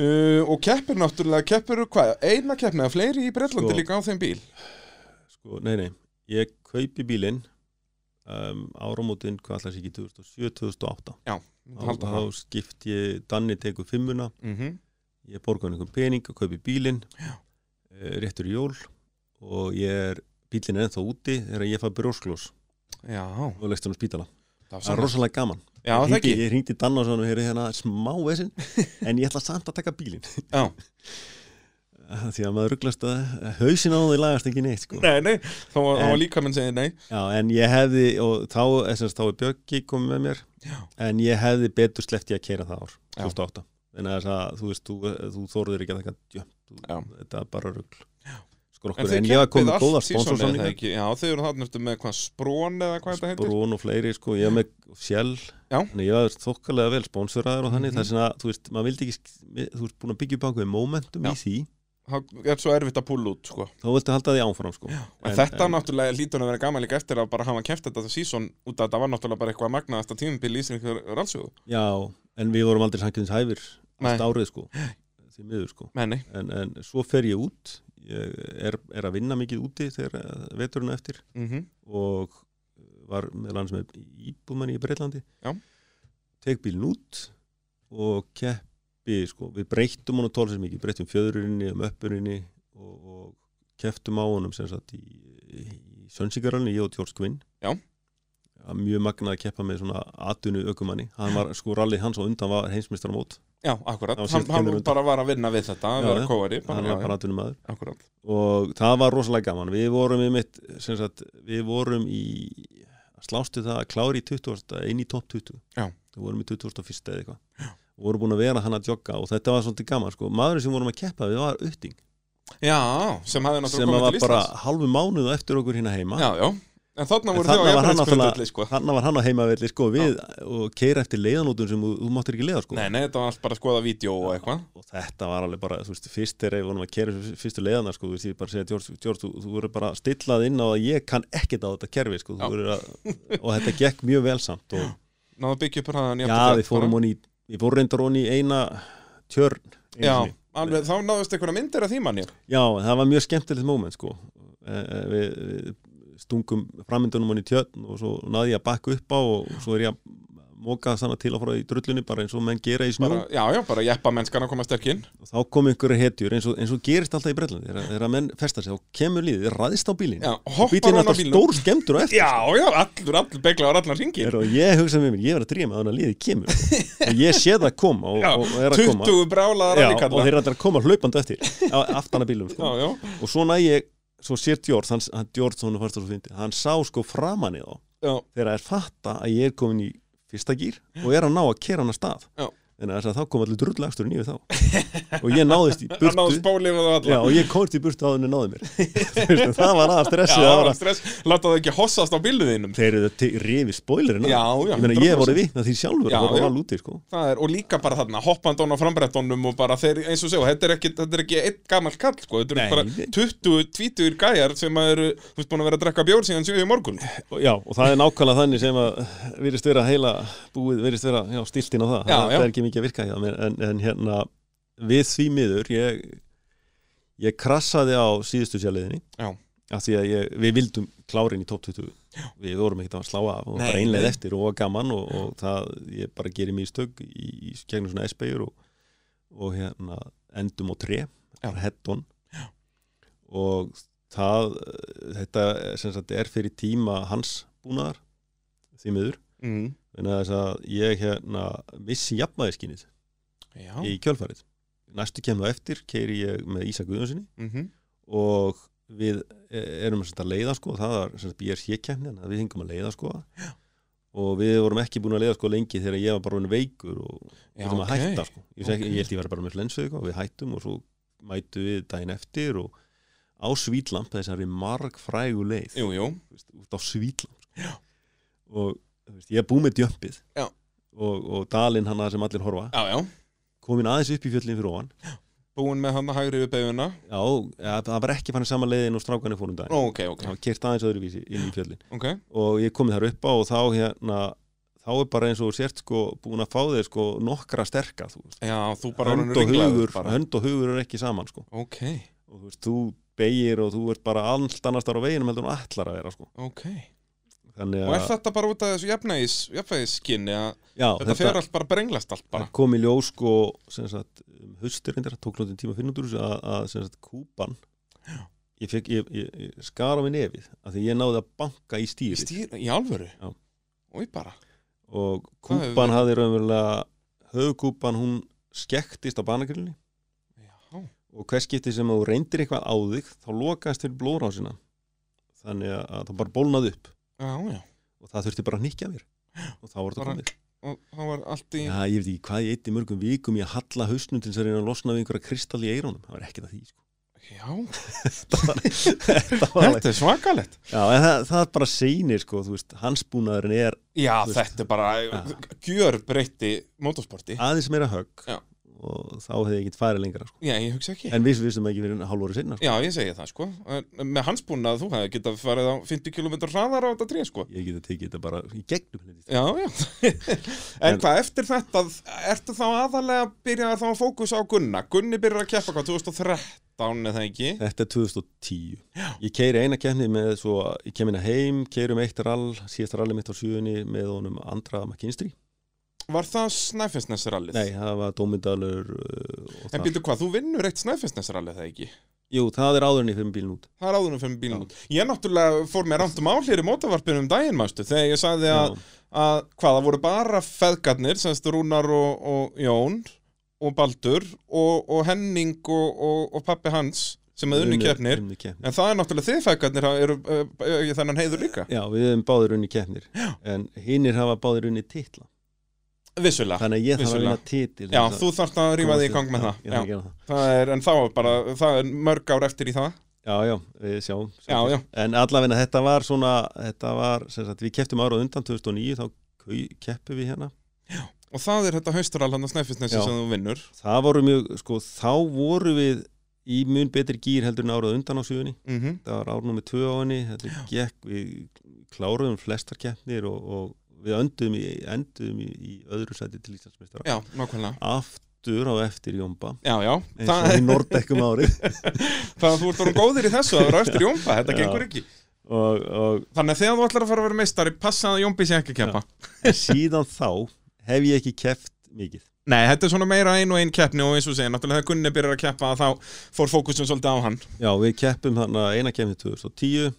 [SPEAKER 1] uh, og keppir náttúrulega, keppir hvað, eina keppni eða fleiri í Bretlandi
[SPEAKER 2] Sko.
[SPEAKER 1] líka á þeim bíl
[SPEAKER 2] sko, nei, nei, ég kaupi bílinn um, áramótin hvað allars ekki 2007-2008 þá,
[SPEAKER 1] halda
[SPEAKER 2] þá
[SPEAKER 1] það
[SPEAKER 2] skipt ég, Danni tekur fimmuna
[SPEAKER 1] mm
[SPEAKER 2] ég borga hann einhver pening og kaupi bílinn eh, réttur í jól og ég er, bílinn er ennþá úti þegar ég fæ brjósklós
[SPEAKER 1] Já,
[SPEAKER 2] og leggst hann á spítala
[SPEAKER 1] það var
[SPEAKER 2] það er
[SPEAKER 1] sann
[SPEAKER 2] rosalega gaman
[SPEAKER 1] Já,
[SPEAKER 2] ég
[SPEAKER 1] það
[SPEAKER 2] hringdi-
[SPEAKER 1] ekki,
[SPEAKER 2] ég hringdi í Danna og sagði hérna, hérna smá vesinn
[SPEAKER 1] *laughs*
[SPEAKER 2] en ég ætla samt að taka bílinn
[SPEAKER 1] já
[SPEAKER 2] Af því að maður rugglast að hausin á því lagast ekki neitt sko.
[SPEAKER 1] Nei, nei, þá var, þá
[SPEAKER 2] En-
[SPEAKER 1] var líka minn segið nei
[SPEAKER 2] Já, en ég hefði, og þá, þess að þá er Björki komið með mér,
[SPEAKER 1] Já.
[SPEAKER 2] en ég hefði betur sleppt ég að keira það ár,
[SPEAKER 1] Já.
[SPEAKER 2] 2008. En þess að, þú veist, þú, þú þorður ekki að taka djömp, þú-
[SPEAKER 1] Já.
[SPEAKER 2] þetta er bara rugl.
[SPEAKER 1] En
[SPEAKER 2] Skrokkur,
[SPEAKER 1] þeir
[SPEAKER 2] Sko, en, ég var
[SPEAKER 1] keppið
[SPEAKER 2] komið
[SPEAKER 1] allt
[SPEAKER 2] með góða
[SPEAKER 1] sísonið, það
[SPEAKER 2] sponsorsamninga,
[SPEAKER 1] ekki? Já, þeir eru þarna ertu með hvað, Sprón eða hvað þetta heitir
[SPEAKER 2] brón og fleiri, sko, ég var með sjell,
[SPEAKER 1] Já.
[SPEAKER 2] en ég var þokkalega vel sponsoraður og þannig,
[SPEAKER 1] Mhm.
[SPEAKER 2] mm -hmm. að, þú veist, maður vildi ekki, sk- þú veist, búin að byggja upp ákveðið momentum
[SPEAKER 1] Já.
[SPEAKER 2] í því,
[SPEAKER 1] Það er svo erfitt að púla út, sko
[SPEAKER 2] þá viltu halda því áfram, sko.
[SPEAKER 1] En,
[SPEAKER 2] En-
[SPEAKER 1] þetta
[SPEAKER 2] en-
[SPEAKER 1] náttúrulega lítur að vera gaman líka eftir að bara hafa kæft þetta sísón út að þetta var náttúrulega bara eitthvað magnaðasta tímubil í Íslingur rannsögu.
[SPEAKER 2] Já, en við vorum aldrei sannkjöðins hæfir allt
[SPEAKER 1] Nei.
[SPEAKER 2] árið sko, því miður sko
[SPEAKER 1] Nei, nei.
[SPEAKER 2] en, en svo fer ég út ég er, er að vinna mikið úti þegar eh, veturinn á eftir
[SPEAKER 1] Mm
[SPEAKER 2] og uh, var með lands með íbúmanni í Breitlandi
[SPEAKER 1] Já.
[SPEAKER 2] tek bílinn út og keppi sko, við breyttum honum tólsins mikið, breyttum fjöðurinni um uppurinni og, og kepptum á honum sem sagt í, í Sönsikaralni, ég og Tjórs Kvinn
[SPEAKER 1] Já.
[SPEAKER 2] Það var mjög magnað að keppa með svona atunu ökumanni, hann var sko rallið hans og undan var heimsmeistaramót,
[SPEAKER 1] Já, akkurat,
[SPEAKER 2] Það var
[SPEAKER 1] hann,
[SPEAKER 2] síðan
[SPEAKER 1] hann
[SPEAKER 2] kemur undan.
[SPEAKER 1] bara var að vinna við þetta að
[SPEAKER 2] Já,
[SPEAKER 1] vera
[SPEAKER 2] já.
[SPEAKER 1] kóari bara,
[SPEAKER 2] hann
[SPEAKER 1] já,
[SPEAKER 2] var bara atunu maður
[SPEAKER 1] já, akkurat.
[SPEAKER 2] og það var rosalega gaman við vorum í mitt sagt, við vorum í slástu það að klára í 20. inn í topp 20
[SPEAKER 1] Já.
[SPEAKER 2] við vorum í 21. eða eitthvað og vorum búin að vera hann að jogga og þetta var svolítið gaman sko. maðurinn sem vorum að keppa við var Utting
[SPEAKER 1] já, sem hafði
[SPEAKER 2] sem
[SPEAKER 1] náttúrulega
[SPEAKER 2] var
[SPEAKER 1] komið til
[SPEAKER 2] bara
[SPEAKER 1] Íslands
[SPEAKER 2] halvu mánuð á eftir okkur hérna heima
[SPEAKER 1] Já, já, en þarna
[SPEAKER 2] En
[SPEAKER 1] voru þau á
[SPEAKER 2] þarna var hann
[SPEAKER 1] jafnvægisgrundvelli sko.
[SPEAKER 2] hann var hann á heimavelli sko, við, og keira eftir leiðanótum sem þú, þú máttir ekki leiða sko.
[SPEAKER 1] Nei, nei, þetta var allt bara að skoða vídeo og eitthvað
[SPEAKER 2] og þetta var alveg bara, þú veist, fyrst þegar við vorum að kera fyrstu leiðana, sko, þú veist, ég bara segja George, George þú, þú verður bara stillað inn á að ég kann ekkert á þetta kerfi, sko,
[SPEAKER 1] Já.
[SPEAKER 2] þú verður að og þetta gekk mjög velsamt og
[SPEAKER 1] Náðu að byggja upp hraðan
[SPEAKER 2] já, við fórum honi, við fórum reyndar honi í eina tjörn, einu
[SPEAKER 1] Já,
[SPEAKER 2] sinni.
[SPEAKER 1] alveg, þá náðust einhverja myndir af því manni
[SPEAKER 2] já, það var mjög skemmtilegt moment, sko Eh, eh, við, við stungum framyndunum honi í tjörn og svo náði ég að bakka upp á og svo er ég að móka þannig til að fara í drullunni bara eins og menn gera í snjó
[SPEAKER 1] bara, Já, já, bara jeppa mennskan að koma sterkinn
[SPEAKER 2] og þá kom einhverju hetjur eins og, eins og gerist alltaf í Bretlandi þegar þegar að menn festa sig og kemur liðið, ræðist á bílinn
[SPEAKER 1] Já,
[SPEAKER 2] og
[SPEAKER 1] hoppar
[SPEAKER 2] bílinn
[SPEAKER 1] hann á
[SPEAKER 2] alltaf
[SPEAKER 1] bílnum
[SPEAKER 2] stór skemmtur á eftir
[SPEAKER 1] Já, já, allur, allur beglaður allan ringin
[SPEAKER 2] Er, og ég hugsa með mér, ég verð að dríma þannig að liðið
[SPEAKER 1] *laughs*
[SPEAKER 2] kemur og ég sé það koma og,
[SPEAKER 1] Já,
[SPEAKER 2] og er að koma
[SPEAKER 1] 20 brálaðar
[SPEAKER 2] Já, og
[SPEAKER 1] allikalla
[SPEAKER 2] þeir eru að koma hlaupandi eftir á aftana bílum
[SPEAKER 1] Já,
[SPEAKER 2] sko.
[SPEAKER 1] já,
[SPEAKER 2] og svo næ ég, svo sér Djórð hann, hann Djórð svona fannst það svo fyndi, hann sá sko framan í þá
[SPEAKER 1] já,
[SPEAKER 2] þegar það er fatta að ég er komin í fyrsta gýr og er að ná að kera hann að stað
[SPEAKER 1] Já.
[SPEAKER 2] en þess að þá kom allir drullagstur nýju þá og ég náðist í
[SPEAKER 1] *laughs* hann náðu
[SPEAKER 2] burtu
[SPEAKER 1] spólið og alla
[SPEAKER 2] Já, og ég komst í burtu á þenni náði mér *laughs* Þú veist, það var aða stressið
[SPEAKER 1] Já,
[SPEAKER 2] það var að
[SPEAKER 1] stress, láta það ekki hossast á bíluðinum
[SPEAKER 2] þeir eru þetta rifi spoilerinn af.
[SPEAKER 1] Já, já,
[SPEAKER 2] ég meina ég
[SPEAKER 1] 100%.
[SPEAKER 2] voru vitna því
[SPEAKER 1] Já,
[SPEAKER 2] sjálfur að
[SPEAKER 1] já.
[SPEAKER 2] voru alveg úti sko.
[SPEAKER 1] Það er, og líka bara þarna, hoppandón og frambrettónum og bara þeir, eins og segja, þetta er ekki, þetta er ekki einn gamall kall, sko, þetta
[SPEAKER 2] Nei,
[SPEAKER 1] eru bara
[SPEAKER 2] nei.
[SPEAKER 1] 20, 20 gæjar sem að eru, þú veist, búin að vera að drekka bjór síðan 7 í morgun.
[SPEAKER 2] og, já, og það er nákvæmlega þannig sem að virðist vera heila búið, virðist vera já, stiltin á það,
[SPEAKER 1] Já,
[SPEAKER 2] það
[SPEAKER 1] já.
[SPEAKER 2] er ekki mikið að virka hjá mér en, en hérna, við því miður ég, ég krassaði á síðustu sjálfliðinni
[SPEAKER 1] Já.
[SPEAKER 2] af því að ég, við vildum klárin í top 20 við vorum ekkert að slá af og
[SPEAKER 1] Nei,
[SPEAKER 2] bara einlega
[SPEAKER 1] nei.
[SPEAKER 2] eftir og var gaman og, og það, ég bara gerir mér í stögg í, í gegnum svona S-beigur og, og hérna endum á tre
[SPEAKER 1] Já.
[SPEAKER 2] heddon og það eh, þetta eh, sem sagt er fyrir tíma hans búnaðar því miður
[SPEAKER 1] mm.
[SPEAKER 2] en þess að ég hérna vissi jafnvæðiskinnið
[SPEAKER 1] Já,
[SPEAKER 2] í kjölfarið næstu kemur á eftir keiri ég með Ísa Guðjónssoni
[SPEAKER 1] mhm,
[SPEAKER 2] og við eh, erum sem sagt að leiða sko, það var sem sagt BRC-kemni þannig að við hengum að leiða sko og við vorum ekki búin að leiða sko lengi þegar ég var bara orðinn veikur og
[SPEAKER 1] já,
[SPEAKER 2] við þurfum að hætta sko. ég, okay.
[SPEAKER 1] Ok.
[SPEAKER 2] ég held ég verið bara með flensu eitthvað, við hættum og svo mætu við daginn eftir og á Svítlamp þessari margfrægu leið
[SPEAKER 1] Jú, jú,
[SPEAKER 2] þú veist, út á Svítlamp sko. og þú veist, ég er búið með djömpið
[SPEAKER 1] Já.
[SPEAKER 2] og, og dalinn hann að sem allir horfa
[SPEAKER 1] já, já
[SPEAKER 2] komin aðeins upp í fjöllin fyrir ofan
[SPEAKER 1] Búin með hann að hægri við beiguna
[SPEAKER 2] já, ja, það var ekki fannig sama leiðin og strákanir fórum daginn
[SPEAKER 1] Ó, ok, ok,
[SPEAKER 2] það var kert aðeins öðruvísi inn í fjöllin
[SPEAKER 1] ok
[SPEAKER 2] og ég komið þar upp á og þá hérna þá er bara eins og þú sért sko búin að fá þér sko nokkra sterka þú veist
[SPEAKER 1] Já, þú bara
[SPEAKER 2] hönd
[SPEAKER 1] orðinn
[SPEAKER 2] og,
[SPEAKER 1] ringlaður
[SPEAKER 2] hugur,
[SPEAKER 1] bara.
[SPEAKER 2] hönd og hugur er ekki saman sko.
[SPEAKER 1] Ok,
[SPEAKER 2] og þú veist, þú beigir og þú ert bara allt annars þar á veginum heldur en þú ætlar að vera sko.
[SPEAKER 1] ok
[SPEAKER 2] þannig
[SPEAKER 1] Og
[SPEAKER 2] að
[SPEAKER 1] er þetta bara út af þessu jafnægis, jafnægisskinni að
[SPEAKER 2] já,
[SPEAKER 1] þetta fer allt bara brenglast allt bara
[SPEAKER 2] það kom í ljós sko, sem sagt, um haustið reyndar, það tók náttúrulega tíma að finna út úr þessu að, að sem sagt, kúpan ég, fekk, ég, ég, ég skar á mig nefið af því ég náði að banka í
[SPEAKER 1] Í
[SPEAKER 2] stýri
[SPEAKER 1] stýr, í alvöru
[SPEAKER 2] Já.
[SPEAKER 1] Új bara,
[SPEAKER 2] og
[SPEAKER 1] Það hefur
[SPEAKER 2] kúpan hafði raunverulega höfukúpan hún skektist á banakrillinni
[SPEAKER 1] já,
[SPEAKER 2] og hvers skipti sem þú reyndir eitthvað á þig þá lokaðist fyrir blóðrásina þannig að- að það bara bólnaði upp
[SPEAKER 1] já, já
[SPEAKER 2] og það þurfti bara að nýkja mér og þá var þetta
[SPEAKER 1] Bara-
[SPEAKER 2] komið
[SPEAKER 1] Og það var allt í
[SPEAKER 2] Já, ég veit ekki hvað ég eitt í mörgum vikum ég halla hausnum til þess að reyna að losna við einhverja kristall í eirónum, það var ekkert að því sko. *laughs*
[SPEAKER 1] Já,
[SPEAKER 2] það var, það var alveg-
[SPEAKER 1] þetta er svakalegt
[SPEAKER 2] Já, en það, það bara seinir sko, þú veist, hansbúnaðurinn er
[SPEAKER 1] Já,
[SPEAKER 2] Þú veist-
[SPEAKER 1] þetta er bara gjör breytti motorsporti
[SPEAKER 2] aðeins meira högg
[SPEAKER 1] Já.
[SPEAKER 2] og þá hefði ég ekkert farið lengra sko.
[SPEAKER 1] Já, ég hugsa ekki
[SPEAKER 2] en við vissum ekki fyrir hálfóri sinna sko.
[SPEAKER 1] Já, ég segi það sko En Með hans búin að þú hefði getað farið á 50 km hraðar á þetta tré sko
[SPEAKER 2] ég geti tekið þetta bara í gegnum hluti.
[SPEAKER 1] Já, já *laughs* En
[SPEAKER 2] En-
[SPEAKER 1] hvað, eftir þetta Ertu þá aðalega byrjaði þá að fókus á Gunna Gunni byrjar að keppa hvað, 2013 eða ekki
[SPEAKER 2] þetta er 2010 ég keiri eina kemni með svo ég kem inn að heim, keirum eitt rall síðast ralli mitt á sjöunni með honum andra McKinstry,
[SPEAKER 1] Var það Snæfisnesrallið?
[SPEAKER 2] nei, það var Dómindalur uh, og
[SPEAKER 1] En
[SPEAKER 2] það
[SPEAKER 1] býtu hvað, þú vinnur eitt Snæfisnesrallið eða ekki?
[SPEAKER 2] jú, það er áður en ég fyrir bílinn út
[SPEAKER 1] Það er áðunum fyrir bílum út. Ég náttúrulega fór mér randum áhlir í mótavarpinu um daginn, mástu, þegar ég sagði að,
[SPEAKER 2] Já.
[SPEAKER 1] að hvað, það voru bara feðgarnir, semst Rúnar og, og Jón og Baldur og, og Henning og, og, og pappi hans sem er unni
[SPEAKER 2] Unnu-
[SPEAKER 1] keppnir.
[SPEAKER 2] unnu keppnir.
[SPEAKER 1] En það er náttúrulega þið feðgarnir, það eru uh, uh, þennan heiður líka.
[SPEAKER 2] Já, við hefum báðir unni keppnir en hinnir hafa báðir unni titla
[SPEAKER 1] Vissulega.
[SPEAKER 2] þannig að ég þarf að
[SPEAKER 1] vissulega.
[SPEAKER 2] vinna titil
[SPEAKER 1] Já,
[SPEAKER 2] til þess
[SPEAKER 1] þú þarft að rýma
[SPEAKER 2] komast
[SPEAKER 1] þig í gang með
[SPEAKER 2] Já,
[SPEAKER 1] það.
[SPEAKER 2] ég þarf að
[SPEAKER 1] Já,
[SPEAKER 2] gera það.
[SPEAKER 1] það er, en þá er bara, það er mörg ár eftir í það.
[SPEAKER 2] Já, já, við sjáum
[SPEAKER 1] Já,
[SPEAKER 2] sjáum.
[SPEAKER 1] já.
[SPEAKER 2] En allavegna þetta var svona þetta var, sem sagt, við kepptum ára undan 2009 þá kau- keppum við hérna
[SPEAKER 1] Og það er þetta hausturall hann að snæfisnesi
[SPEAKER 2] Já.
[SPEAKER 1] sem þú vinnur.
[SPEAKER 2] það voru mjög, sko, þá voru við í mun betri gýr heldur en árað undan á sjöunni,
[SPEAKER 1] Mm
[SPEAKER 2] það var árnúmi tvö á henni þetta gekk, við kláruðum flestar keppnir og, og við önduðum í, enduðum í, í öðru sæti til Íslandsmeistara
[SPEAKER 1] Já, nákvæmlega.
[SPEAKER 2] aftur á eftir Jómba
[SPEAKER 1] Já, já.
[SPEAKER 2] eins
[SPEAKER 1] Það-
[SPEAKER 2] og í Nordekkum árið
[SPEAKER 1] Það þú ert orðin góðir í þessu að vera eftir Jómba, þetta
[SPEAKER 2] Já.
[SPEAKER 1] gengur ekki
[SPEAKER 2] og, og
[SPEAKER 1] Þannig að þegar þú ætlar að fara að vera meistari, passa að Jómbi sé ekki að keppa
[SPEAKER 2] en síðan þá hef ég ekki keft mikið
[SPEAKER 1] Nei, þetta er svona meira ein og ein keppni og eins og segja, náttúrulega þegar Gunni byrjar að keppa að þá fór fókusum svolítið á hann
[SPEAKER 2] já, við keppum hann að eina kemni 2010 uh,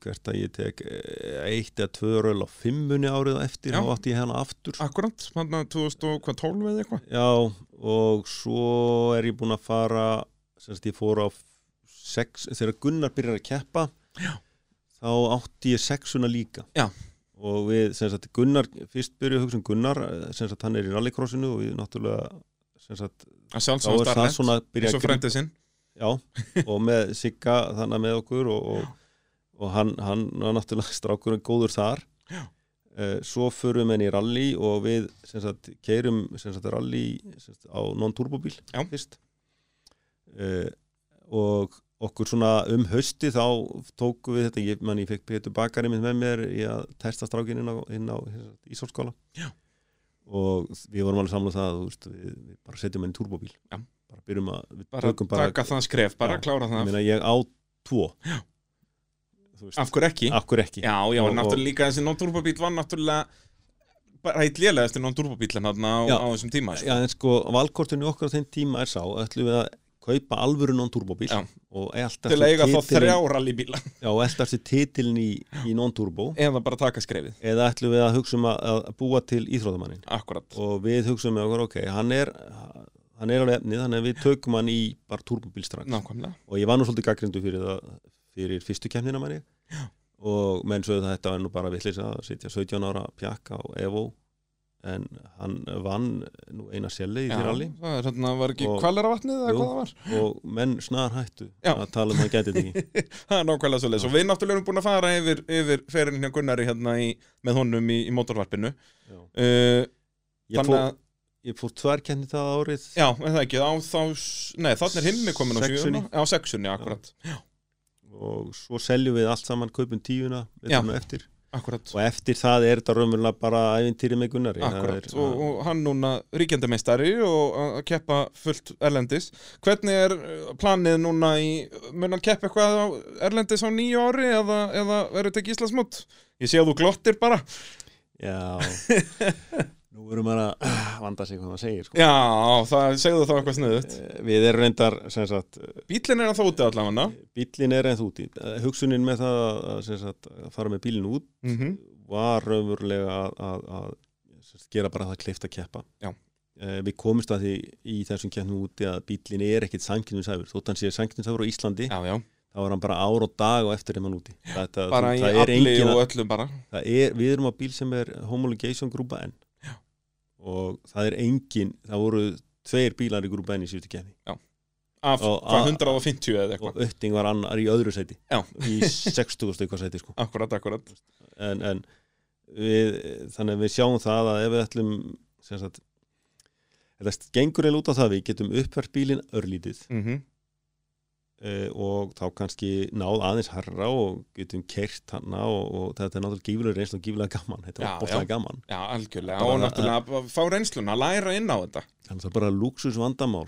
[SPEAKER 2] hvert að ég tek eh, eitt eða tvö röl á fimmunni árið á eftir
[SPEAKER 1] Já.
[SPEAKER 2] þá átti ég hana aftur
[SPEAKER 1] Akkurát, hann að 2012 eða eitthvað
[SPEAKER 2] Já, og svo er ég búinn að fara sem sagt ég fór á sex, þegar Gunnar byrjar að keppa
[SPEAKER 1] Já.
[SPEAKER 2] þá átti ég sexuna líka
[SPEAKER 1] Já.
[SPEAKER 2] og við, sem sagt, Gunnar fyrst byrjuð að hugsa um Gunnar, eh, sem sagt, hann er í rallycrossinu og við náttúrulega sem sagt,
[SPEAKER 1] Að
[SPEAKER 2] þá er
[SPEAKER 1] sjálfsögum
[SPEAKER 2] það
[SPEAKER 1] starrend,
[SPEAKER 2] svona að byrja
[SPEAKER 1] eins
[SPEAKER 2] að
[SPEAKER 1] og frændið sinn *laughs*
[SPEAKER 2] já, og með Sigga þannig með okkur og, og, og hann, hann var náttúrulega *laughs* strákurinn góður þar
[SPEAKER 1] Já.
[SPEAKER 2] Eh, svo förum við henni í rally og við sem sagt, keirum sem sagt, rally sem sagt, á non-turbóbíl
[SPEAKER 1] Já.
[SPEAKER 2] fyrst uh, og okkur svona um hausti þá tókum við þetta, ég, man, ég fekk Pétur Bakari minn með mér í að testa strákin inn á, inn á sem sagt, ísólskóla
[SPEAKER 1] Já.
[SPEAKER 2] og við vorum alveg samlega það þú veist, við, við bara setjum henni í turbóbíl
[SPEAKER 1] Já.
[SPEAKER 2] bara byrjum að, við
[SPEAKER 1] Bara
[SPEAKER 2] tökum bara
[SPEAKER 1] taka það skref, bara
[SPEAKER 2] Já,
[SPEAKER 1] klára
[SPEAKER 2] ég
[SPEAKER 1] það
[SPEAKER 2] meina ég á tvo Þú veist,
[SPEAKER 1] Af hverju ekki?
[SPEAKER 2] af hverju ekki
[SPEAKER 1] Já, já,
[SPEAKER 2] Og-
[SPEAKER 1] náttúrulega líka þessi non-turbobít var náttúrulega bara eitt lélega eftir náttúr turbóbílan þarna á,
[SPEAKER 2] Já.
[SPEAKER 1] á þessum tíma sko.
[SPEAKER 2] Já, en sko, valkortinu okkar á þeim tíma er sá, ætlum við að kaupa alvöru non-turbóbíl
[SPEAKER 1] Já.
[SPEAKER 2] og eltast
[SPEAKER 1] til að eiga þá
[SPEAKER 2] titilinn-
[SPEAKER 1] þrjá rallybíla
[SPEAKER 2] Já, og eltast við titilin í, í non-turbó
[SPEAKER 1] eða bara taka skrefið,
[SPEAKER 2] eða ætlum við að hugsa um að, að búa til íþróttamannin
[SPEAKER 1] akkurat
[SPEAKER 2] og við hugsa um með okkur, ok, hann er hann er alveg efnið, þannig að við tökum hann í bara turbóbíl strax
[SPEAKER 1] nákvæmlega,
[SPEAKER 2] og ég var nú svolítið gaggrindu fyrir það fyrir fyrstu kemnina manni og menn sögðu það þetta var nú bara villis að sitja 17 ára pjakka á Evo en hann vann nú eina selli í
[SPEAKER 1] Já,
[SPEAKER 2] því ralli
[SPEAKER 1] það er hérna, var ekki
[SPEAKER 2] Og-
[SPEAKER 1] kvalara vatnið eða
[SPEAKER 2] Jú.
[SPEAKER 1] hvað það var
[SPEAKER 2] og menn snar hættu
[SPEAKER 1] Já.
[SPEAKER 2] að tala um að hann gæti
[SPEAKER 1] *laughs*
[SPEAKER 2] þetta ekki
[SPEAKER 1] Það er nákvæmlega svo leis og við náttúrulega erum búin að fara yfir, yfir ferinn hjá Gunnari hérna í, með honum í, í mótorvarpinu
[SPEAKER 2] Já.
[SPEAKER 1] uh,
[SPEAKER 2] ég
[SPEAKER 1] Þannig
[SPEAKER 2] fór,
[SPEAKER 1] að,
[SPEAKER 2] ég fór tvær kemni það árið
[SPEAKER 1] já, er það ekki, á þá, s- nei þannig er himmi komin á
[SPEAKER 2] Sexunni.
[SPEAKER 1] sjöuna. á sexunni, akkurat,
[SPEAKER 2] og svo seljum við allt saman kaupum tíuna
[SPEAKER 1] Já.
[SPEAKER 2] og eftir.
[SPEAKER 1] akkurat,
[SPEAKER 2] og eftir það er þetta raunverulega bara ævintýri með Gunnari Það
[SPEAKER 1] akkurat.
[SPEAKER 2] er,
[SPEAKER 1] Og, og hann núna ríkjandameistari og að að keppa fullt erlendis hvernig er uh, planið núna í mun hann keppa eitthvað á erlendis á nýju ári eða, eða verður þetta ekki Íslandsmót? Ég sé að þú glottir bara
[SPEAKER 2] já
[SPEAKER 1] *laughs*
[SPEAKER 2] nú erum við að ah, vanda sig hvað maður segir sko.
[SPEAKER 1] Já, það segðu þá eitthvað sniðut
[SPEAKER 2] Eh, við erum reyndar sem sagt,
[SPEAKER 1] Bíllinn er að það úti allavega
[SPEAKER 2] bílinn er ennþ úti Eh, hugsunin með það að, sem sagt, að fara með bílinn út
[SPEAKER 1] mm
[SPEAKER 2] var raunverulega að, að, að sem sagt, gera bara það kleift að keppa
[SPEAKER 1] Já.
[SPEAKER 2] Eh, Við komumst að því í þessum keppnum úti að bílinn er ekkit sanginumsæfur þótt hann sé sanginumsæfur á Íslandi
[SPEAKER 1] Já, já
[SPEAKER 2] þá er hann bara ár og dag og eftir þeim hann úti Þetta,
[SPEAKER 1] bara
[SPEAKER 2] þú-
[SPEAKER 1] í
[SPEAKER 2] það er
[SPEAKER 1] afli
[SPEAKER 2] engin að-
[SPEAKER 1] og öllu bara
[SPEAKER 2] það er, við erum á bíl sem er homologation grúpa N
[SPEAKER 1] Já.
[SPEAKER 2] og það er engin, það voru tveir bílar í grúpa N í síðustu kefni
[SPEAKER 1] af
[SPEAKER 2] Og
[SPEAKER 1] hvað
[SPEAKER 2] að-
[SPEAKER 1] 150 eða
[SPEAKER 2] og
[SPEAKER 1] eitthvað
[SPEAKER 2] ötting var annar í öðru seti
[SPEAKER 1] Já.
[SPEAKER 2] í 60 stöku seti sko.
[SPEAKER 1] akkurat, akkurat
[SPEAKER 2] en, en við, þannig að við sjáum það að ef við ætlum sem sagt ef það gengur eða út á það að við getum uppverð bílinn örlítið
[SPEAKER 1] mm
[SPEAKER 2] eh, og þá kannski náð aðeins harra og getum kert hana og, og þetta er náttúrulega gífulega reynslu og gífulega gaman þetta
[SPEAKER 1] Já,
[SPEAKER 2] var bóttlega gaman
[SPEAKER 1] já, algjörlega
[SPEAKER 2] Bara
[SPEAKER 1] og
[SPEAKER 2] að-
[SPEAKER 1] náttúrulega að fá reynsluna, læra inn á þetta
[SPEAKER 2] þannig að það er bara luxus vandamál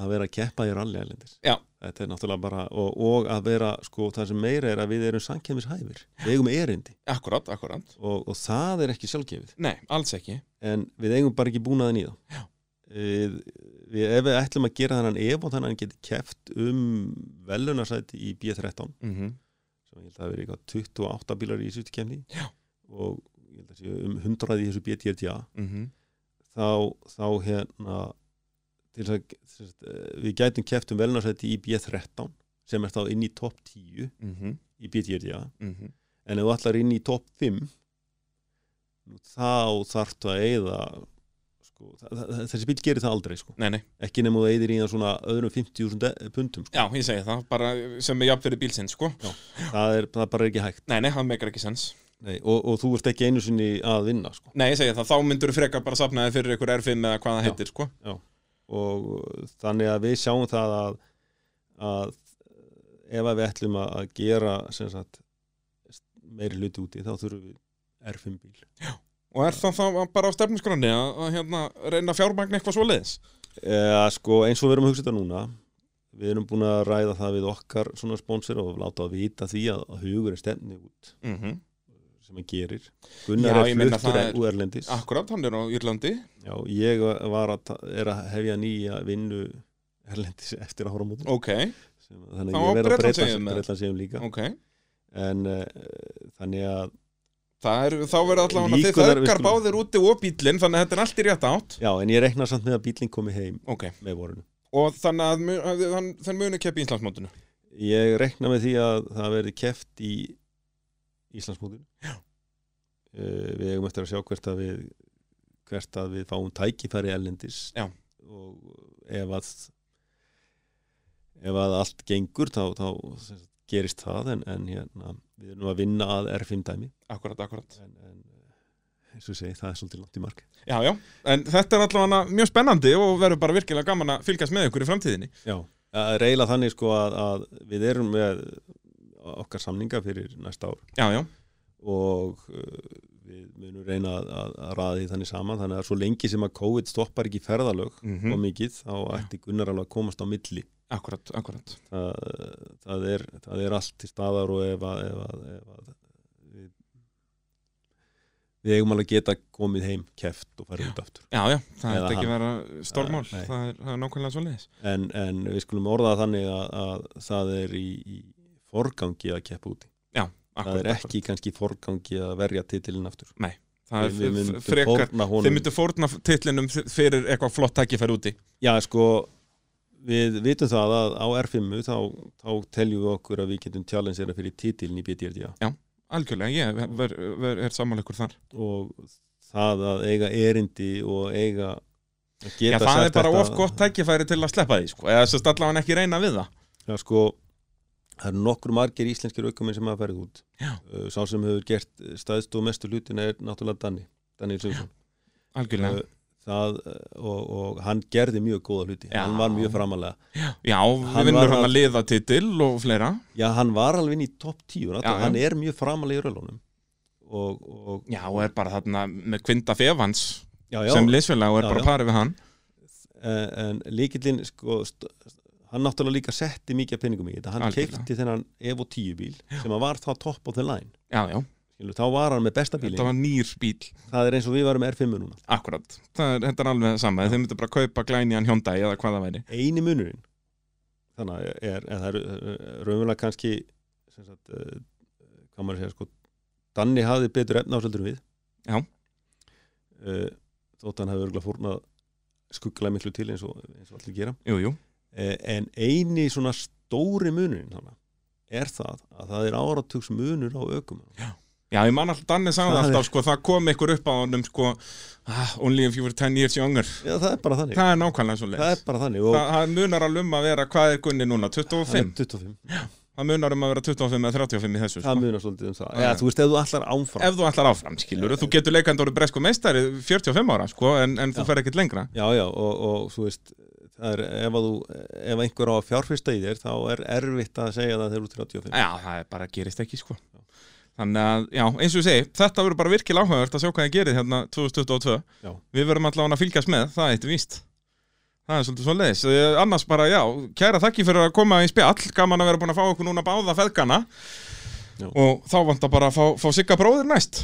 [SPEAKER 2] að vera að keppa í rally ælendis
[SPEAKER 1] Já.
[SPEAKER 2] þetta er náttúrulega bara og, og að vera sko það sem meira er að við erum sankjæmishæfir við eigum erindi
[SPEAKER 1] akkurat, akkurat
[SPEAKER 2] og, og það er ekki sjálfgefið
[SPEAKER 1] nei, alls ekki
[SPEAKER 2] en við eigum bara ekki búnaðin í það við, við, ef við ætlum að gera þannan ef og þannig að hann geti keft um velunarsæti í B13
[SPEAKER 1] mm -hmm.
[SPEAKER 2] sem ég held að vera eitthvað 28 bílar í sýttu kemni og ég held að séu um 100 í þessu BTRTA mhm, þá, þá hérna til þess að til þess að, eh, við gætum keft um velunarsæti í B13 sem er þá inn í topp 10 í BTRTA en ef þú ætlar inn í topp 5 nú þá þarftu að eigða sko, þa- þa- þa- þessi bíl gerir það aldrei sko.
[SPEAKER 1] nei, nei,
[SPEAKER 2] ekki nema þú eigðir í það svona öðrum 50.000 pundum sko.
[SPEAKER 1] já, ég segi það bara sem er jafn fyrir bílsinn, sko
[SPEAKER 2] það, er, það bara er ekki hægt
[SPEAKER 1] nei, nei, það meikar ekki sens
[SPEAKER 2] Nei, og, og þú ert ekki einu sinni að vinna sko.
[SPEAKER 1] nei, ég segi það, þá myndur frekar bara safnaði fyrir ykkur R5 eða hvað það
[SPEAKER 2] Já.
[SPEAKER 1] heitir, sko
[SPEAKER 2] og þannig að við sjáum það að, að ef að við ætlum að að gera sem sagt, meiri hluti úti þá þurfum við R5 bíl
[SPEAKER 1] og er það þá bara á stefnusgrunni að, að hérna, reyna fjármagn eitthvað svoleiðis
[SPEAKER 2] Eða, sko, eins og við erum að hugsa þetta núna við erum búin að ræða það við okkar svona sponsor og láta að vita því að, að hugur er stefni út
[SPEAKER 1] mm
[SPEAKER 2] sem hann gerir Gunnar
[SPEAKER 1] Já, ég
[SPEAKER 2] er
[SPEAKER 1] meina
[SPEAKER 2] fluttur
[SPEAKER 1] það er-
[SPEAKER 2] úr Erlendis
[SPEAKER 1] akkurat, hann er á Írlandi
[SPEAKER 2] Já, ég var að, ta- er að hefja nýja vinnu Erlendis *laughs* eftir að horfa
[SPEAKER 1] ok,
[SPEAKER 2] þannig
[SPEAKER 1] Þá
[SPEAKER 2] að ég verð
[SPEAKER 1] Bretlandseyjum
[SPEAKER 2] að breyta
[SPEAKER 1] eða?
[SPEAKER 2] breyta sér um líka
[SPEAKER 1] ok
[SPEAKER 2] en uh, þannig að
[SPEAKER 1] Það er, þá verður allavega að þið
[SPEAKER 2] Líkurnar- við
[SPEAKER 1] þaukar
[SPEAKER 2] skulum-
[SPEAKER 1] báðir úti og bílinn þannig að þetta er allt í rétt átt
[SPEAKER 2] já, en ég rekna samt með að bílinn komi heim
[SPEAKER 1] Ok,
[SPEAKER 2] með vorinu.
[SPEAKER 1] og þannig að mu- að þann, þann muni keppi í Íslandsmótinu
[SPEAKER 2] Ég rekna með því að það verði keft í Íslandsmótinu uh, við eigum eftir að sjá hvert að við hvert að við fáum tækifæri erlendis
[SPEAKER 1] Já.
[SPEAKER 2] og ef að ef að allt gengur þá, þá sem sagt, gerist það en, en hérna, við erum að vinna að R5 dæmi
[SPEAKER 1] Akkurat, akkurat
[SPEAKER 2] en, en eh, eins og ég segi, það er svolítið langt í mark
[SPEAKER 1] Já, já, en þetta er allavega mjög spennandi og verður bara virkilega gaman að fylgjast með ykkur í framtíðinni
[SPEAKER 2] Já, að reyla þannig sko að, að við erum með okkar samninga fyrir næsta ár
[SPEAKER 1] Já, já,
[SPEAKER 2] og uh, við munum reyna að, að, að raða því þannig saman þannig að svo lengi sem að COVID stoppar ekki ferðalög mm.
[SPEAKER 1] mm -hmm.
[SPEAKER 2] og mikið þá ætti Gunnar alveg að komast á milli
[SPEAKER 1] akkurat, akkurat
[SPEAKER 2] það, það, er, það er allt til staðar og ef að, ef að, ef að við við eigum alveg að geta komið heim keft og farið út aftur
[SPEAKER 1] Já, já, það
[SPEAKER 2] Eða
[SPEAKER 1] er ekki
[SPEAKER 2] hann.
[SPEAKER 1] vera stórmál,
[SPEAKER 2] Nei.
[SPEAKER 1] það er, það er nákvæmlega svo leiðis.
[SPEAKER 2] en, en við skulum orða það þannig að, að það er í, í forgangi að keppa úti það er ekki kannski í forgangi að verja titilin aftur
[SPEAKER 1] Það er
[SPEAKER 2] Við
[SPEAKER 1] f-
[SPEAKER 2] myndum
[SPEAKER 1] f- frekar,
[SPEAKER 2] fórna honum.
[SPEAKER 1] þið myndu fórna titlinum fyrir eitthvað flott tækifæri úti.
[SPEAKER 2] Já, sko, við vitum það að á R5 þá, þá teljum við okkur að við getum challengera fyrir titilin í BDRDA
[SPEAKER 1] Algjörlega, ég ver, ver, ver, er sammála ykkur þar.
[SPEAKER 2] og það að eiga erindi og eiga að
[SPEAKER 1] Já,
[SPEAKER 2] geta
[SPEAKER 1] það er
[SPEAKER 2] sagt
[SPEAKER 1] bara
[SPEAKER 2] þetta-
[SPEAKER 1] of gott tækifæri til að sleppa því, sko. Eða þess að allavega ekki reyna við það.
[SPEAKER 2] Já, sko, það eru nokkur margir íslenskir aukuminn sem hafa farið út
[SPEAKER 1] Já.
[SPEAKER 2] Uh, Sá sem hefur gert stæðst og mestu hlutina er náttúrulega Danni Danni Sigurðsson
[SPEAKER 1] Algjörlega.
[SPEAKER 2] Uh, það, uh, og, og hann gerði mjög góða hluti
[SPEAKER 1] Já.
[SPEAKER 2] hann var mjög framalega
[SPEAKER 1] Uh, Já,
[SPEAKER 2] hann
[SPEAKER 1] við vinnur
[SPEAKER 2] var
[SPEAKER 1] hann
[SPEAKER 2] að-
[SPEAKER 1] að liða titil og fleira.
[SPEAKER 2] já, hann var alveg inn í topp
[SPEAKER 1] Já,
[SPEAKER 2] 10
[SPEAKER 1] já.
[SPEAKER 2] hann er mjög framalega í rölunum og, og
[SPEAKER 1] Já, og er bara þarna með kvinda fefans
[SPEAKER 2] já, já,
[SPEAKER 1] sem liðsfélag og er
[SPEAKER 2] Já,
[SPEAKER 1] bara
[SPEAKER 2] já.
[SPEAKER 1] parið við hann.
[SPEAKER 2] en, en líkillin sko, st- hann náttúrulega líka setti mikið af peningum í þetta, hann
[SPEAKER 1] Algjörlega.
[SPEAKER 2] keipti þennan Evo 10 bíl sem að var þá topp á the line
[SPEAKER 1] Já, já,
[SPEAKER 2] Skilu, þá var hann með besta bílin
[SPEAKER 1] þetta var nýr bíl.
[SPEAKER 2] það er eins og við varum R5 núna
[SPEAKER 1] Akkurat, það er, þetta er alveg sama Þeir myndu bara kaupa glænian hjóndæi eða hvað það væri
[SPEAKER 2] eini munurinn þannig að er, er, það er raunverulega kannski sem sagt, eh, hvað maður að segja sko, Danni hafði betur efnáseldur við
[SPEAKER 1] Já.
[SPEAKER 2] Eh, þótt hann hafði örgulega fórnað skuggla miklu til eins og, eins og allir gera
[SPEAKER 1] Jú, jú,
[SPEAKER 2] Eh, en eini svona stóri munurinn þannig, er það að það er áratugs munur á ökum
[SPEAKER 1] já ég man alltaf Danni sagði
[SPEAKER 2] Það
[SPEAKER 1] alltaf sko, það kom ykkur upp á honum sko, ah, only if you were 10 years younger
[SPEAKER 2] Já, það er bara þannig
[SPEAKER 1] Það er nákvæmlega svo leið
[SPEAKER 2] það
[SPEAKER 1] það,
[SPEAKER 2] er bara þannig og
[SPEAKER 1] það munar alveg um að vera, hvað er Gunni núna?
[SPEAKER 2] hann er
[SPEAKER 1] 25?
[SPEAKER 2] 25,
[SPEAKER 1] Það munar um að vera 25 eða 35 í þessu sko.
[SPEAKER 2] það munar svolítið um það
[SPEAKER 1] Já,
[SPEAKER 2] Já,
[SPEAKER 1] já.
[SPEAKER 2] þú veist, ef þú allar ámfram
[SPEAKER 1] Ef þú ætlar áfram, skilur Þú getur leikandi orðið bresku meistari 45 ára, sko, en, en þú
[SPEAKER 2] Já.
[SPEAKER 1] fer ekkert lengra
[SPEAKER 2] Já, já, og, og þú veist það er, ef, að þú, ef einhver á að fjárfyrsta í þér þá er erfitt að segja það þegar þú ert 35
[SPEAKER 1] Já, það er bara gerist ekki sko Þannig að, já, eins og ég segi, þetta verður bara virkilega áhugavert að sjá hvað það gerir hérna 2022
[SPEAKER 2] Já.
[SPEAKER 1] Við verðum allavega að fylgjast með, það er eitt víst Það er svolítið svo leiðis Annars bara, já, kæra þakki fyrir að koma í spjall Gaman að vera búin að fá okkur núna báða feðgana
[SPEAKER 2] Já.
[SPEAKER 1] Og þá vantar bara að fá, fá sigga bróðir næst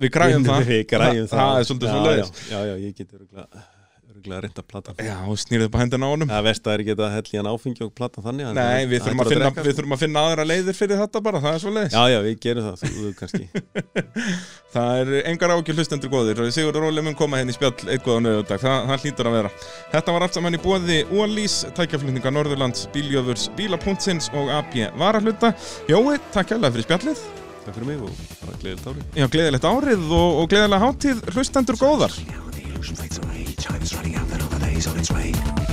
[SPEAKER 1] Við græjum það
[SPEAKER 2] *laughs* Við græjum það
[SPEAKER 1] Það er svolítið svo leiðis
[SPEAKER 2] já, já, já, ég get örgulega reynd að plata
[SPEAKER 1] Já, snýrðu bara hendina á honum
[SPEAKER 2] Það verst að er ekki að hella í hann áfengi og plata þannig hann-
[SPEAKER 1] Nei, við
[SPEAKER 2] hann
[SPEAKER 1] þurfum, að
[SPEAKER 2] hættur
[SPEAKER 1] finna,
[SPEAKER 2] drekka,
[SPEAKER 1] við
[SPEAKER 2] sko.
[SPEAKER 1] þurfum að finna aðra leiðir fyrir þetta bara, það er svo leiðis
[SPEAKER 2] Já, já, við gerum það, þú, þú kannski
[SPEAKER 1] Það er engar ágjur hlustendur góðir og Sigur Róli mun koma henni í spjall eitthvað á nöðudag, það, það hlýtur að vera. Þetta var allt saman í bóði Ólís, tækjaflutninga Norðurlands, Bíljöfurs, Bílapunktsins og AB Varahluta. Jói, takk hérlega fyrir spjallið.
[SPEAKER 2] Takk fyrir mig og bara gleðið árið
[SPEAKER 1] Já, gleðilegt árið og, og gleðilega hátíð hlustendur góðar.
[SPEAKER 3] Now the ocean fades away, time's running out, that other day's on its way.